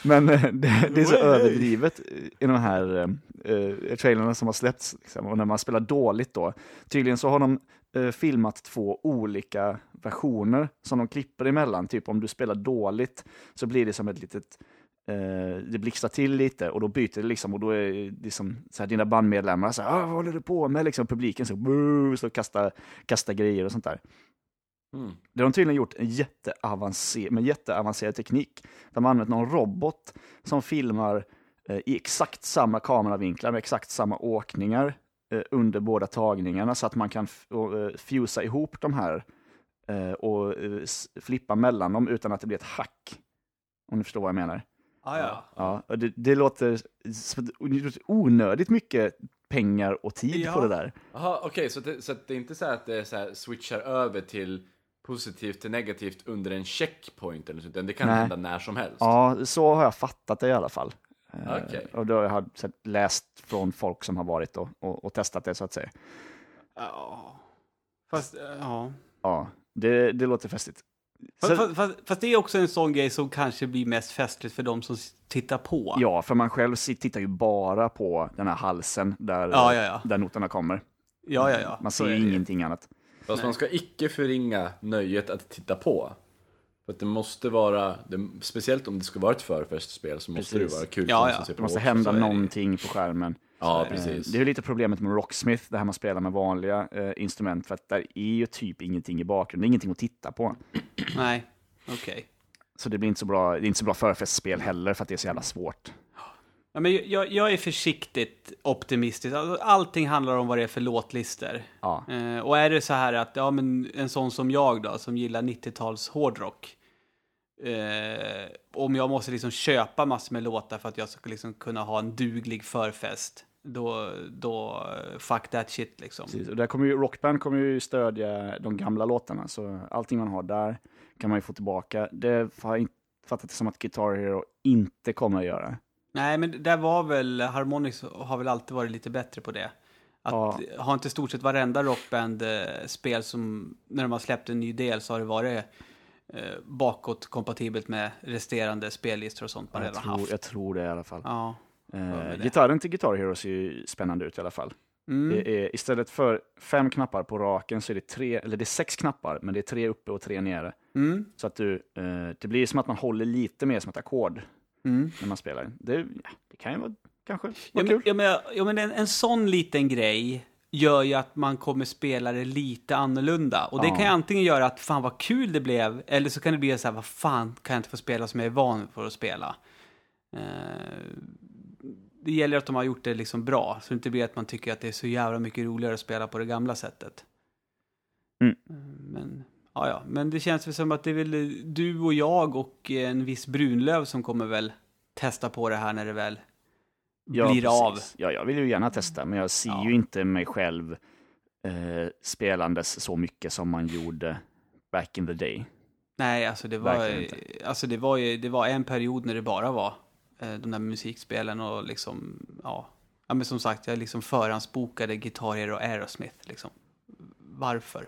[SPEAKER 3] men eh, det, det är så
[SPEAKER 2] Oj, oj.
[SPEAKER 3] överdrivet i de här eh, trailerna som har släppts. Liksom. Och när man spelar dåligt då, tydligen så har de eh, filmat två olika versioner som de klipper emellan. Typ om du spelar dåligt så blir det som ett litet eh, det blixtrar till lite och då byter det liksom och då är det som så här, dina bandmedlemmar så här, "Ah, vad håller du på med? Liksom publiken så, "Boo", så kastar, kastar grejer och sånt där.
[SPEAKER 4] Mm.
[SPEAKER 3] Det har de tydligen gjort en jätteavancer- med jätteavancerad teknik. De har använt någon robot som filmar eh, i exakt samma kameravinklar med exakt samma åkningar eh, under båda tagningarna så att man kan f- och, eh, fusa ihop de här eh, och eh, s- flippa mellan dem utan att det blir ett hack. Om ni förstår vad jag menar.
[SPEAKER 2] Ah, ja.
[SPEAKER 3] Ja, och det, det låter som ett onödigt mycket pengar och tid
[SPEAKER 2] Ja.
[SPEAKER 3] på det där.
[SPEAKER 4] Jaha, okej, så, att det- så att det är inte så här att det så här switchar över till positivt till negativt under en checkpoint eller så, utan det kan
[SPEAKER 3] Nej.
[SPEAKER 4] hända när som helst.
[SPEAKER 3] Ja, så har jag fattat det i alla fall. Eh,
[SPEAKER 4] Okej.
[SPEAKER 3] Och då har jag sett- läst från folk som har varit och, och, och testat det så att säga.
[SPEAKER 2] Ja. Fast, eh, ja.
[SPEAKER 3] Ja, det, det låter festligt.
[SPEAKER 2] Fast,
[SPEAKER 3] Så,
[SPEAKER 2] fast, fast, fast det är också en sån grej som kanske blir mest festligt för de som s- tittar på.
[SPEAKER 3] ja, för man själv sit- tittar ju bara på den här halsen där,
[SPEAKER 2] Ja, ja, ja.
[SPEAKER 3] där noterna kommer.
[SPEAKER 2] ja, ja. ja.
[SPEAKER 3] Man
[SPEAKER 2] Så
[SPEAKER 3] ser
[SPEAKER 2] är
[SPEAKER 3] ju
[SPEAKER 2] det ju.
[SPEAKER 3] ingenting annat.
[SPEAKER 4] Fast man ska icke förringa nöjet att titta på. För att det måste vara, det, speciellt om det ska vara ett förfestspel så måste
[SPEAKER 3] Precis.
[SPEAKER 4] det vara kul
[SPEAKER 2] Ja,
[SPEAKER 4] för den
[SPEAKER 2] ja.
[SPEAKER 4] som ser på
[SPEAKER 3] Det måste
[SPEAKER 4] också.
[SPEAKER 3] hända
[SPEAKER 2] är det ju.
[SPEAKER 3] någonting på skärmen.
[SPEAKER 4] Ja,
[SPEAKER 3] Eh,
[SPEAKER 4] precis.
[SPEAKER 3] Det är ju lite problemet med Rocksmith, det här man spelar med vanliga eh, instrument, för att där är ju typ ingenting i bakgrunden, det är ingenting att titta på.
[SPEAKER 2] Nej, okej.
[SPEAKER 3] Så det blir inte så bra, det är inte så bra förfestspel heller, för att det är så jävla svårt.
[SPEAKER 2] Ja, men jag, jag är försiktigt optimistisk. Alltså, allting handlar om vad det är för låtlistor.
[SPEAKER 3] Ja.
[SPEAKER 2] Eh, och är det så här att, ja men en sån som jag då, som gillar 90-tals hårdrock. Eh, om jag måste liksom köpa massor med låtar för att jag ska liksom kunna ha en duglig förfest. Då, då, eh, fuck that shit liksom.
[SPEAKER 3] Precis, och där kommer ju, Rockband kommer ju stödja de gamla låtarna, så allting man har där kan man ju få tillbaka. Det har jag inte fattat det som att Guitar Hero inte kommer att göra.
[SPEAKER 2] Nej, men där var väl, Harmonix har väl alltid varit lite bättre på det. Att, Har inte stort sett varenda rockband-spel som, när de har släppt en ny del så har det varit eh, bakåtkompatibelt med resterande spellistor och sånt man
[SPEAKER 3] Jag
[SPEAKER 2] redan
[SPEAKER 3] tror,
[SPEAKER 2] haft.
[SPEAKER 3] jag tror det i alla fall.
[SPEAKER 2] Ja.
[SPEAKER 3] Eh,
[SPEAKER 2] det.
[SPEAKER 3] gitarren till Guitar Hero ser ju spännande ut i alla fall.
[SPEAKER 2] Mm.
[SPEAKER 3] Det är, istället för fem knappar på raken så är det tre, eller det är sex knappar, men det är tre uppe och tre nere.
[SPEAKER 2] Mm.
[SPEAKER 3] Så att du, eh, det blir som att man håller lite mer som ett ackord
[SPEAKER 2] Mm.
[SPEAKER 3] när man spelar. Det, ja, det kan ju vara kanske vara
[SPEAKER 2] Ja, men,
[SPEAKER 3] kul.
[SPEAKER 2] ja, men, ja, men en, en sån liten grej gör ju att man kommer spela det lite annorlunda. Och det
[SPEAKER 3] Ja.
[SPEAKER 2] kan ju antingen göra att fan vad kul det blev, eller så kan det bli så här, vad fan kan jag inte få spela som jag är van för att spela. Eh, det gäller att de har gjort det liksom bra, så det inte blir att man tycker att det är så jävla mycket roligare att spela på det gamla sättet.
[SPEAKER 3] Mm.
[SPEAKER 2] Men, ja, ja. Men det känns väl som att det är väl du och jag och en viss Brunlöv som kommer väl testa på det här när det väl
[SPEAKER 3] Ja,
[SPEAKER 2] blir
[SPEAKER 3] precis.
[SPEAKER 2] av.
[SPEAKER 3] Ja, jag vill ju gärna testa, men jag ser
[SPEAKER 2] Ja.
[SPEAKER 3] ju inte mig själv eh, spelandes så mycket som man gjorde back in the day.
[SPEAKER 2] Nej, alltså det var,
[SPEAKER 3] Verkligen
[SPEAKER 2] alltså det var, ju, det var en period när det bara var eh, de där musikspelen och liksom, ja. ja men som sagt, jag liksom förhandsbokade Guitar Hero och Aerosmith. Liksom. Varför?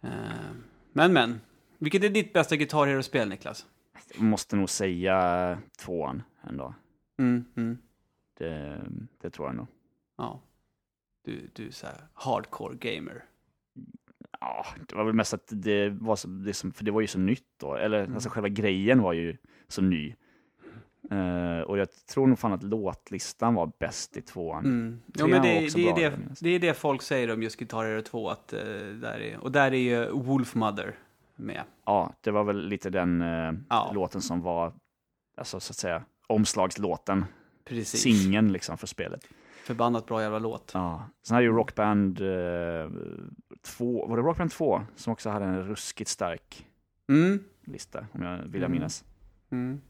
[SPEAKER 2] eh, men, men. Vilket är ditt bästa Guitar Hero-spel, Niklas?
[SPEAKER 3] Jag måste nog säga tvåan ändå.
[SPEAKER 2] Mm, mm.
[SPEAKER 3] Det, det tror jag nog.
[SPEAKER 2] Ja. Du, du är så här hardcore gamer.
[SPEAKER 3] Ja, det var väl mest att det var så, det som, för det var ju så nytt då, eller
[SPEAKER 2] Mm.
[SPEAKER 3] alltså själva grejen var ju så ny. Eh, och jag tror nog fan att låtlistan var bäst i tvåan.
[SPEAKER 2] Mm. Jo,
[SPEAKER 3] Trean
[SPEAKER 2] men
[SPEAKER 3] var
[SPEAKER 2] det,
[SPEAKER 3] också
[SPEAKER 2] det, är
[SPEAKER 3] bra,
[SPEAKER 2] det,
[SPEAKER 3] jag minns.
[SPEAKER 2] det är det folk säger om just Guitar Hero 2. Att, eh, där är, och där är ju Wolfmother med.
[SPEAKER 3] Ja, det var väl lite den eh,
[SPEAKER 2] Ja.
[SPEAKER 3] låten som var, alltså så att säga, omslagslåten,
[SPEAKER 2] Precis.
[SPEAKER 3] singeln liksom för spelet.
[SPEAKER 2] Förbannat bra jävla låt.
[SPEAKER 3] Ja. Sen hade ju Rockband 2, var det Rockband 2 som också hade en ruskigt stark
[SPEAKER 2] Mm.
[SPEAKER 3] lista, om jag vill jag
[SPEAKER 2] Mm.
[SPEAKER 3] minnas.
[SPEAKER 2] Mm.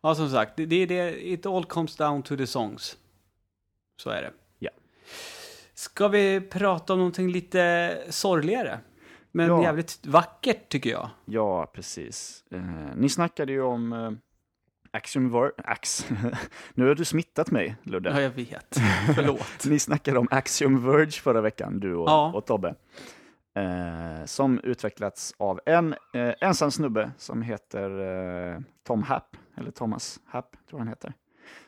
[SPEAKER 2] Ja, som sagt, det, det, det, it all comes down to the songs. Så är det.
[SPEAKER 3] Ja.
[SPEAKER 2] Ska vi prata om någonting lite sorgligare? Men
[SPEAKER 3] Ja.
[SPEAKER 2] jävligt vackert tycker jag.
[SPEAKER 3] Ja, precis. Eh, ni snackade ju om eh, Axiom Ver... Ax... nu har du smittat mig, Ludde.
[SPEAKER 2] Ja, jag vet. Förlåt.
[SPEAKER 3] Ni snackade om Axiom Verge förra veckan, du och,
[SPEAKER 2] Ja.
[SPEAKER 3] och Tobbe. Eh, som utvecklats av en eh, ensam snubbe som heter eh, Tom Happ, eller Thomas Happ tror jag han heter.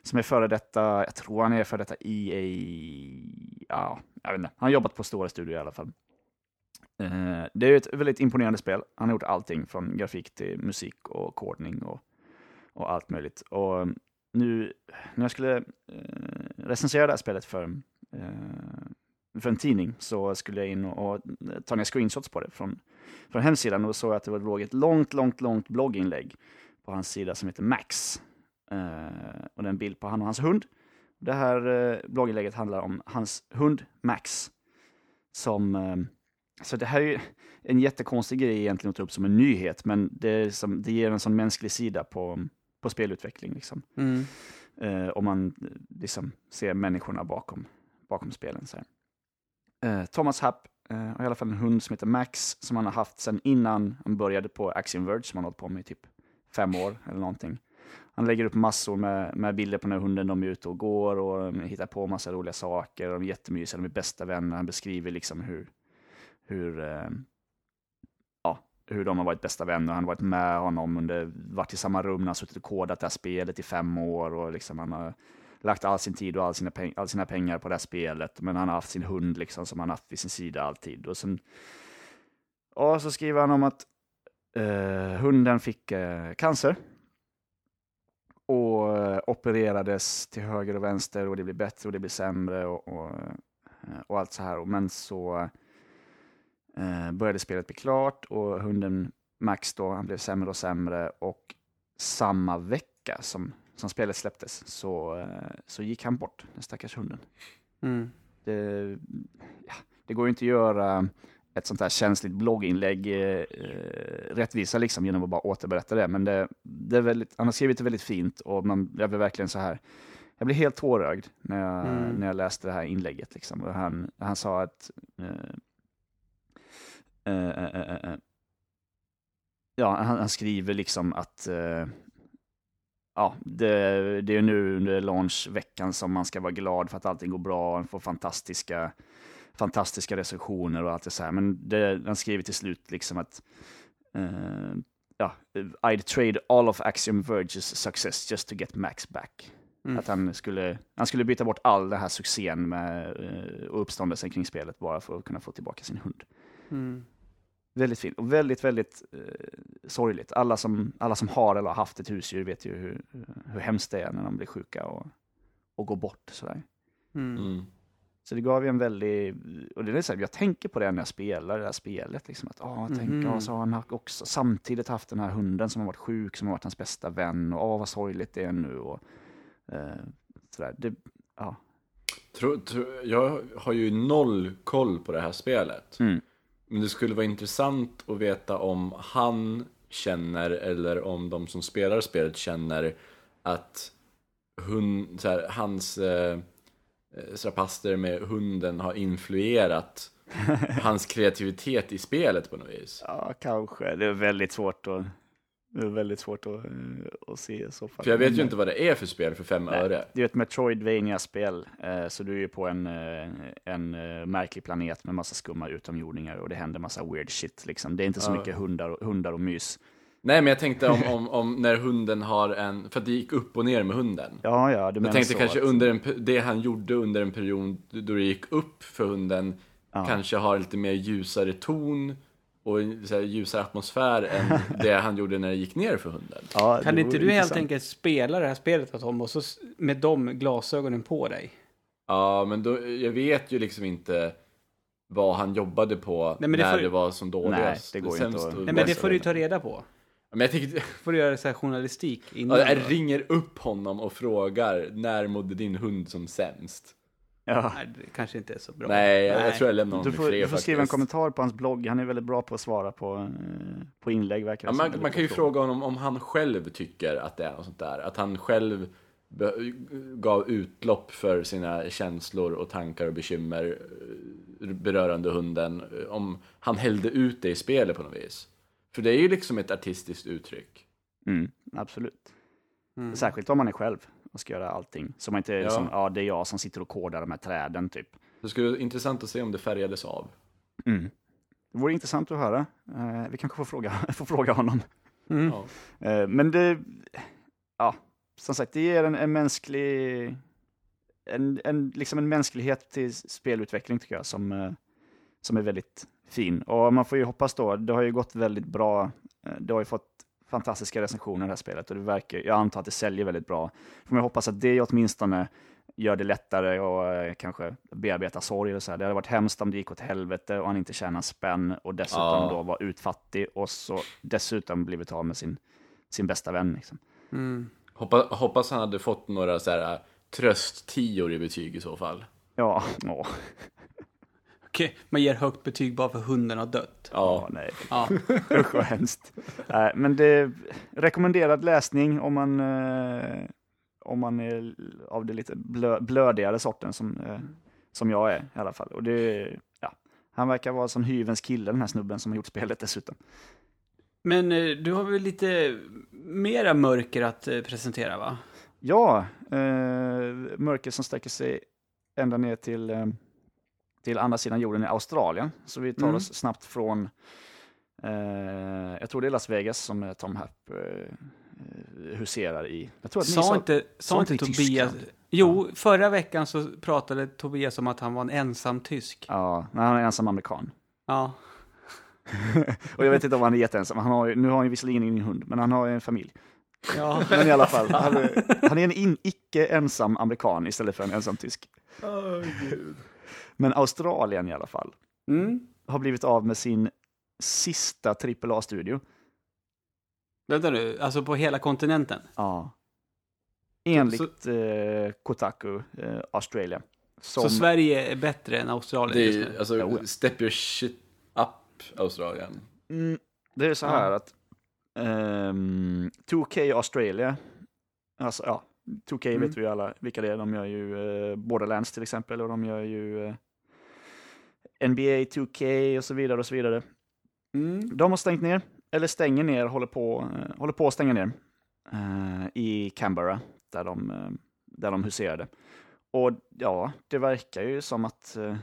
[SPEAKER 3] Som är före detta, jag tror han är före detta EA, ja, jag vet inte. Han har jobbat på stora studier i alla fall. Eh, det är ju ett väldigt imponerande spel. Han har gjort allting från grafik till musik och kodning och, och allt möjligt. Och nu, när jag skulle eh, recensera det här spelet för, eh, för en tidning så skulle jag in och, och ta ner screenshots på det från, från hemsidan och såg att det låg ett långt, långt, långt blogginlägg på hans sida som heter Max. Eh, och det är en bild på han och hans hund. Det här eh, blogginlägget handlar om hans hund Max. Som, eh, så det här är ju en jättekonstig grej egentligen att ta upp som en nyhet, men det, är som, det ger en sån mänsklig sida på, på spelutveckling. Liksom
[SPEAKER 2] Mm.
[SPEAKER 3] eh, om man eh, liksom ser människorna bakom, bakom spelen. Så här. Eh, Thomas Happ eh, har i alla fall en hund som heter Max som han har haft sedan innan han började på Axiom Verge som han har hållit på med i typ fem år eller någonting. Han lägger upp massor med, med bilder på den här hunden, de är ute och går och de hittar på massa roliga saker, de är jättemysiga, de är bästa vänner, han beskriver liksom hur, hur eh, ja, hur de har varit bästa vänner. Han har varit med honom under, varit i samma rum när han suttit och kodat det här spelet i fem år och liksom han har lagt all sin tid och all sina, peng, all sina pengar på det här spelet. Men han har haft sin hund liksom som han haft vid sin sida alltid. Och sen, ja, så skriver han om att eh, hunden fick eh, cancer och eh, opererades till höger och vänster och det blir bättre och det blir sämre och, och, eh, och allt så här. Och Men så Eh, började spelet bli klart och hunden Max då, han blev sämre och sämre och samma vecka som, som spelet släpptes så, eh, så gick han bort, den stackars hunden.
[SPEAKER 2] Mm.
[SPEAKER 3] Det, ja, det går ju inte att göra ett sånt här känsligt blogginlägg eh, eh, rättvisa liksom genom att bara återberätta det, men det, det är väldigt, han har skrivit det väldigt fint och man, jag blev verkligen så här jag blev helt tårögd när jag,
[SPEAKER 2] Mm.
[SPEAKER 3] när jag läste det här inlägget. Liksom. Och han, han sa att eh, Eh, eh, eh, eh. Ja, han, han skriver liksom att eh, ja, det, det är nu under launchveckan som man ska vara glad för att allting går bra, man får fantastiska, fantastiska recensioner och allt det så här. Men det, han skriver till slut liksom att eh, ja, I'd trade all of Axiom Verge's success just to get Max back.
[SPEAKER 2] Mm.
[SPEAKER 3] Att han skulle, han skulle byta bort all den här succén med, eh, och uppståndelsen kring spelet bara för att kunna få tillbaka sin hund.
[SPEAKER 2] Mm.
[SPEAKER 3] Väldigt fint och väldigt, väldigt eh, sorgligt. Alla som, alla som har eller har haft ett husdjur vet ju hur, hur hemskt det är när de blir sjuka och, och går bort. Sådär.
[SPEAKER 2] Mm.
[SPEAKER 4] Mm.
[SPEAKER 3] Så det gav ju en väldig... Och det är så här, jag tänker på det när jag spelar det här spelet. Liksom, att, ah, tänk,
[SPEAKER 2] Mhm.
[SPEAKER 3] ah, så har han haft också samtidigt haft den här hunden som har varit sjuk, som har varit hans bästa vän. Och ah, vad sorgligt det är nu. Och, Eh, sådär. Det, ja.
[SPEAKER 4] Tro, tro, jag har ju noll koll på det här spelet.
[SPEAKER 3] Mm.
[SPEAKER 4] Men det skulle vara intressant att veta om han känner, eller om de som spelar spelet känner att hund, så här, hans eh, eh, strapaster med hunden har influerat hans kreativitet i spelet på något vis.
[SPEAKER 3] ja, kanske. Det är väldigt svårt att, det är väldigt svårt att, eh, att se i så fall.
[SPEAKER 4] För jag vet ju
[SPEAKER 3] Men-
[SPEAKER 4] inte vad det är för spel för fem öre.
[SPEAKER 3] Det är ju ett Metroidvania-spel, eh, så du är ju på en, eh, en eh, märklig planet med massa skumma utomjordingar och det händer massa weird shit. Liksom. Det är inte så mycket hundar och, hundar och mys.
[SPEAKER 4] Nej men jag tänkte om, om, om när hunden har en, för att det gick upp och ner med hunden.
[SPEAKER 3] Ja, ja, du menar
[SPEAKER 4] Jag tänkte
[SPEAKER 3] så.
[SPEAKER 4] kanske
[SPEAKER 3] att-
[SPEAKER 4] under en, pe- det han gjorde under en period då det gick upp för hunden kanske har lite mer ljusare ton och en så här, ljusare atmosfär än det han gjorde när det gick ner för hunden.
[SPEAKER 3] Ja,
[SPEAKER 2] Kan
[SPEAKER 3] det
[SPEAKER 2] inte
[SPEAKER 3] vore
[SPEAKER 2] du helt
[SPEAKER 3] intressant.
[SPEAKER 2] enkelt spela det här spelet åt dem och så s- med de glasögonen på dig?
[SPEAKER 4] Ja, men då, jag vet ju liksom inte vad han jobbade på
[SPEAKER 2] Nej, men det
[SPEAKER 4] när
[SPEAKER 2] får ju-
[SPEAKER 4] det var som dåligast.
[SPEAKER 3] Nej, det går ju
[SPEAKER 4] sämst
[SPEAKER 3] inte att-
[SPEAKER 4] och
[SPEAKER 2] Nej men
[SPEAKER 4] bäst.
[SPEAKER 2] det får du ju ta reda på.
[SPEAKER 4] Men jag tänkte,
[SPEAKER 2] får du göra så här journalistik
[SPEAKER 4] ja,
[SPEAKER 2] innan.
[SPEAKER 4] jag ringer upp honom och frågar när mådde din hund som sämst?
[SPEAKER 3] Ja.
[SPEAKER 2] Nej, det kanske inte är så bra.
[SPEAKER 4] Nej, jag, jag tror jag lämnar honom
[SPEAKER 3] Du
[SPEAKER 4] i
[SPEAKER 3] får,
[SPEAKER 4] fred
[SPEAKER 3] du får skriva en
[SPEAKER 4] faktiskt.
[SPEAKER 3] kommentar på hans blogg. Han är väldigt bra på att svara på, eh, på inlägg, verkar
[SPEAKER 4] Ja,
[SPEAKER 3] det som.
[SPEAKER 4] man,
[SPEAKER 3] Eller
[SPEAKER 4] man
[SPEAKER 3] på
[SPEAKER 4] kan ju
[SPEAKER 3] frågor.
[SPEAKER 4] fråga honom om han själv tycker att det är något sånt där. Att han själv be- gav utlopp för sina känslor och tankar och bekymmer eh, berörande hunden. Eh, Om han hällde ut det i spelet på något vis. För det är ju liksom ett artistiskt uttryck.
[SPEAKER 3] Mm, absolut.
[SPEAKER 2] Mm.
[SPEAKER 3] Särskilt om man är själv och ska göra allting. Så man inte är
[SPEAKER 4] Mm. Ja.
[SPEAKER 3] som, ja, det är jag som sitter och kodar de här träden, typ.
[SPEAKER 4] Det skulle vara intressant att se om det färgades av.
[SPEAKER 3] Mm. Det vore intressant att höra. Eh, vi kanske får fråga, får fråga honom.
[SPEAKER 2] Mm.
[SPEAKER 4] Ja.
[SPEAKER 3] Eh, men det, ja, som sagt, det ger en, en mänsklig, en, en, liksom en mänsklighet till spelutveckling tycker jag som, eh, som är väldigt fin. Och man får ju hoppas då, det har ju gått väldigt bra, eh, det har ju fått fantastiska recensioner det här spelet och det verkar, jag antar att det säljer väldigt bra. Får man hoppas att det åtminstone gör det lättare och eh, kanske bearbeta sorg och så här. Det hade varit hemskt om det gick åt helvete och han inte tjänar spänn och dessutom
[SPEAKER 4] Ja.
[SPEAKER 3] då var utfattig och så dessutom blivit av med sin sin bästa vän. Liksom.
[SPEAKER 2] Mm.
[SPEAKER 4] Hoppa, hoppas han hade fått några så här eh, trösttior i betyg i så fall.
[SPEAKER 3] Ja, åh,
[SPEAKER 2] Okej, man ger högt betyg bara för hunden har dött.
[SPEAKER 3] åh,
[SPEAKER 4] Ja,
[SPEAKER 3] nej,
[SPEAKER 2] Ja.
[SPEAKER 3] usch vad hemskt. Nej, men det rekommenderad läsning om man, eh, om man är av det lite blö, blödigare sorten som, eh, som jag är i alla fall. Och det, ja, han verkar vara som hyvens kille, den här snubben som har gjort spelet dessutom.
[SPEAKER 2] Men eh, du har väl lite mera mörker att eh, presentera va?
[SPEAKER 3] Ja, eh, mörker som sträcker sig ända ner till, eh, till andra sidan jorden i Australien. Så vi tar
[SPEAKER 2] Mm.
[SPEAKER 3] oss snabbt från, eh, jag tror det är Las Vegas som eh, Tom Happ eh, eh, huserar i. Jag tror att ni
[SPEAKER 2] Sa inte, sa
[SPEAKER 3] sa
[SPEAKER 2] inte
[SPEAKER 3] inte i
[SPEAKER 2] Tobias...
[SPEAKER 3] Tyskland?
[SPEAKER 2] Jo, förra veckan så pratade Tobias om att han var en ensam tysk.
[SPEAKER 3] Ja, nej, han är ensam amerikan.
[SPEAKER 2] Ja.
[SPEAKER 3] Och jag vet inte om han är jätteensam. Han har, ju- nu har han ju visserligen ingen hund, men han har ju en familj.
[SPEAKER 2] ja.
[SPEAKER 3] Men i alla fall, han är, han är en in, icke ensam amerikan istället för en ensam tysk. Men Australien i alla fall.
[SPEAKER 2] Mm.
[SPEAKER 3] har blivit av med sin sista AAA-studio.
[SPEAKER 2] Vänta nu, alltså på hela kontinenten?
[SPEAKER 3] Ja. Enligt eh, Kotaku eh, Australia. Som,
[SPEAKER 2] Så Sverige är bättre än Australien
[SPEAKER 4] det är
[SPEAKER 2] just
[SPEAKER 4] ju,
[SPEAKER 2] nu?
[SPEAKER 4] alltså,
[SPEAKER 3] Jo, ja.
[SPEAKER 4] step your shit up, Australien.
[SPEAKER 3] mm, det är så här
[SPEAKER 2] Ja.
[SPEAKER 3] att ehm, 2K Australia, alltså ja, 2K
[SPEAKER 2] Mm.
[SPEAKER 3] vet vi ju alla vilka det är. De gör ju eh, Borderlands till exempel och de gör ju eh, NBA 2K och så vidare och så vidare.
[SPEAKER 2] Mm.
[SPEAKER 3] De har stängt ner, eller stänger ner, håller på, eh, håller på att stänga ner eh, i Canberra, där de, eh, där de huserade. Och ja, det verkar ju som att, eh, eh,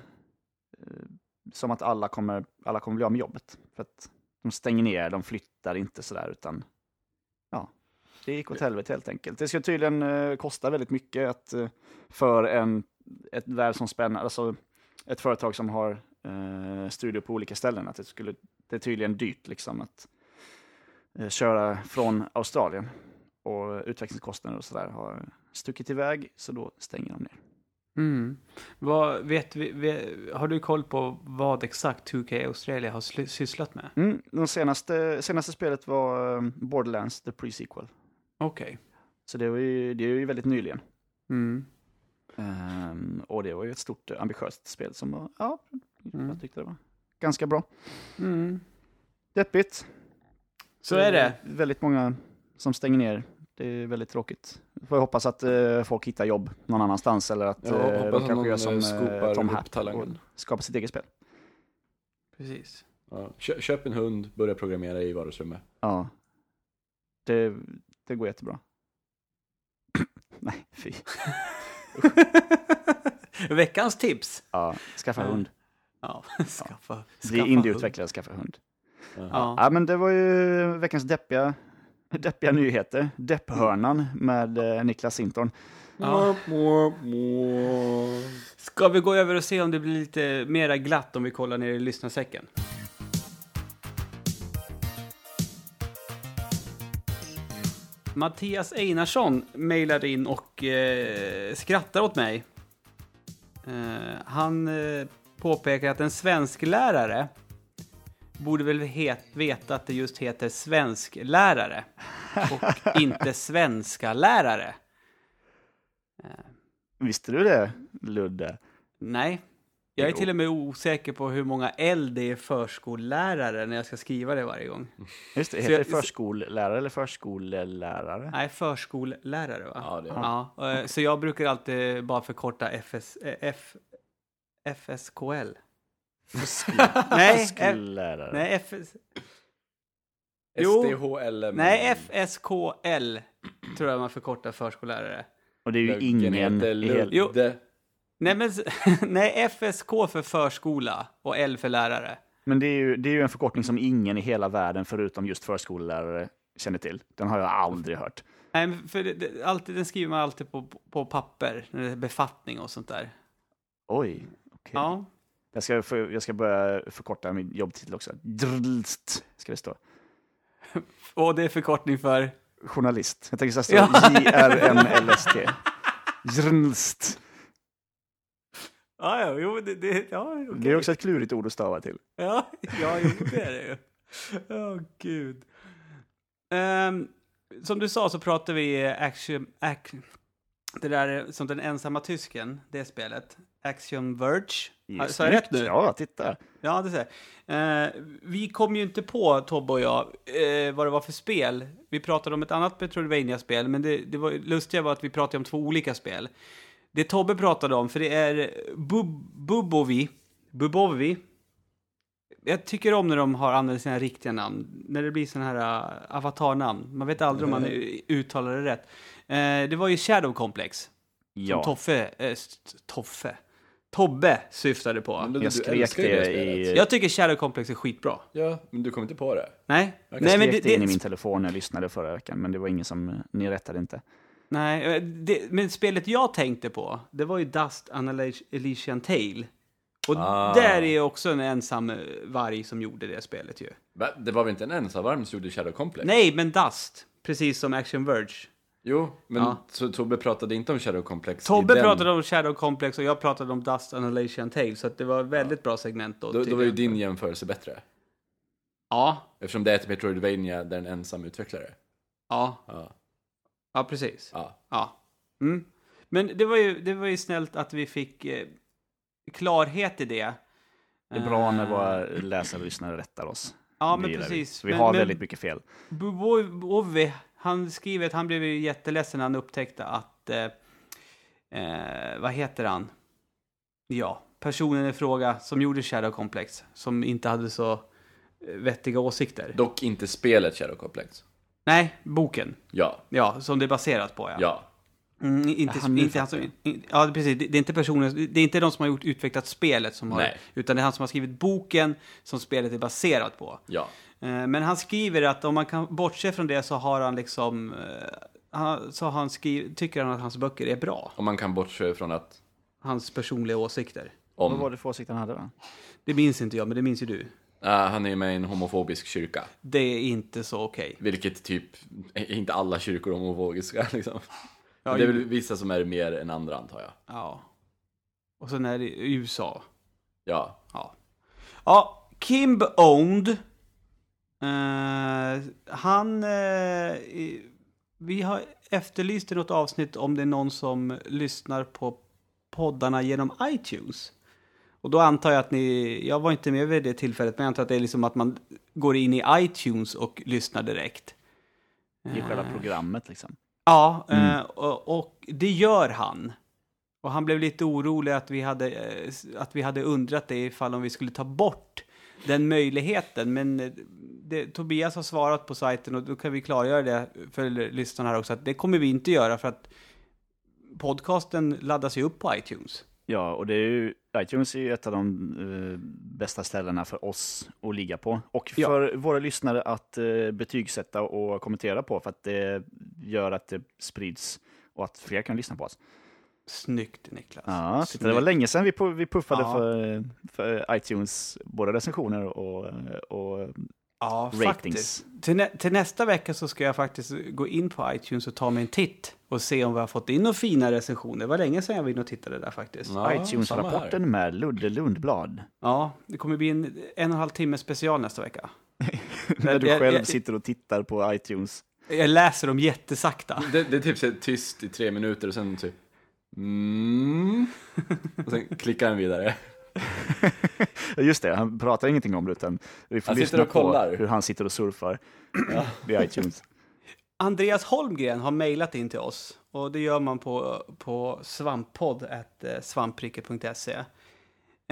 [SPEAKER 3] som att alla, kommer, alla kommer bli av med jobbet. För att de stänger ner, de flyttar inte sådär, utan ja, det gick åt helvete helt enkelt. Det ska tydligen eh, kosta väldigt mycket att, eh, för en, ett världsomspännande, alltså ett företag som har eh, studio på olika ställen, att det skulle det är tydligen dyrt liksom att eh, köra från Australien. Och utvecklingskostnader och sådär har stuckit iväg, så då stänger de ner.
[SPEAKER 2] Mm. Vad, vet vi, vi, har du koll på vad exakt 2K Australia har sly- sysslat med?
[SPEAKER 3] Mm, det senaste, senaste spelet var eh, Borderlands, the pre-sequel.
[SPEAKER 2] Okej.
[SPEAKER 3] Så det, var ju, det är ju väldigt nyligen.
[SPEAKER 2] Mm.
[SPEAKER 3] Ehm, och det var ju ett stort eh, ambitiöst spel som var, ja, jag tyckte det var ganska bra.
[SPEAKER 2] Mm.
[SPEAKER 3] Deppigt.
[SPEAKER 2] Så är det.
[SPEAKER 3] Väldigt många som stänger ner. Det är väldigt tråkigt. Får jag hoppas att eh, folk hittar jobb någon annanstans eller att
[SPEAKER 1] Ja,
[SPEAKER 3] eh,
[SPEAKER 1] hoppas
[SPEAKER 3] de
[SPEAKER 1] att någon,
[SPEAKER 3] kanske gör
[SPEAKER 1] eh,
[SPEAKER 3] som eh,
[SPEAKER 1] skopar
[SPEAKER 3] Tom
[SPEAKER 1] upp
[SPEAKER 3] Hack och
[SPEAKER 1] talangen.
[SPEAKER 3] skapar sitt eget spel.
[SPEAKER 2] Precis.
[SPEAKER 4] Ja. Kö, köp en hund, börja programmera i vardagsrummet.
[SPEAKER 3] Ja. Det, det går jättebra. Nej, fy.
[SPEAKER 2] Veckans tips.
[SPEAKER 3] Ja, skaffa
[SPEAKER 2] Ja.
[SPEAKER 3] hund.
[SPEAKER 2] Ja, skaffa.
[SPEAKER 3] Bli
[SPEAKER 2] skaffa
[SPEAKER 3] indieutvecklare, skaffa hund.
[SPEAKER 2] Ja.
[SPEAKER 3] Ja, men det var ju veckans deppiga, deppiga nyheter. Depphörnan med eh, Niklas Sintorn.
[SPEAKER 2] Ja. Ska vi gå över och se om det blir lite mera glatt om vi kollar ner i lyssnarsäcken? Mattias Einarsson mejlade in och eh, skrattar åt mig. Eh, han eh, påpekar att en svensklärare borde väl het, veta att det just heter svensklärare och inte svenska lärare.
[SPEAKER 3] Visste du det, Ludde?
[SPEAKER 2] Nej. Jag är
[SPEAKER 3] Jo.
[SPEAKER 2] till och med osäker på hur många L det är förskollärare när jag ska skriva det varje gång.
[SPEAKER 3] Just det,
[SPEAKER 2] Så
[SPEAKER 3] heter
[SPEAKER 2] jag-
[SPEAKER 3] det förskollärare eller förskollärare?
[SPEAKER 2] Nej, förskollärare va?
[SPEAKER 4] Ja, det är
[SPEAKER 2] Ja, eh, så jag brukar alltid bara förkorta FS, eh, F, FSKL. Nej, F,
[SPEAKER 3] Förskollärare.
[SPEAKER 2] nej, FS, Jo.
[SPEAKER 4] SDHLM.
[SPEAKER 2] nej, FSKL tror jag man förkortar förskollärare.
[SPEAKER 3] Och det är ju ingen
[SPEAKER 4] heter
[SPEAKER 3] i hela...
[SPEAKER 2] Jo.
[SPEAKER 4] Ludde.
[SPEAKER 2] Nej, men, s- nej, FSK för förskola och L för lärare.
[SPEAKER 3] Men det är, ju, det är ju en förkortning som ingen i hela världen förutom just förskollärare känner till. Den har jag aldrig hört.
[SPEAKER 2] Nej, men för det, det, alltid, den skriver man alltid på, på papper, när det är befattning och sånt där.
[SPEAKER 3] Oj. okej.
[SPEAKER 2] Ja,
[SPEAKER 3] Jag, ska, för- jag ska börja förkorta min jobbtitel också. Drlst ska det stå.
[SPEAKER 2] och det är förkortning för?
[SPEAKER 3] Journalist. Jag tänker så här stå
[SPEAKER 2] Ja.
[SPEAKER 3] J-R-N-L-S-T. Drlst.
[SPEAKER 2] Ja, ja, jo, det, det, ja, okej.
[SPEAKER 3] Det är också ett klurigt ord att stava till.
[SPEAKER 2] ja, ja, jo, det är det ju. Åh, gud. Ehm, som du sa så pratade vi eh, action, ac, det där eh, som den ensamma tysken, det spelet. Action Verge. Ja, Sa jag rätt nu?
[SPEAKER 3] Ja, titta.
[SPEAKER 2] Ja, det säger jag. eh, Vi kom ju inte på, Tobbe och jag, eh, vad det var för spel. Vi pratade om ett annat Metroidvania-spel, men det, det var, lustiga var att vi pratade om två olika spel. Det Tobbe pratade om, för det är Bub Bubovi, Bubovi. Jag tycker om när de har använt sina riktiga namn, när det blir sådana här uh, avatarnamn. Man vet aldrig om man eh, uttalar det rätt. Eh, det var ju Shadow Complex, som
[SPEAKER 3] Ja,
[SPEAKER 2] Toffe, eh, st- Toffe, Tobbe syftade på.
[SPEAKER 4] Men Ludde,
[SPEAKER 3] jag
[SPEAKER 4] du
[SPEAKER 3] skrek
[SPEAKER 4] älskar ju
[SPEAKER 3] det
[SPEAKER 4] spelet.
[SPEAKER 3] i...
[SPEAKER 2] Jag tycker Shadow Complex är skitbra.
[SPEAKER 4] Ja, men du kom inte på det.
[SPEAKER 2] Nej,
[SPEAKER 4] Jag
[SPEAKER 2] nej
[SPEAKER 3] Jag
[SPEAKER 2] men
[SPEAKER 3] skrek
[SPEAKER 2] det,
[SPEAKER 3] det in i min
[SPEAKER 2] det,
[SPEAKER 3] telefon när jag lyssnade förra veckan, men det var ingen som... eh, Ni rättade inte.
[SPEAKER 2] nej, eh, det, men spelet jag tänkte på, det var ju Dust Annihilation Elysian Tale. Och
[SPEAKER 4] Ah.
[SPEAKER 2] där är också en ensam eh, varg som gjorde det spelet ju.
[SPEAKER 4] Va? Det var väl inte en ensamvarm som gjorde Shadow Complex?
[SPEAKER 2] Nej, men Dust, precis som Action Verge.
[SPEAKER 4] Jo, men
[SPEAKER 2] Ja.
[SPEAKER 4] så Tobbe pratade inte om Shadow Complex
[SPEAKER 2] Tobbe
[SPEAKER 4] i den.
[SPEAKER 2] pratade om Shadow Complex och jag pratade om Dust Annihilation Tale, så att det var ett väldigt bra segment då.
[SPEAKER 4] Då, då
[SPEAKER 2] tycker
[SPEAKER 4] var ju
[SPEAKER 2] jag.
[SPEAKER 4] din jämförelse bättre.
[SPEAKER 2] Ja,
[SPEAKER 4] Eftersom det är ett Metroidvania där en ensam utvecklare.
[SPEAKER 2] ja,
[SPEAKER 4] Ja.
[SPEAKER 2] ja precis.
[SPEAKER 4] ja.
[SPEAKER 2] Ja. Mm. Men det var, ju, det var ju snällt att vi fick eh, klarhet i det. Eh,
[SPEAKER 3] Det är bra när våra läsare och lyssnare rättar oss.
[SPEAKER 2] Ja,
[SPEAKER 3] Det
[SPEAKER 2] men
[SPEAKER 3] gillar
[SPEAKER 2] precis.
[SPEAKER 3] Vi, vi
[SPEAKER 2] men,
[SPEAKER 3] har
[SPEAKER 2] men
[SPEAKER 3] väldigt mycket fel.
[SPEAKER 2] Bobovi, han skriver att han blev ju jätteledsen när han upptäckte att... Eh, eh, vad heter han? Ja, personen i fråga som gjorde Shadow Complex, som inte hade så eh, vettiga åsikter.
[SPEAKER 4] Dock inte spelet Shadow Complex.
[SPEAKER 2] Nej, boken.
[SPEAKER 4] Ja,
[SPEAKER 2] Ja, som det är baserat på, ja.
[SPEAKER 4] ja.
[SPEAKER 2] Mm, inte,
[SPEAKER 3] Jaha, nu
[SPEAKER 2] inte han som, in, ja, precis. Det, det är inte personen, det är inte de som har gjort, utvecklat spelet som har,
[SPEAKER 4] Nej.
[SPEAKER 2] utan det är han som har skrivit boken som spelet är baserat på.
[SPEAKER 4] ja.
[SPEAKER 2] Eh, Men han skriver att om man kan bortse från det så har han liksom, eh, han, så har han skriv, tycker han att hans böcker är bra.
[SPEAKER 4] Om man kan bortse från att...
[SPEAKER 2] Hans personliga åsikter.
[SPEAKER 4] Om...
[SPEAKER 3] Vad var det för åsikt han hade då?
[SPEAKER 2] Det minns inte jag, men det minns ju du.
[SPEAKER 4] Ah, han är ju med i en homofobisk kyrka.
[SPEAKER 2] Det är inte så okej.
[SPEAKER 4] Vilket typ, är inte alla kyrkor homofobiska liksom.
[SPEAKER 2] Ja,
[SPEAKER 4] Men det är väl vissa som är mer än andra antar jag.
[SPEAKER 2] Ja. Och sen är det i USA.
[SPEAKER 4] Ja.
[SPEAKER 2] Ja. Ja, Kimb Owned. Eh, han... eh, i- vi har efterlyste något avsnitt om det är någon som lyssnar på poddarna genom iTunes. Och då antar jag att ni, jag var inte med vid det tillfället, men jag antar att det är liksom att man går in i iTunes och lyssnar direkt.
[SPEAKER 3] I själva
[SPEAKER 2] Eh.
[SPEAKER 3] programmet liksom.
[SPEAKER 2] Ja, eh, och, och det gör han. Och han blev lite orolig att vi hade, eh, s- att vi hade undrat det ifall om vi skulle ta bort den möjligheten. Men eh, det, Tobias har svarat på sajten och då kan vi klargöra det för lyssnarna här också att det kommer vi inte göra för att podcasten laddas ju upp på iTunes.
[SPEAKER 3] Ja, och det är ju, iTunes är ju ett av de eh, bästa ställena för oss att ligga på. Och
[SPEAKER 2] Ja.
[SPEAKER 3] för våra lyssnare att uh, betygsätta och kommentera på, för att det gör att det sprids och att fler kan lyssna på oss.
[SPEAKER 2] Snyggt Niklas.
[SPEAKER 3] Ja, titta, det
[SPEAKER 2] Snyggt.
[SPEAKER 3] var länge sedan vi, pu- vi puffade
[SPEAKER 2] Ja.
[SPEAKER 3] för, för iTunes, både recensioner och, och
[SPEAKER 2] Ja,
[SPEAKER 3] ratings.
[SPEAKER 2] faktiskt. Till, nä- till nästa vecka så ska jag faktiskt gå in på iTunes och ta mig en titt och se om vi har fått in några fina recensioner. Det var länge sedan jag var inne och tittade där faktiskt. Ja,
[SPEAKER 4] Ja, samma här.
[SPEAKER 3] iTunes-rapporten med Ludde Lundblad.
[SPEAKER 2] det kommer bli en en och en halv timme special nästa vecka.
[SPEAKER 3] När du
[SPEAKER 2] jag-
[SPEAKER 3] själv
[SPEAKER 2] jag-
[SPEAKER 3] sitter och tittar på iTunes.
[SPEAKER 2] Jag läser dem jättesakta.
[SPEAKER 4] Det, det är typ så här tyst i tre minuter och sen typ mm. Och sen klickar den vidare.
[SPEAKER 3] Just det, han pratar ingenting om det, utan vi får
[SPEAKER 4] Han sitter
[SPEAKER 3] lyssna
[SPEAKER 4] och kollar.
[SPEAKER 3] på hur han sitter och surfar vid iTunes.
[SPEAKER 2] Andreas Holmgren har mejlat in till oss och det gör man på, på eh, svamppodd.svampriket.se.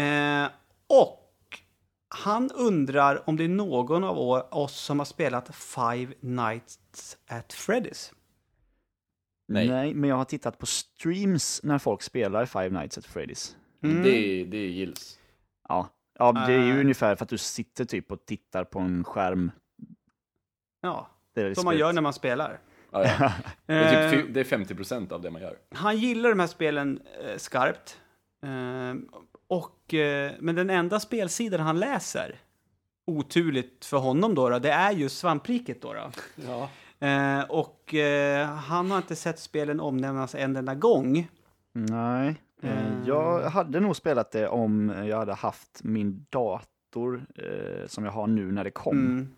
[SPEAKER 2] Eh, och han undrar om det är någon av å- oss som har spelat Five Nights at Freddy's.
[SPEAKER 4] Nej.
[SPEAKER 3] men jag har tittat på streams när folk spelar Five Nights at Freddy's.
[SPEAKER 4] Mm. Det, det gills.
[SPEAKER 3] Ja, ja det är ju
[SPEAKER 2] Äh.
[SPEAKER 3] ungefär för att du sitter typ och tittar på en skärm.
[SPEAKER 2] Ja,
[SPEAKER 3] Det är
[SPEAKER 2] som man gör när man spelar.
[SPEAKER 4] Ja, ja. Det, är
[SPEAKER 2] Eh,
[SPEAKER 4] typ, fy- det är 50% av det man gör.
[SPEAKER 2] han gillar de här spelen eh, skarpt. Eh, och, eh, men den enda spelsidan han läser, oturligt för honom då, då det är just svampriket då. då.
[SPEAKER 4] Ja.
[SPEAKER 2] Eh, och eh, han har inte sett spelen omnämnas en enda gång.
[SPEAKER 3] Nej, eh, jag hade nog spelat det om jag hade haft min dator eh, som jag har nu när det kom.
[SPEAKER 2] Mm.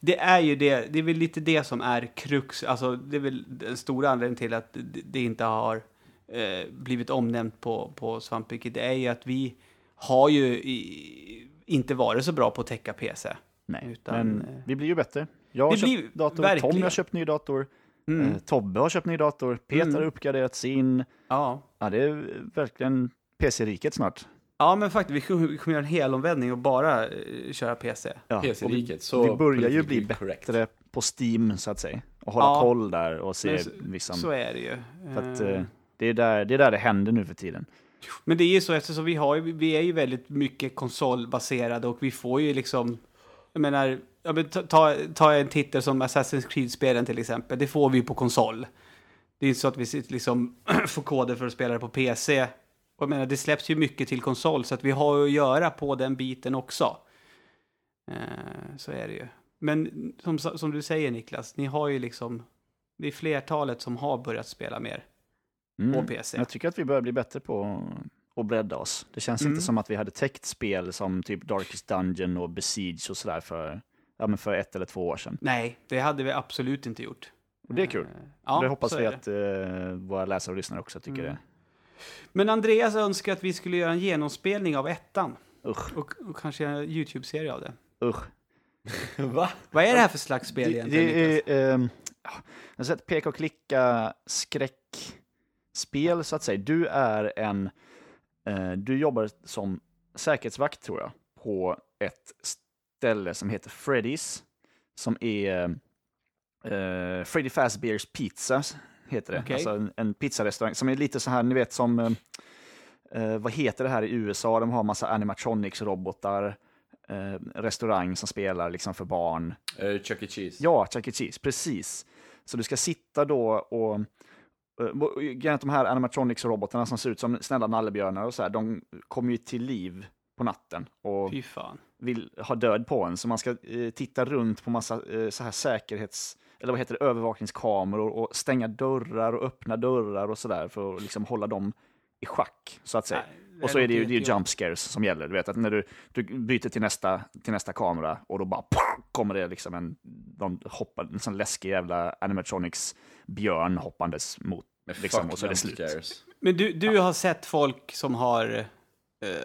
[SPEAKER 2] Det är ju det, det är väl lite det som är krux, alltså det är väl den stora anledningen till att det- det inte har eh, blivit omnämnt på, på Svampriket. Det är ju att vi har ju i, inte varit så bra på att täcka PC.
[SPEAKER 3] Nej,
[SPEAKER 2] Utan, eh,
[SPEAKER 3] men vi blir ju bättre. Jag har
[SPEAKER 2] det
[SPEAKER 3] köpt
[SPEAKER 2] blir-
[SPEAKER 3] dator, Tom
[SPEAKER 2] verkligen. Mm.
[SPEAKER 3] har köpt ny dator, eh, Tobbe har köpt ny dator, Peter har uppgraderat sin.
[SPEAKER 2] Ja.
[SPEAKER 3] Ja, det är verkligen PC-riket snart.
[SPEAKER 2] Ja, men faktiskt, vi kommer, vi kommer göra en hel omvändning och bara eh, köra PC.
[SPEAKER 3] Ja, och vi,
[SPEAKER 4] PC-riket, så
[SPEAKER 3] vi börjar ju bli
[SPEAKER 4] politically
[SPEAKER 3] bättre
[SPEAKER 4] correct.
[SPEAKER 3] på Steam så att säga. Och hålla
[SPEAKER 2] Ja.
[SPEAKER 3] koll där och se
[SPEAKER 2] Men så-
[SPEAKER 3] liksom.
[SPEAKER 2] Så är det ju.
[SPEAKER 3] för att,
[SPEAKER 2] Eh,
[SPEAKER 3] eh, det, är där, det är där det händer nu för tiden.
[SPEAKER 2] Men det är ju så eftersom vi, har, ju- vi är ju väldigt mycket konsolbaserade och vi får ju liksom, jag menar, ja, men ta, ta, ta en titel som Assassin's Creed-spelen till exempel, det får vi ju på konsol. Det är inte så att vi sitter liksom får koder för att spela det på PC. Och jag menar, det släpps ju mycket till konsol så att vi har ju att göra på den biten också. Eh, så är det ju. Men som, som du säger Niklas, ni har ju liksom, det är flertalet som har börjat spela mer på
[SPEAKER 3] Mm.
[SPEAKER 2] PC.
[SPEAKER 3] Jag tycker att vi börjar bli bättre på att bredda oss. Det känns
[SPEAKER 2] Mm.
[SPEAKER 3] inte som att vi hade täckt spel som typ Darkest Dungeon och Besiege och sådär för, ja, men för ett eller två år sedan.
[SPEAKER 2] Nej, det hade vi absolut inte gjort.
[SPEAKER 3] Och det är kul.
[SPEAKER 2] Ja,
[SPEAKER 3] det hoppas
[SPEAKER 2] så
[SPEAKER 3] vi
[SPEAKER 2] är det. Mm.
[SPEAKER 3] att eh, våra läsare och lyssnare också tycker det.
[SPEAKER 2] Men Andreas önskar att vi skulle göra en genomspelning av ettan.
[SPEAKER 3] Usch,
[SPEAKER 2] Och, och kanske göra en YouTube-serie av det.
[SPEAKER 3] usch.
[SPEAKER 4] Va?
[SPEAKER 2] Vad är det här för slags spel
[SPEAKER 3] Det,
[SPEAKER 2] egentligen? Niklas?
[SPEAKER 3] det är, ehm, ja, jag har sett peka och klicka skräckspel så att säga. Du är en, eh, du jobbar som säkerhetsvakt tror jag, på ett ställe som heter Freddy's, som är eh, Freddy Fazbear's Pizza, heter det.
[SPEAKER 2] Okej.
[SPEAKER 3] Alltså en, en pizzarestaurang som är lite så här, ni vet som, eh, eh, vad heter det här i USA? De har massa animatronics-robotar, eh, restaurang som spelar liksom för barn.
[SPEAKER 4] Eh, Chuck E. Cheese.
[SPEAKER 3] Ja, Chuck E. Cheese, precis. Så du ska sitta då och... eh, och grejen är att de här animatronics-robotarna som ser ut som snälla nallebjörnar och så här, de kommer ju till liv på natten och
[SPEAKER 2] Fy fan.
[SPEAKER 3] vill ha död på en. Så man ska eh, titta runt på massa eh, så här säkerhets... Eller vad heter det? Övervakningskameror och stänga dörrar och öppna dörrar och sådär för att liksom hålla dem i schack, så att säga.
[SPEAKER 2] Nej, det
[SPEAKER 3] och så är det ju
[SPEAKER 2] låter
[SPEAKER 3] det är ju
[SPEAKER 2] jättejobbigt.
[SPEAKER 3] jump scares som gäller. Du vet att när du, du byter till nästa, till nästa kamera och då bara pff, kommer det liksom en de hoppade, en sån läskig jävla animatronics-björn hoppandes mot.
[SPEAKER 4] Men
[SPEAKER 3] Liksom,
[SPEAKER 4] fuck
[SPEAKER 3] och så är det
[SPEAKER 4] jump
[SPEAKER 3] slut.
[SPEAKER 4] scares.
[SPEAKER 2] Men du, du har sett folk som har... eh,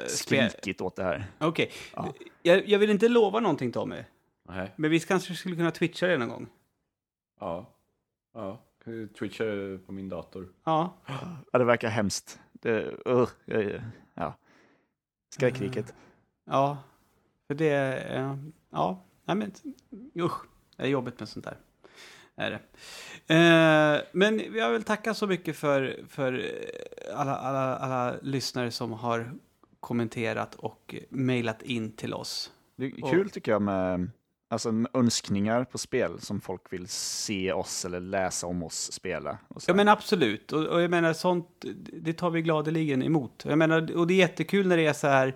[SPEAKER 2] spel-
[SPEAKER 3] Skrikigt åt det här.
[SPEAKER 2] Okej.
[SPEAKER 3] Ja.
[SPEAKER 2] Jag, jag vill inte lova någonting, Tommy.
[SPEAKER 4] Nej.
[SPEAKER 2] Men vi kanske skulle kunna twitcha det någon gång.
[SPEAKER 4] Ja. Ja. Kan ju Twitcha på min dator.
[SPEAKER 2] Ja.
[SPEAKER 3] Ja, det verkar hemskt. Det, uh, ja, ja.
[SPEAKER 2] Eh,
[SPEAKER 3] Skräckriket.
[SPEAKER 2] Ja. För det... eh, Ja. Nej, men usch. Det är jobbigt med sånt där. Är det. Eh, men jag vill tacka så mycket för, för eh, alla, alla, alla lyssnare som har kommenterat och mejlat in till oss.
[SPEAKER 3] Det är kul tycker jag med alltså, med önskningar på spel som folk vill se oss eller läsa om oss spela. Och så
[SPEAKER 2] Ja
[SPEAKER 3] här.
[SPEAKER 2] men absolut, och, och jag menar sånt, det tar vi gladeligen emot. Jag menar, och det är jättekul när det är så här,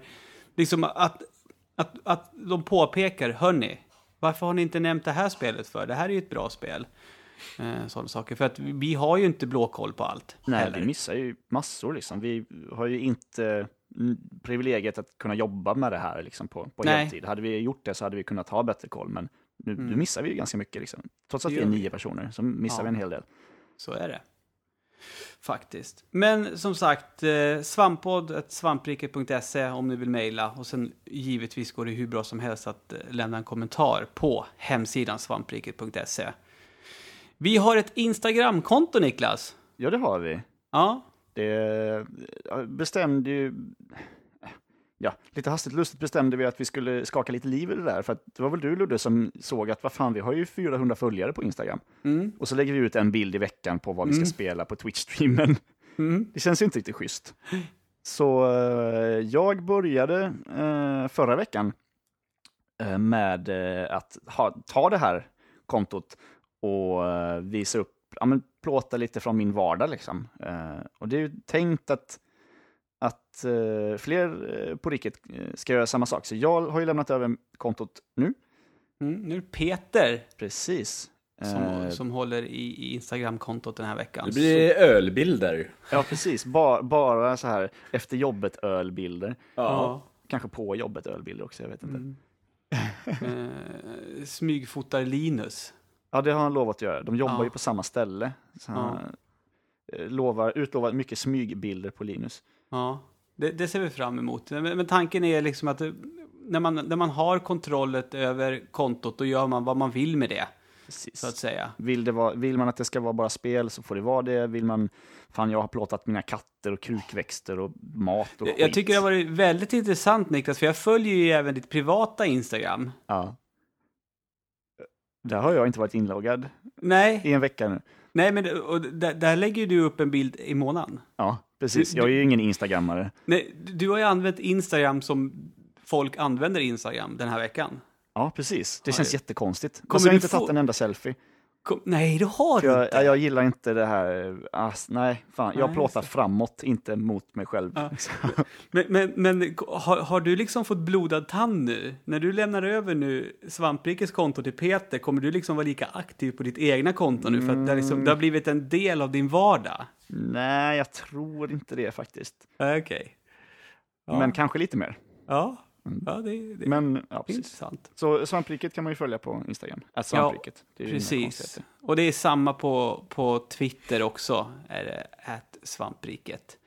[SPEAKER 2] liksom att, att, att de påpekar, hörni, varför har ni inte nämnt det här spelet för? Det här är ju ett bra spel. Eh, sådana saker, för att vi- vi har ju inte blåkoll på allt.
[SPEAKER 3] Nej,
[SPEAKER 2] heller.
[SPEAKER 3] vi missar ju massor liksom. Vi har ju inte mm, privilegiet att kunna jobba med det här liksom, på, på
[SPEAKER 2] Nej.
[SPEAKER 3] heltid. Hade vi gjort det så hade vi kunnat ha bättre koll, men nu, nu missar vi ju ganska mycket. Liksom. Trots att
[SPEAKER 2] Det
[SPEAKER 3] vi är
[SPEAKER 2] gör vi.
[SPEAKER 3] nio personer så missar
[SPEAKER 2] Ja.
[SPEAKER 3] vi en hel del.
[SPEAKER 2] Så är det. Faktiskt. Men som sagt, eh, svamppodd.svampriket.se om ni vill mejla. Och sen givetvis går det hur bra som helst att eh, lämna en kommentar på hemsidan svampriket.se. Vi har ett Instagramkonto, Niklas.
[SPEAKER 3] Ja, det har vi.
[SPEAKER 2] Ja,
[SPEAKER 3] Det ja, bestämde ju... Ja, lite hastigt lustigt bestämde vi att vi skulle skaka lite liv i det där. För att det var väl du Ludde som såg att vad fan, vi har ju 400 följare på Instagram. Och så lägger vi ut en bild i veckan på vad vi ska spela på Twitch-streamen. Det känns ju inte riktigt schysst. Så eh, jag började eh, förra veckan eh, med eh, att ha, ta det här kontot och eh, visa upp, ja, men plåta lite från min vardag. Liksom. Eh, och det är ju tänkt att, att eh, fler eh, på riket eh, ska göra samma sak. Så jag har ju lämnat över kontot nu.
[SPEAKER 2] mm, nu är det Peter
[SPEAKER 3] Precis.
[SPEAKER 2] som,
[SPEAKER 3] Eh,
[SPEAKER 2] som håller i, i Instagramkontot den här veckan.
[SPEAKER 4] Det blir ölbilder.
[SPEAKER 3] Ja, precis. Ba, bara så här efter jobbet ölbilder.
[SPEAKER 2] Ja.
[SPEAKER 3] Kanske på jobbet ölbilder också, jag vet
[SPEAKER 2] Mm.
[SPEAKER 3] inte.
[SPEAKER 2] Eh, smygfotar Linus.
[SPEAKER 3] Ja, det har han lovat att göra. De jobbar
[SPEAKER 2] Ja.
[SPEAKER 3] ju på samma ställe. Så han eh, lovar, utlovar mycket smygbilder på Linus.
[SPEAKER 2] Ja, det, det ser vi fram emot. Men, men tanken är liksom att eh, när man, när man har kontrollet över kontot, då gör man vad man vill med det,
[SPEAKER 3] Precis.
[SPEAKER 2] så att säga.
[SPEAKER 3] Vill, det vara, vill man att det ska vara bara spel så får det vara det. Vill man, fan jag har plåtat mina katter och krukväxter och mat och
[SPEAKER 2] Jag-
[SPEAKER 3] skit.
[SPEAKER 2] Jag tycker det har varit väldigt intressant, Niklas, för jag följer ju även ditt privata Instagram.
[SPEAKER 3] Ja. Där har jag inte varit inloggad
[SPEAKER 2] Nej,
[SPEAKER 3] i en vecka nu.
[SPEAKER 2] nej men det- och där, där lägger ju du upp en bild i månaden.
[SPEAKER 3] Ja, precis. Jag är ju ingen instagrammare.
[SPEAKER 2] Nej, du- du har ju använt Instagram som folk använder Instagram den här veckan.
[SPEAKER 3] Ja, precis. Det
[SPEAKER 2] Ja,
[SPEAKER 3] känns
[SPEAKER 2] det-
[SPEAKER 3] jättekonstigt.
[SPEAKER 2] Kommer
[SPEAKER 3] Kommer jag har
[SPEAKER 2] du
[SPEAKER 3] inte
[SPEAKER 2] få-
[SPEAKER 3] tagit en enda selfie.
[SPEAKER 2] Kom, nej, det har du
[SPEAKER 3] Jag,
[SPEAKER 2] inte.
[SPEAKER 3] ja, jag gillar inte det här. Ass, nej, fan. Jag
[SPEAKER 2] Nej,
[SPEAKER 3] plåtar framåt, inte mot mig själv. Så-
[SPEAKER 2] Men, men, men har, har du liksom fått blodad tand nu? När du lämnar över nu Svamprikes konto till Peter, kommer du liksom vara lika aktiv på ditt egna konto nu? För att det, har liksom, det har blivit en del av din vardag?
[SPEAKER 3] Nej, jag tror inte det faktiskt.
[SPEAKER 2] Okej. Ja.
[SPEAKER 3] Men kanske lite mer.
[SPEAKER 2] Ja. ja, det, det är
[SPEAKER 3] Men, ja, precis.
[SPEAKER 2] intressant.
[SPEAKER 3] Så svampriket kan man ju följa på Instagram. Äh, svampriket. Det är ju inga
[SPEAKER 2] Precis.
[SPEAKER 3] konstigheter.
[SPEAKER 2] Och det är samma på, på Twitter också, är det, at svampriket.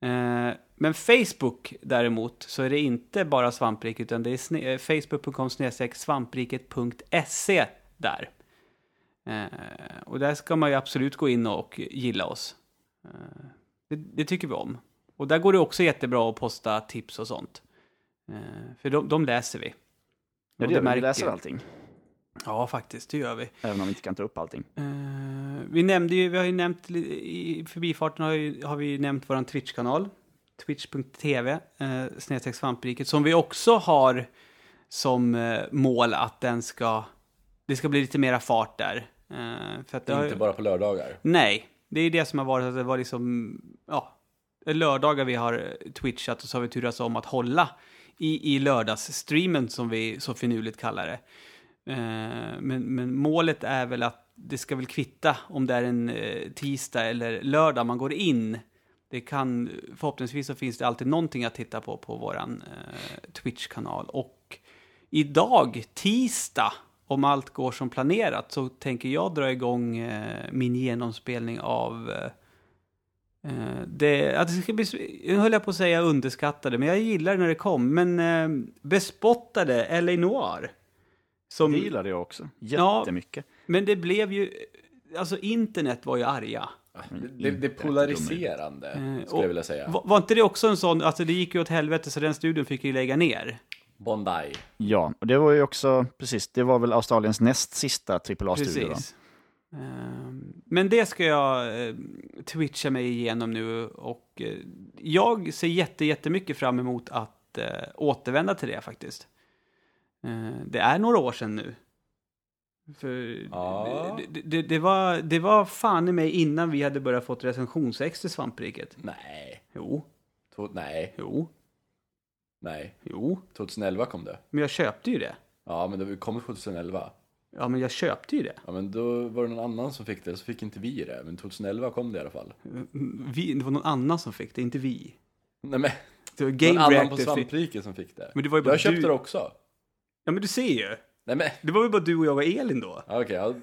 [SPEAKER 2] Eh, Men Facebook däremot, så är det inte bara svampriket, utan det är sne- eh, facebook.com snedstreck svampriket.se där. Eh, Och där ska man ju absolut gå in och gilla oss. Eh, Det, det tycker vi om. Och där går det också jättebra att posta tips och sånt. Eh, För de, de läser vi.
[SPEAKER 3] Ja,
[SPEAKER 2] Och
[SPEAKER 3] det gör vi. Vi
[SPEAKER 2] märker-
[SPEAKER 3] läser allting,
[SPEAKER 2] Ja, faktiskt, det gör vi.
[SPEAKER 3] även om vi inte kan ta upp allting.
[SPEAKER 2] Eh, vi nämnde ju, vi har ju nämnt, li- i förbifarten har, ju, har vi ju nämnt vår Twitch-kanal. Twitch.tv, eh, snedstreck svampriket, som vi också har som eh, mål att den ska, det ska bli lite mera fart där. Eh, för att det har, ju-
[SPEAKER 4] Inte bara på lördagar.
[SPEAKER 2] Nej, det är ju det som har varit att det var liksom, ja, lördagar vi har eh, twitchat och så har vi turats om att hålla i, i lördagsstreamen som vi så finurligt kallar det. Eh, men, men målet är väl att det ska väl kvitta om det är en eh, tisdag eller lördag man går in. Det kan, förhoppningsvis så finns det alltid någonting att titta på på våran eh, Twitch-kanal. Och idag, tisdag, om allt går som planerat så tänker jag dra igång eh, min genomspelning av... Eh, eh, det, att det ska bli, nu höll jag på att säga underskattade, men jag gillar det när det kom. Men eh, bespottade L.A. Noir. Som,
[SPEAKER 3] Det gillade jag också,
[SPEAKER 2] Ja.
[SPEAKER 3] jättemycket.
[SPEAKER 2] men det blev ju... Alltså internet var ju arga.
[SPEAKER 4] Det, det är polariserande,
[SPEAKER 2] Eh,
[SPEAKER 4] skulle jag
[SPEAKER 2] och-
[SPEAKER 4] vilja säga.
[SPEAKER 2] Var, var inte det också en sån... Alltså det gick ju åt helvete så den studion fick ju lägga ner.
[SPEAKER 4] Bondi.
[SPEAKER 3] Ja, och det var ju också, precis, det var väl Australiens näst sista AAA-studio.
[SPEAKER 2] Precis. Ehm, Men det ska jag eh, twitcha mig igenom nu och eh, jag ser jätte, jättemycket fram emot att eh, återvända till det faktiskt. Eh, Det är några år sedan nu. För
[SPEAKER 4] Ja.
[SPEAKER 2] det- det, det, det, var, det var fan i mig innan vi hade börjat fått recensionsex till svampriket.
[SPEAKER 4] Nej.
[SPEAKER 2] Jo,
[SPEAKER 4] To- nej.
[SPEAKER 2] jo,
[SPEAKER 4] Nej.
[SPEAKER 2] jo.
[SPEAKER 4] 2011 kom det.
[SPEAKER 2] Men jag köpte ju det.
[SPEAKER 4] Ja, men det kom 2011.
[SPEAKER 2] Ja, men jag köpte ju det.
[SPEAKER 4] Ja, men då var det någon annan som fick det, så fick inte vi det. Men 2011 kom det i alla fall.
[SPEAKER 2] Vi, det var någon annan som fick det, inte vi.
[SPEAKER 4] Nej, men
[SPEAKER 2] Det var
[SPEAKER 4] någon
[SPEAKER 2] Game
[SPEAKER 4] annan på
[SPEAKER 2] Reactor. fick-
[SPEAKER 4] svampriket som fick det.
[SPEAKER 2] Men det var ju bara
[SPEAKER 4] jag köpte
[SPEAKER 2] du-
[SPEAKER 4] det också.
[SPEAKER 2] Ja, men du ser ju.
[SPEAKER 4] Nej, men
[SPEAKER 2] Det var väl bara du och jag och Elin då?
[SPEAKER 4] Ja, Okej, okay,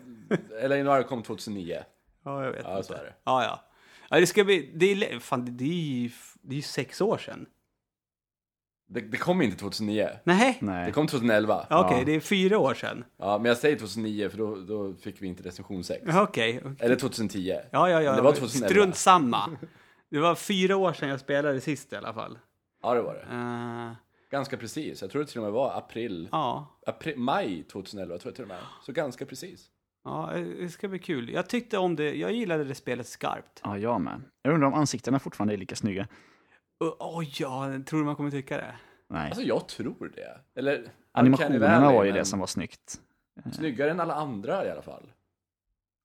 [SPEAKER 4] eller Noir kom 2009.
[SPEAKER 2] Ja, jag vet
[SPEAKER 4] Ja,
[SPEAKER 2] inte.
[SPEAKER 4] så är det.
[SPEAKER 2] Ja, ja. ja det ska bli... Det är, le- fan, det- det är ju det är ju sex år sedan.
[SPEAKER 4] det. Det kom inte 2009.
[SPEAKER 2] Nej.
[SPEAKER 4] Det
[SPEAKER 3] Nej,
[SPEAKER 4] kom 2011.
[SPEAKER 2] Ja, Okej,
[SPEAKER 3] Ja.
[SPEAKER 2] det är fyra år sedan.
[SPEAKER 4] Ja, men jag säger 2009 för då, då fick vi inte recension 6.
[SPEAKER 2] Ja, Okej. okej.
[SPEAKER 4] Eller 2010.
[SPEAKER 2] Ja, ja, ja.
[SPEAKER 4] Men det var 2011.
[SPEAKER 2] Strunt samma. Det var fyra år sedan jag spelade sist i alla fall.
[SPEAKER 4] Ja, det var det.
[SPEAKER 2] Eh,
[SPEAKER 4] Ganska precis. Jag tror det till och med var april,
[SPEAKER 2] ja.
[SPEAKER 4] april maj 2011 tror jag till och med. Så ganska precis.
[SPEAKER 2] ja, det ska bli kul. Jag tyckte om det. Jag gillade det spelet skarpt.
[SPEAKER 3] ja, jag med. Jag undrar om ansiktena fortfarande är lika snygga.
[SPEAKER 2] Och- Oj, ja. Tror du man kommer tycka det?
[SPEAKER 3] Nej,
[SPEAKER 4] Alltså jag tror det. Eller Uncanny
[SPEAKER 3] animationerna
[SPEAKER 4] Valley,
[SPEAKER 3] var ju
[SPEAKER 4] men
[SPEAKER 3] det som var snyggt.
[SPEAKER 4] Snyggare än alla andra i alla fall.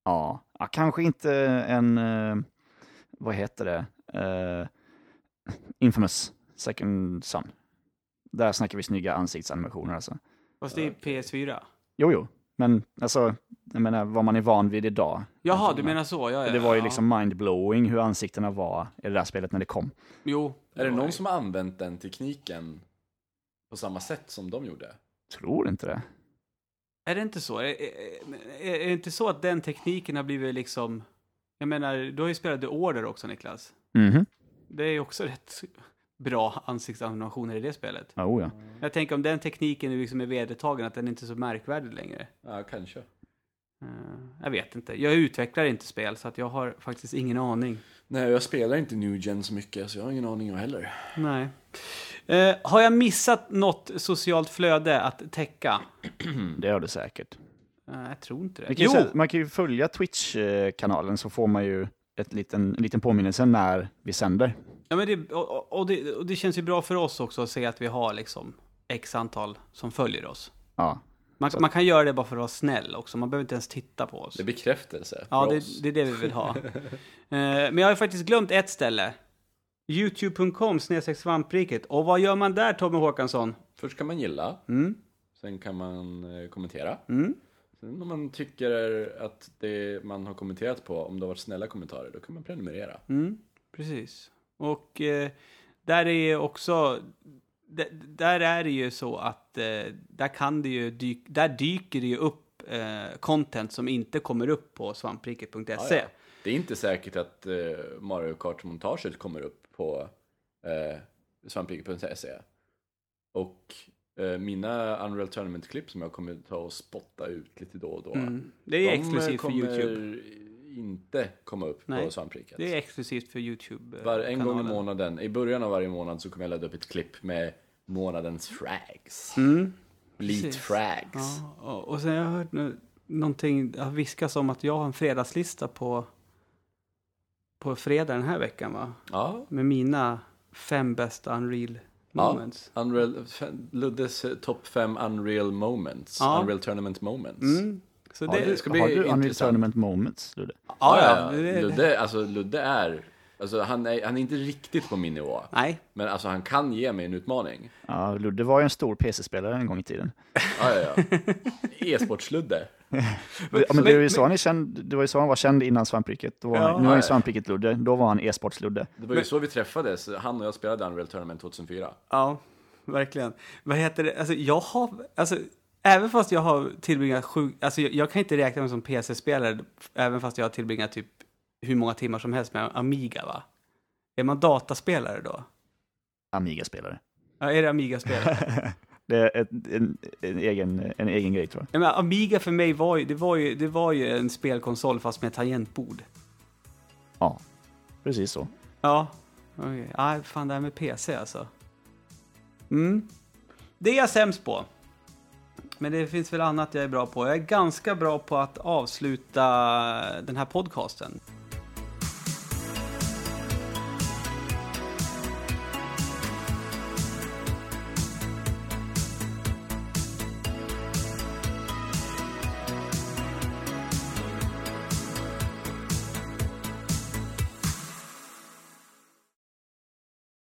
[SPEAKER 3] Ja, ja kanske inte en, eh, vad heter det, Eh, Infamous Second Son. Där snackar vi snygga ansiktsanimationer alltså.
[SPEAKER 2] Fast det är PS4.
[SPEAKER 3] Jo, jo, men alltså, jag menar vad man är van vid idag.
[SPEAKER 2] Jaha, du menar så? Ja, ja,
[SPEAKER 3] Det var ju
[SPEAKER 2] ja.
[SPEAKER 3] liksom mindblowing hur ansiktena var i det där spelet när det kom.
[SPEAKER 2] Jo.
[SPEAKER 4] Är
[SPEAKER 2] var
[SPEAKER 4] det
[SPEAKER 2] ju-
[SPEAKER 4] någon som har använt den tekniken på samma sätt som de gjorde?
[SPEAKER 3] Tror inte det.
[SPEAKER 2] Är det inte så? Är, är, är det inte så att den tekniken har blivit liksom... Jag menar, du har ju spelat The Order också, Niklas.
[SPEAKER 3] Mhm,
[SPEAKER 2] Det är ju också rätt bra ansiktsanimationer i det spelet.
[SPEAKER 3] ja, oh, ja.
[SPEAKER 2] Jag tänker om den tekniken liksom är vedertagen, att den inte är så märkvärdig längre.
[SPEAKER 4] Ja, kanske.
[SPEAKER 2] Eh, jag vet inte. Jag utvecklar inte spel, så att jag har faktiskt ingen aning.
[SPEAKER 4] Nej, jag spelar inte New Gen så mycket så jag har ingen aning jag heller.
[SPEAKER 2] Nej. Eh, har jag missat något socialt flöde att täcka?
[SPEAKER 3] Det gör det säkert.
[SPEAKER 2] Eh, jag tror inte det.
[SPEAKER 3] Man kan, ju, säga- man kan ju följa Twitch-kanalen så får man ju ett liten, en liten påminnelse när vi sänder.
[SPEAKER 2] Ja, men det, och, och, det, och det känns ju bra för oss också att se att vi har liksom x antal som följer oss.
[SPEAKER 3] Ja,
[SPEAKER 2] Man, man kan göra det bara för att vara snäll också, man behöver inte ens titta på oss.
[SPEAKER 4] Det är bekräftelse
[SPEAKER 2] ja,
[SPEAKER 4] för oss.
[SPEAKER 2] det, det är det vi vill ha. Eh, Men jag har ju faktiskt glömt ett ställe. Youtube.com snedstreck svampriket. Och vad gör man där Tommy Håkansson?
[SPEAKER 4] Först kan man gilla,
[SPEAKER 2] Mm.
[SPEAKER 4] sen kan man eh, kommentera.
[SPEAKER 2] Mm.
[SPEAKER 4] Sen om man tycker att det man har kommenterat på, om det har varit snälla kommentarer, då kan man prenumerera.
[SPEAKER 2] Mm, precis. Och eh, där är ju också... d- Där är det ju så att eh, där kan det ju dyk, där dyker det ju upp eh, content som inte kommer upp på svampriket.se.
[SPEAKER 4] Ja, ja. Det är inte säkert att eh, Mario Kart-montaget kommer upp på eh, svampriket.se. Och eh, mina Unreal Tournament-klipp som jag kommer ta och spotta ut lite då och då.
[SPEAKER 2] Mm. Det är
[SPEAKER 4] de
[SPEAKER 2] exklusivt för
[SPEAKER 4] kommer
[SPEAKER 2] Youtube.
[SPEAKER 4] inte komma upp
[SPEAKER 2] Nej,
[SPEAKER 4] på svampriket.
[SPEAKER 2] Det är exklusivt för Youtube. eh,
[SPEAKER 4] Var, en gång i månaden, i början av varje månad så kommer jag ladda upp ett klipp med månadens frags.
[SPEAKER 2] Mm.
[SPEAKER 4] Bleat
[SPEAKER 2] precis.
[SPEAKER 4] frags.
[SPEAKER 2] Ja, och- och sen har jag hört nu, någonting det har viskas om att jag har en fredagslista på, på fredag den här veckan va?
[SPEAKER 4] Ja.
[SPEAKER 2] med mina fem bästa unreal moments.
[SPEAKER 4] Unreal, Luddes eh, topp 5 Unreal moments.
[SPEAKER 2] Ja.
[SPEAKER 4] Unreal Tournament moments.
[SPEAKER 2] Mm. Så
[SPEAKER 4] Ja,
[SPEAKER 2] det,
[SPEAKER 4] det ska bli
[SPEAKER 3] har du Unreal
[SPEAKER 4] intressant.
[SPEAKER 3] Tournament Moments? Ludde?
[SPEAKER 2] ja,
[SPEAKER 4] Ja,
[SPEAKER 2] ja,
[SPEAKER 4] ja.
[SPEAKER 2] det, det,
[SPEAKER 4] Ludde, alltså, Ludde är... Alltså, han, är, han är inte riktigt på min nivå.
[SPEAKER 2] nej,
[SPEAKER 4] Men alltså, han kan ge mig en utmaning.
[SPEAKER 3] Ja, Ludde var ju en stor PC-spelare en gång i tiden.
[SPEAKER 4] Ja, ja, ja. E-sports-Ludde.
[SPEAKER 3] Ja, men det, var ju så han är känd, det var ju så han var känd innan svampriket. Då var,
[SPEAKER 2] Ja.
[SPEAKER 3] han- Nu är han ju svampriket-Ludde, då var han e-sports-Ludde.
[SPEAKER 4] Det var ju så vi träffades. Han och jag spelade Unreal Tournament 2004.
[SPEAKER 2] ja, verkligen. Vad heter det? Alltså, jag har, alltså, Även fast jag har tillbringat sju... Alltså jag, jag kan inte räkna mig som PC-spelare, även fast jag har tillbringat typ hur många timmar som helst med Amiga, va? Är man dataspelare då?
[SPEAKER 3] Amiga-spelare.
[SPEAKER 2] Ja, är det Amiga-spelare?
[SPEAKER 3] det är ett, en, en, egen, en egen grej tror jag.
[SPEAKER 2] Ja, men Amiga för mig var ju, det var, ju, det var ju en spelkonsol fast med tangentbord.
[SPEAKER 3] Ja, precis så.
[SPEAKER 2] Ja, okej. Ah, fan det här med PC alltså. Mm. Det är jag sämst på. Men det finns väl annat jag är bra på. Jag är ganska bra på att avsluta den här podcasten.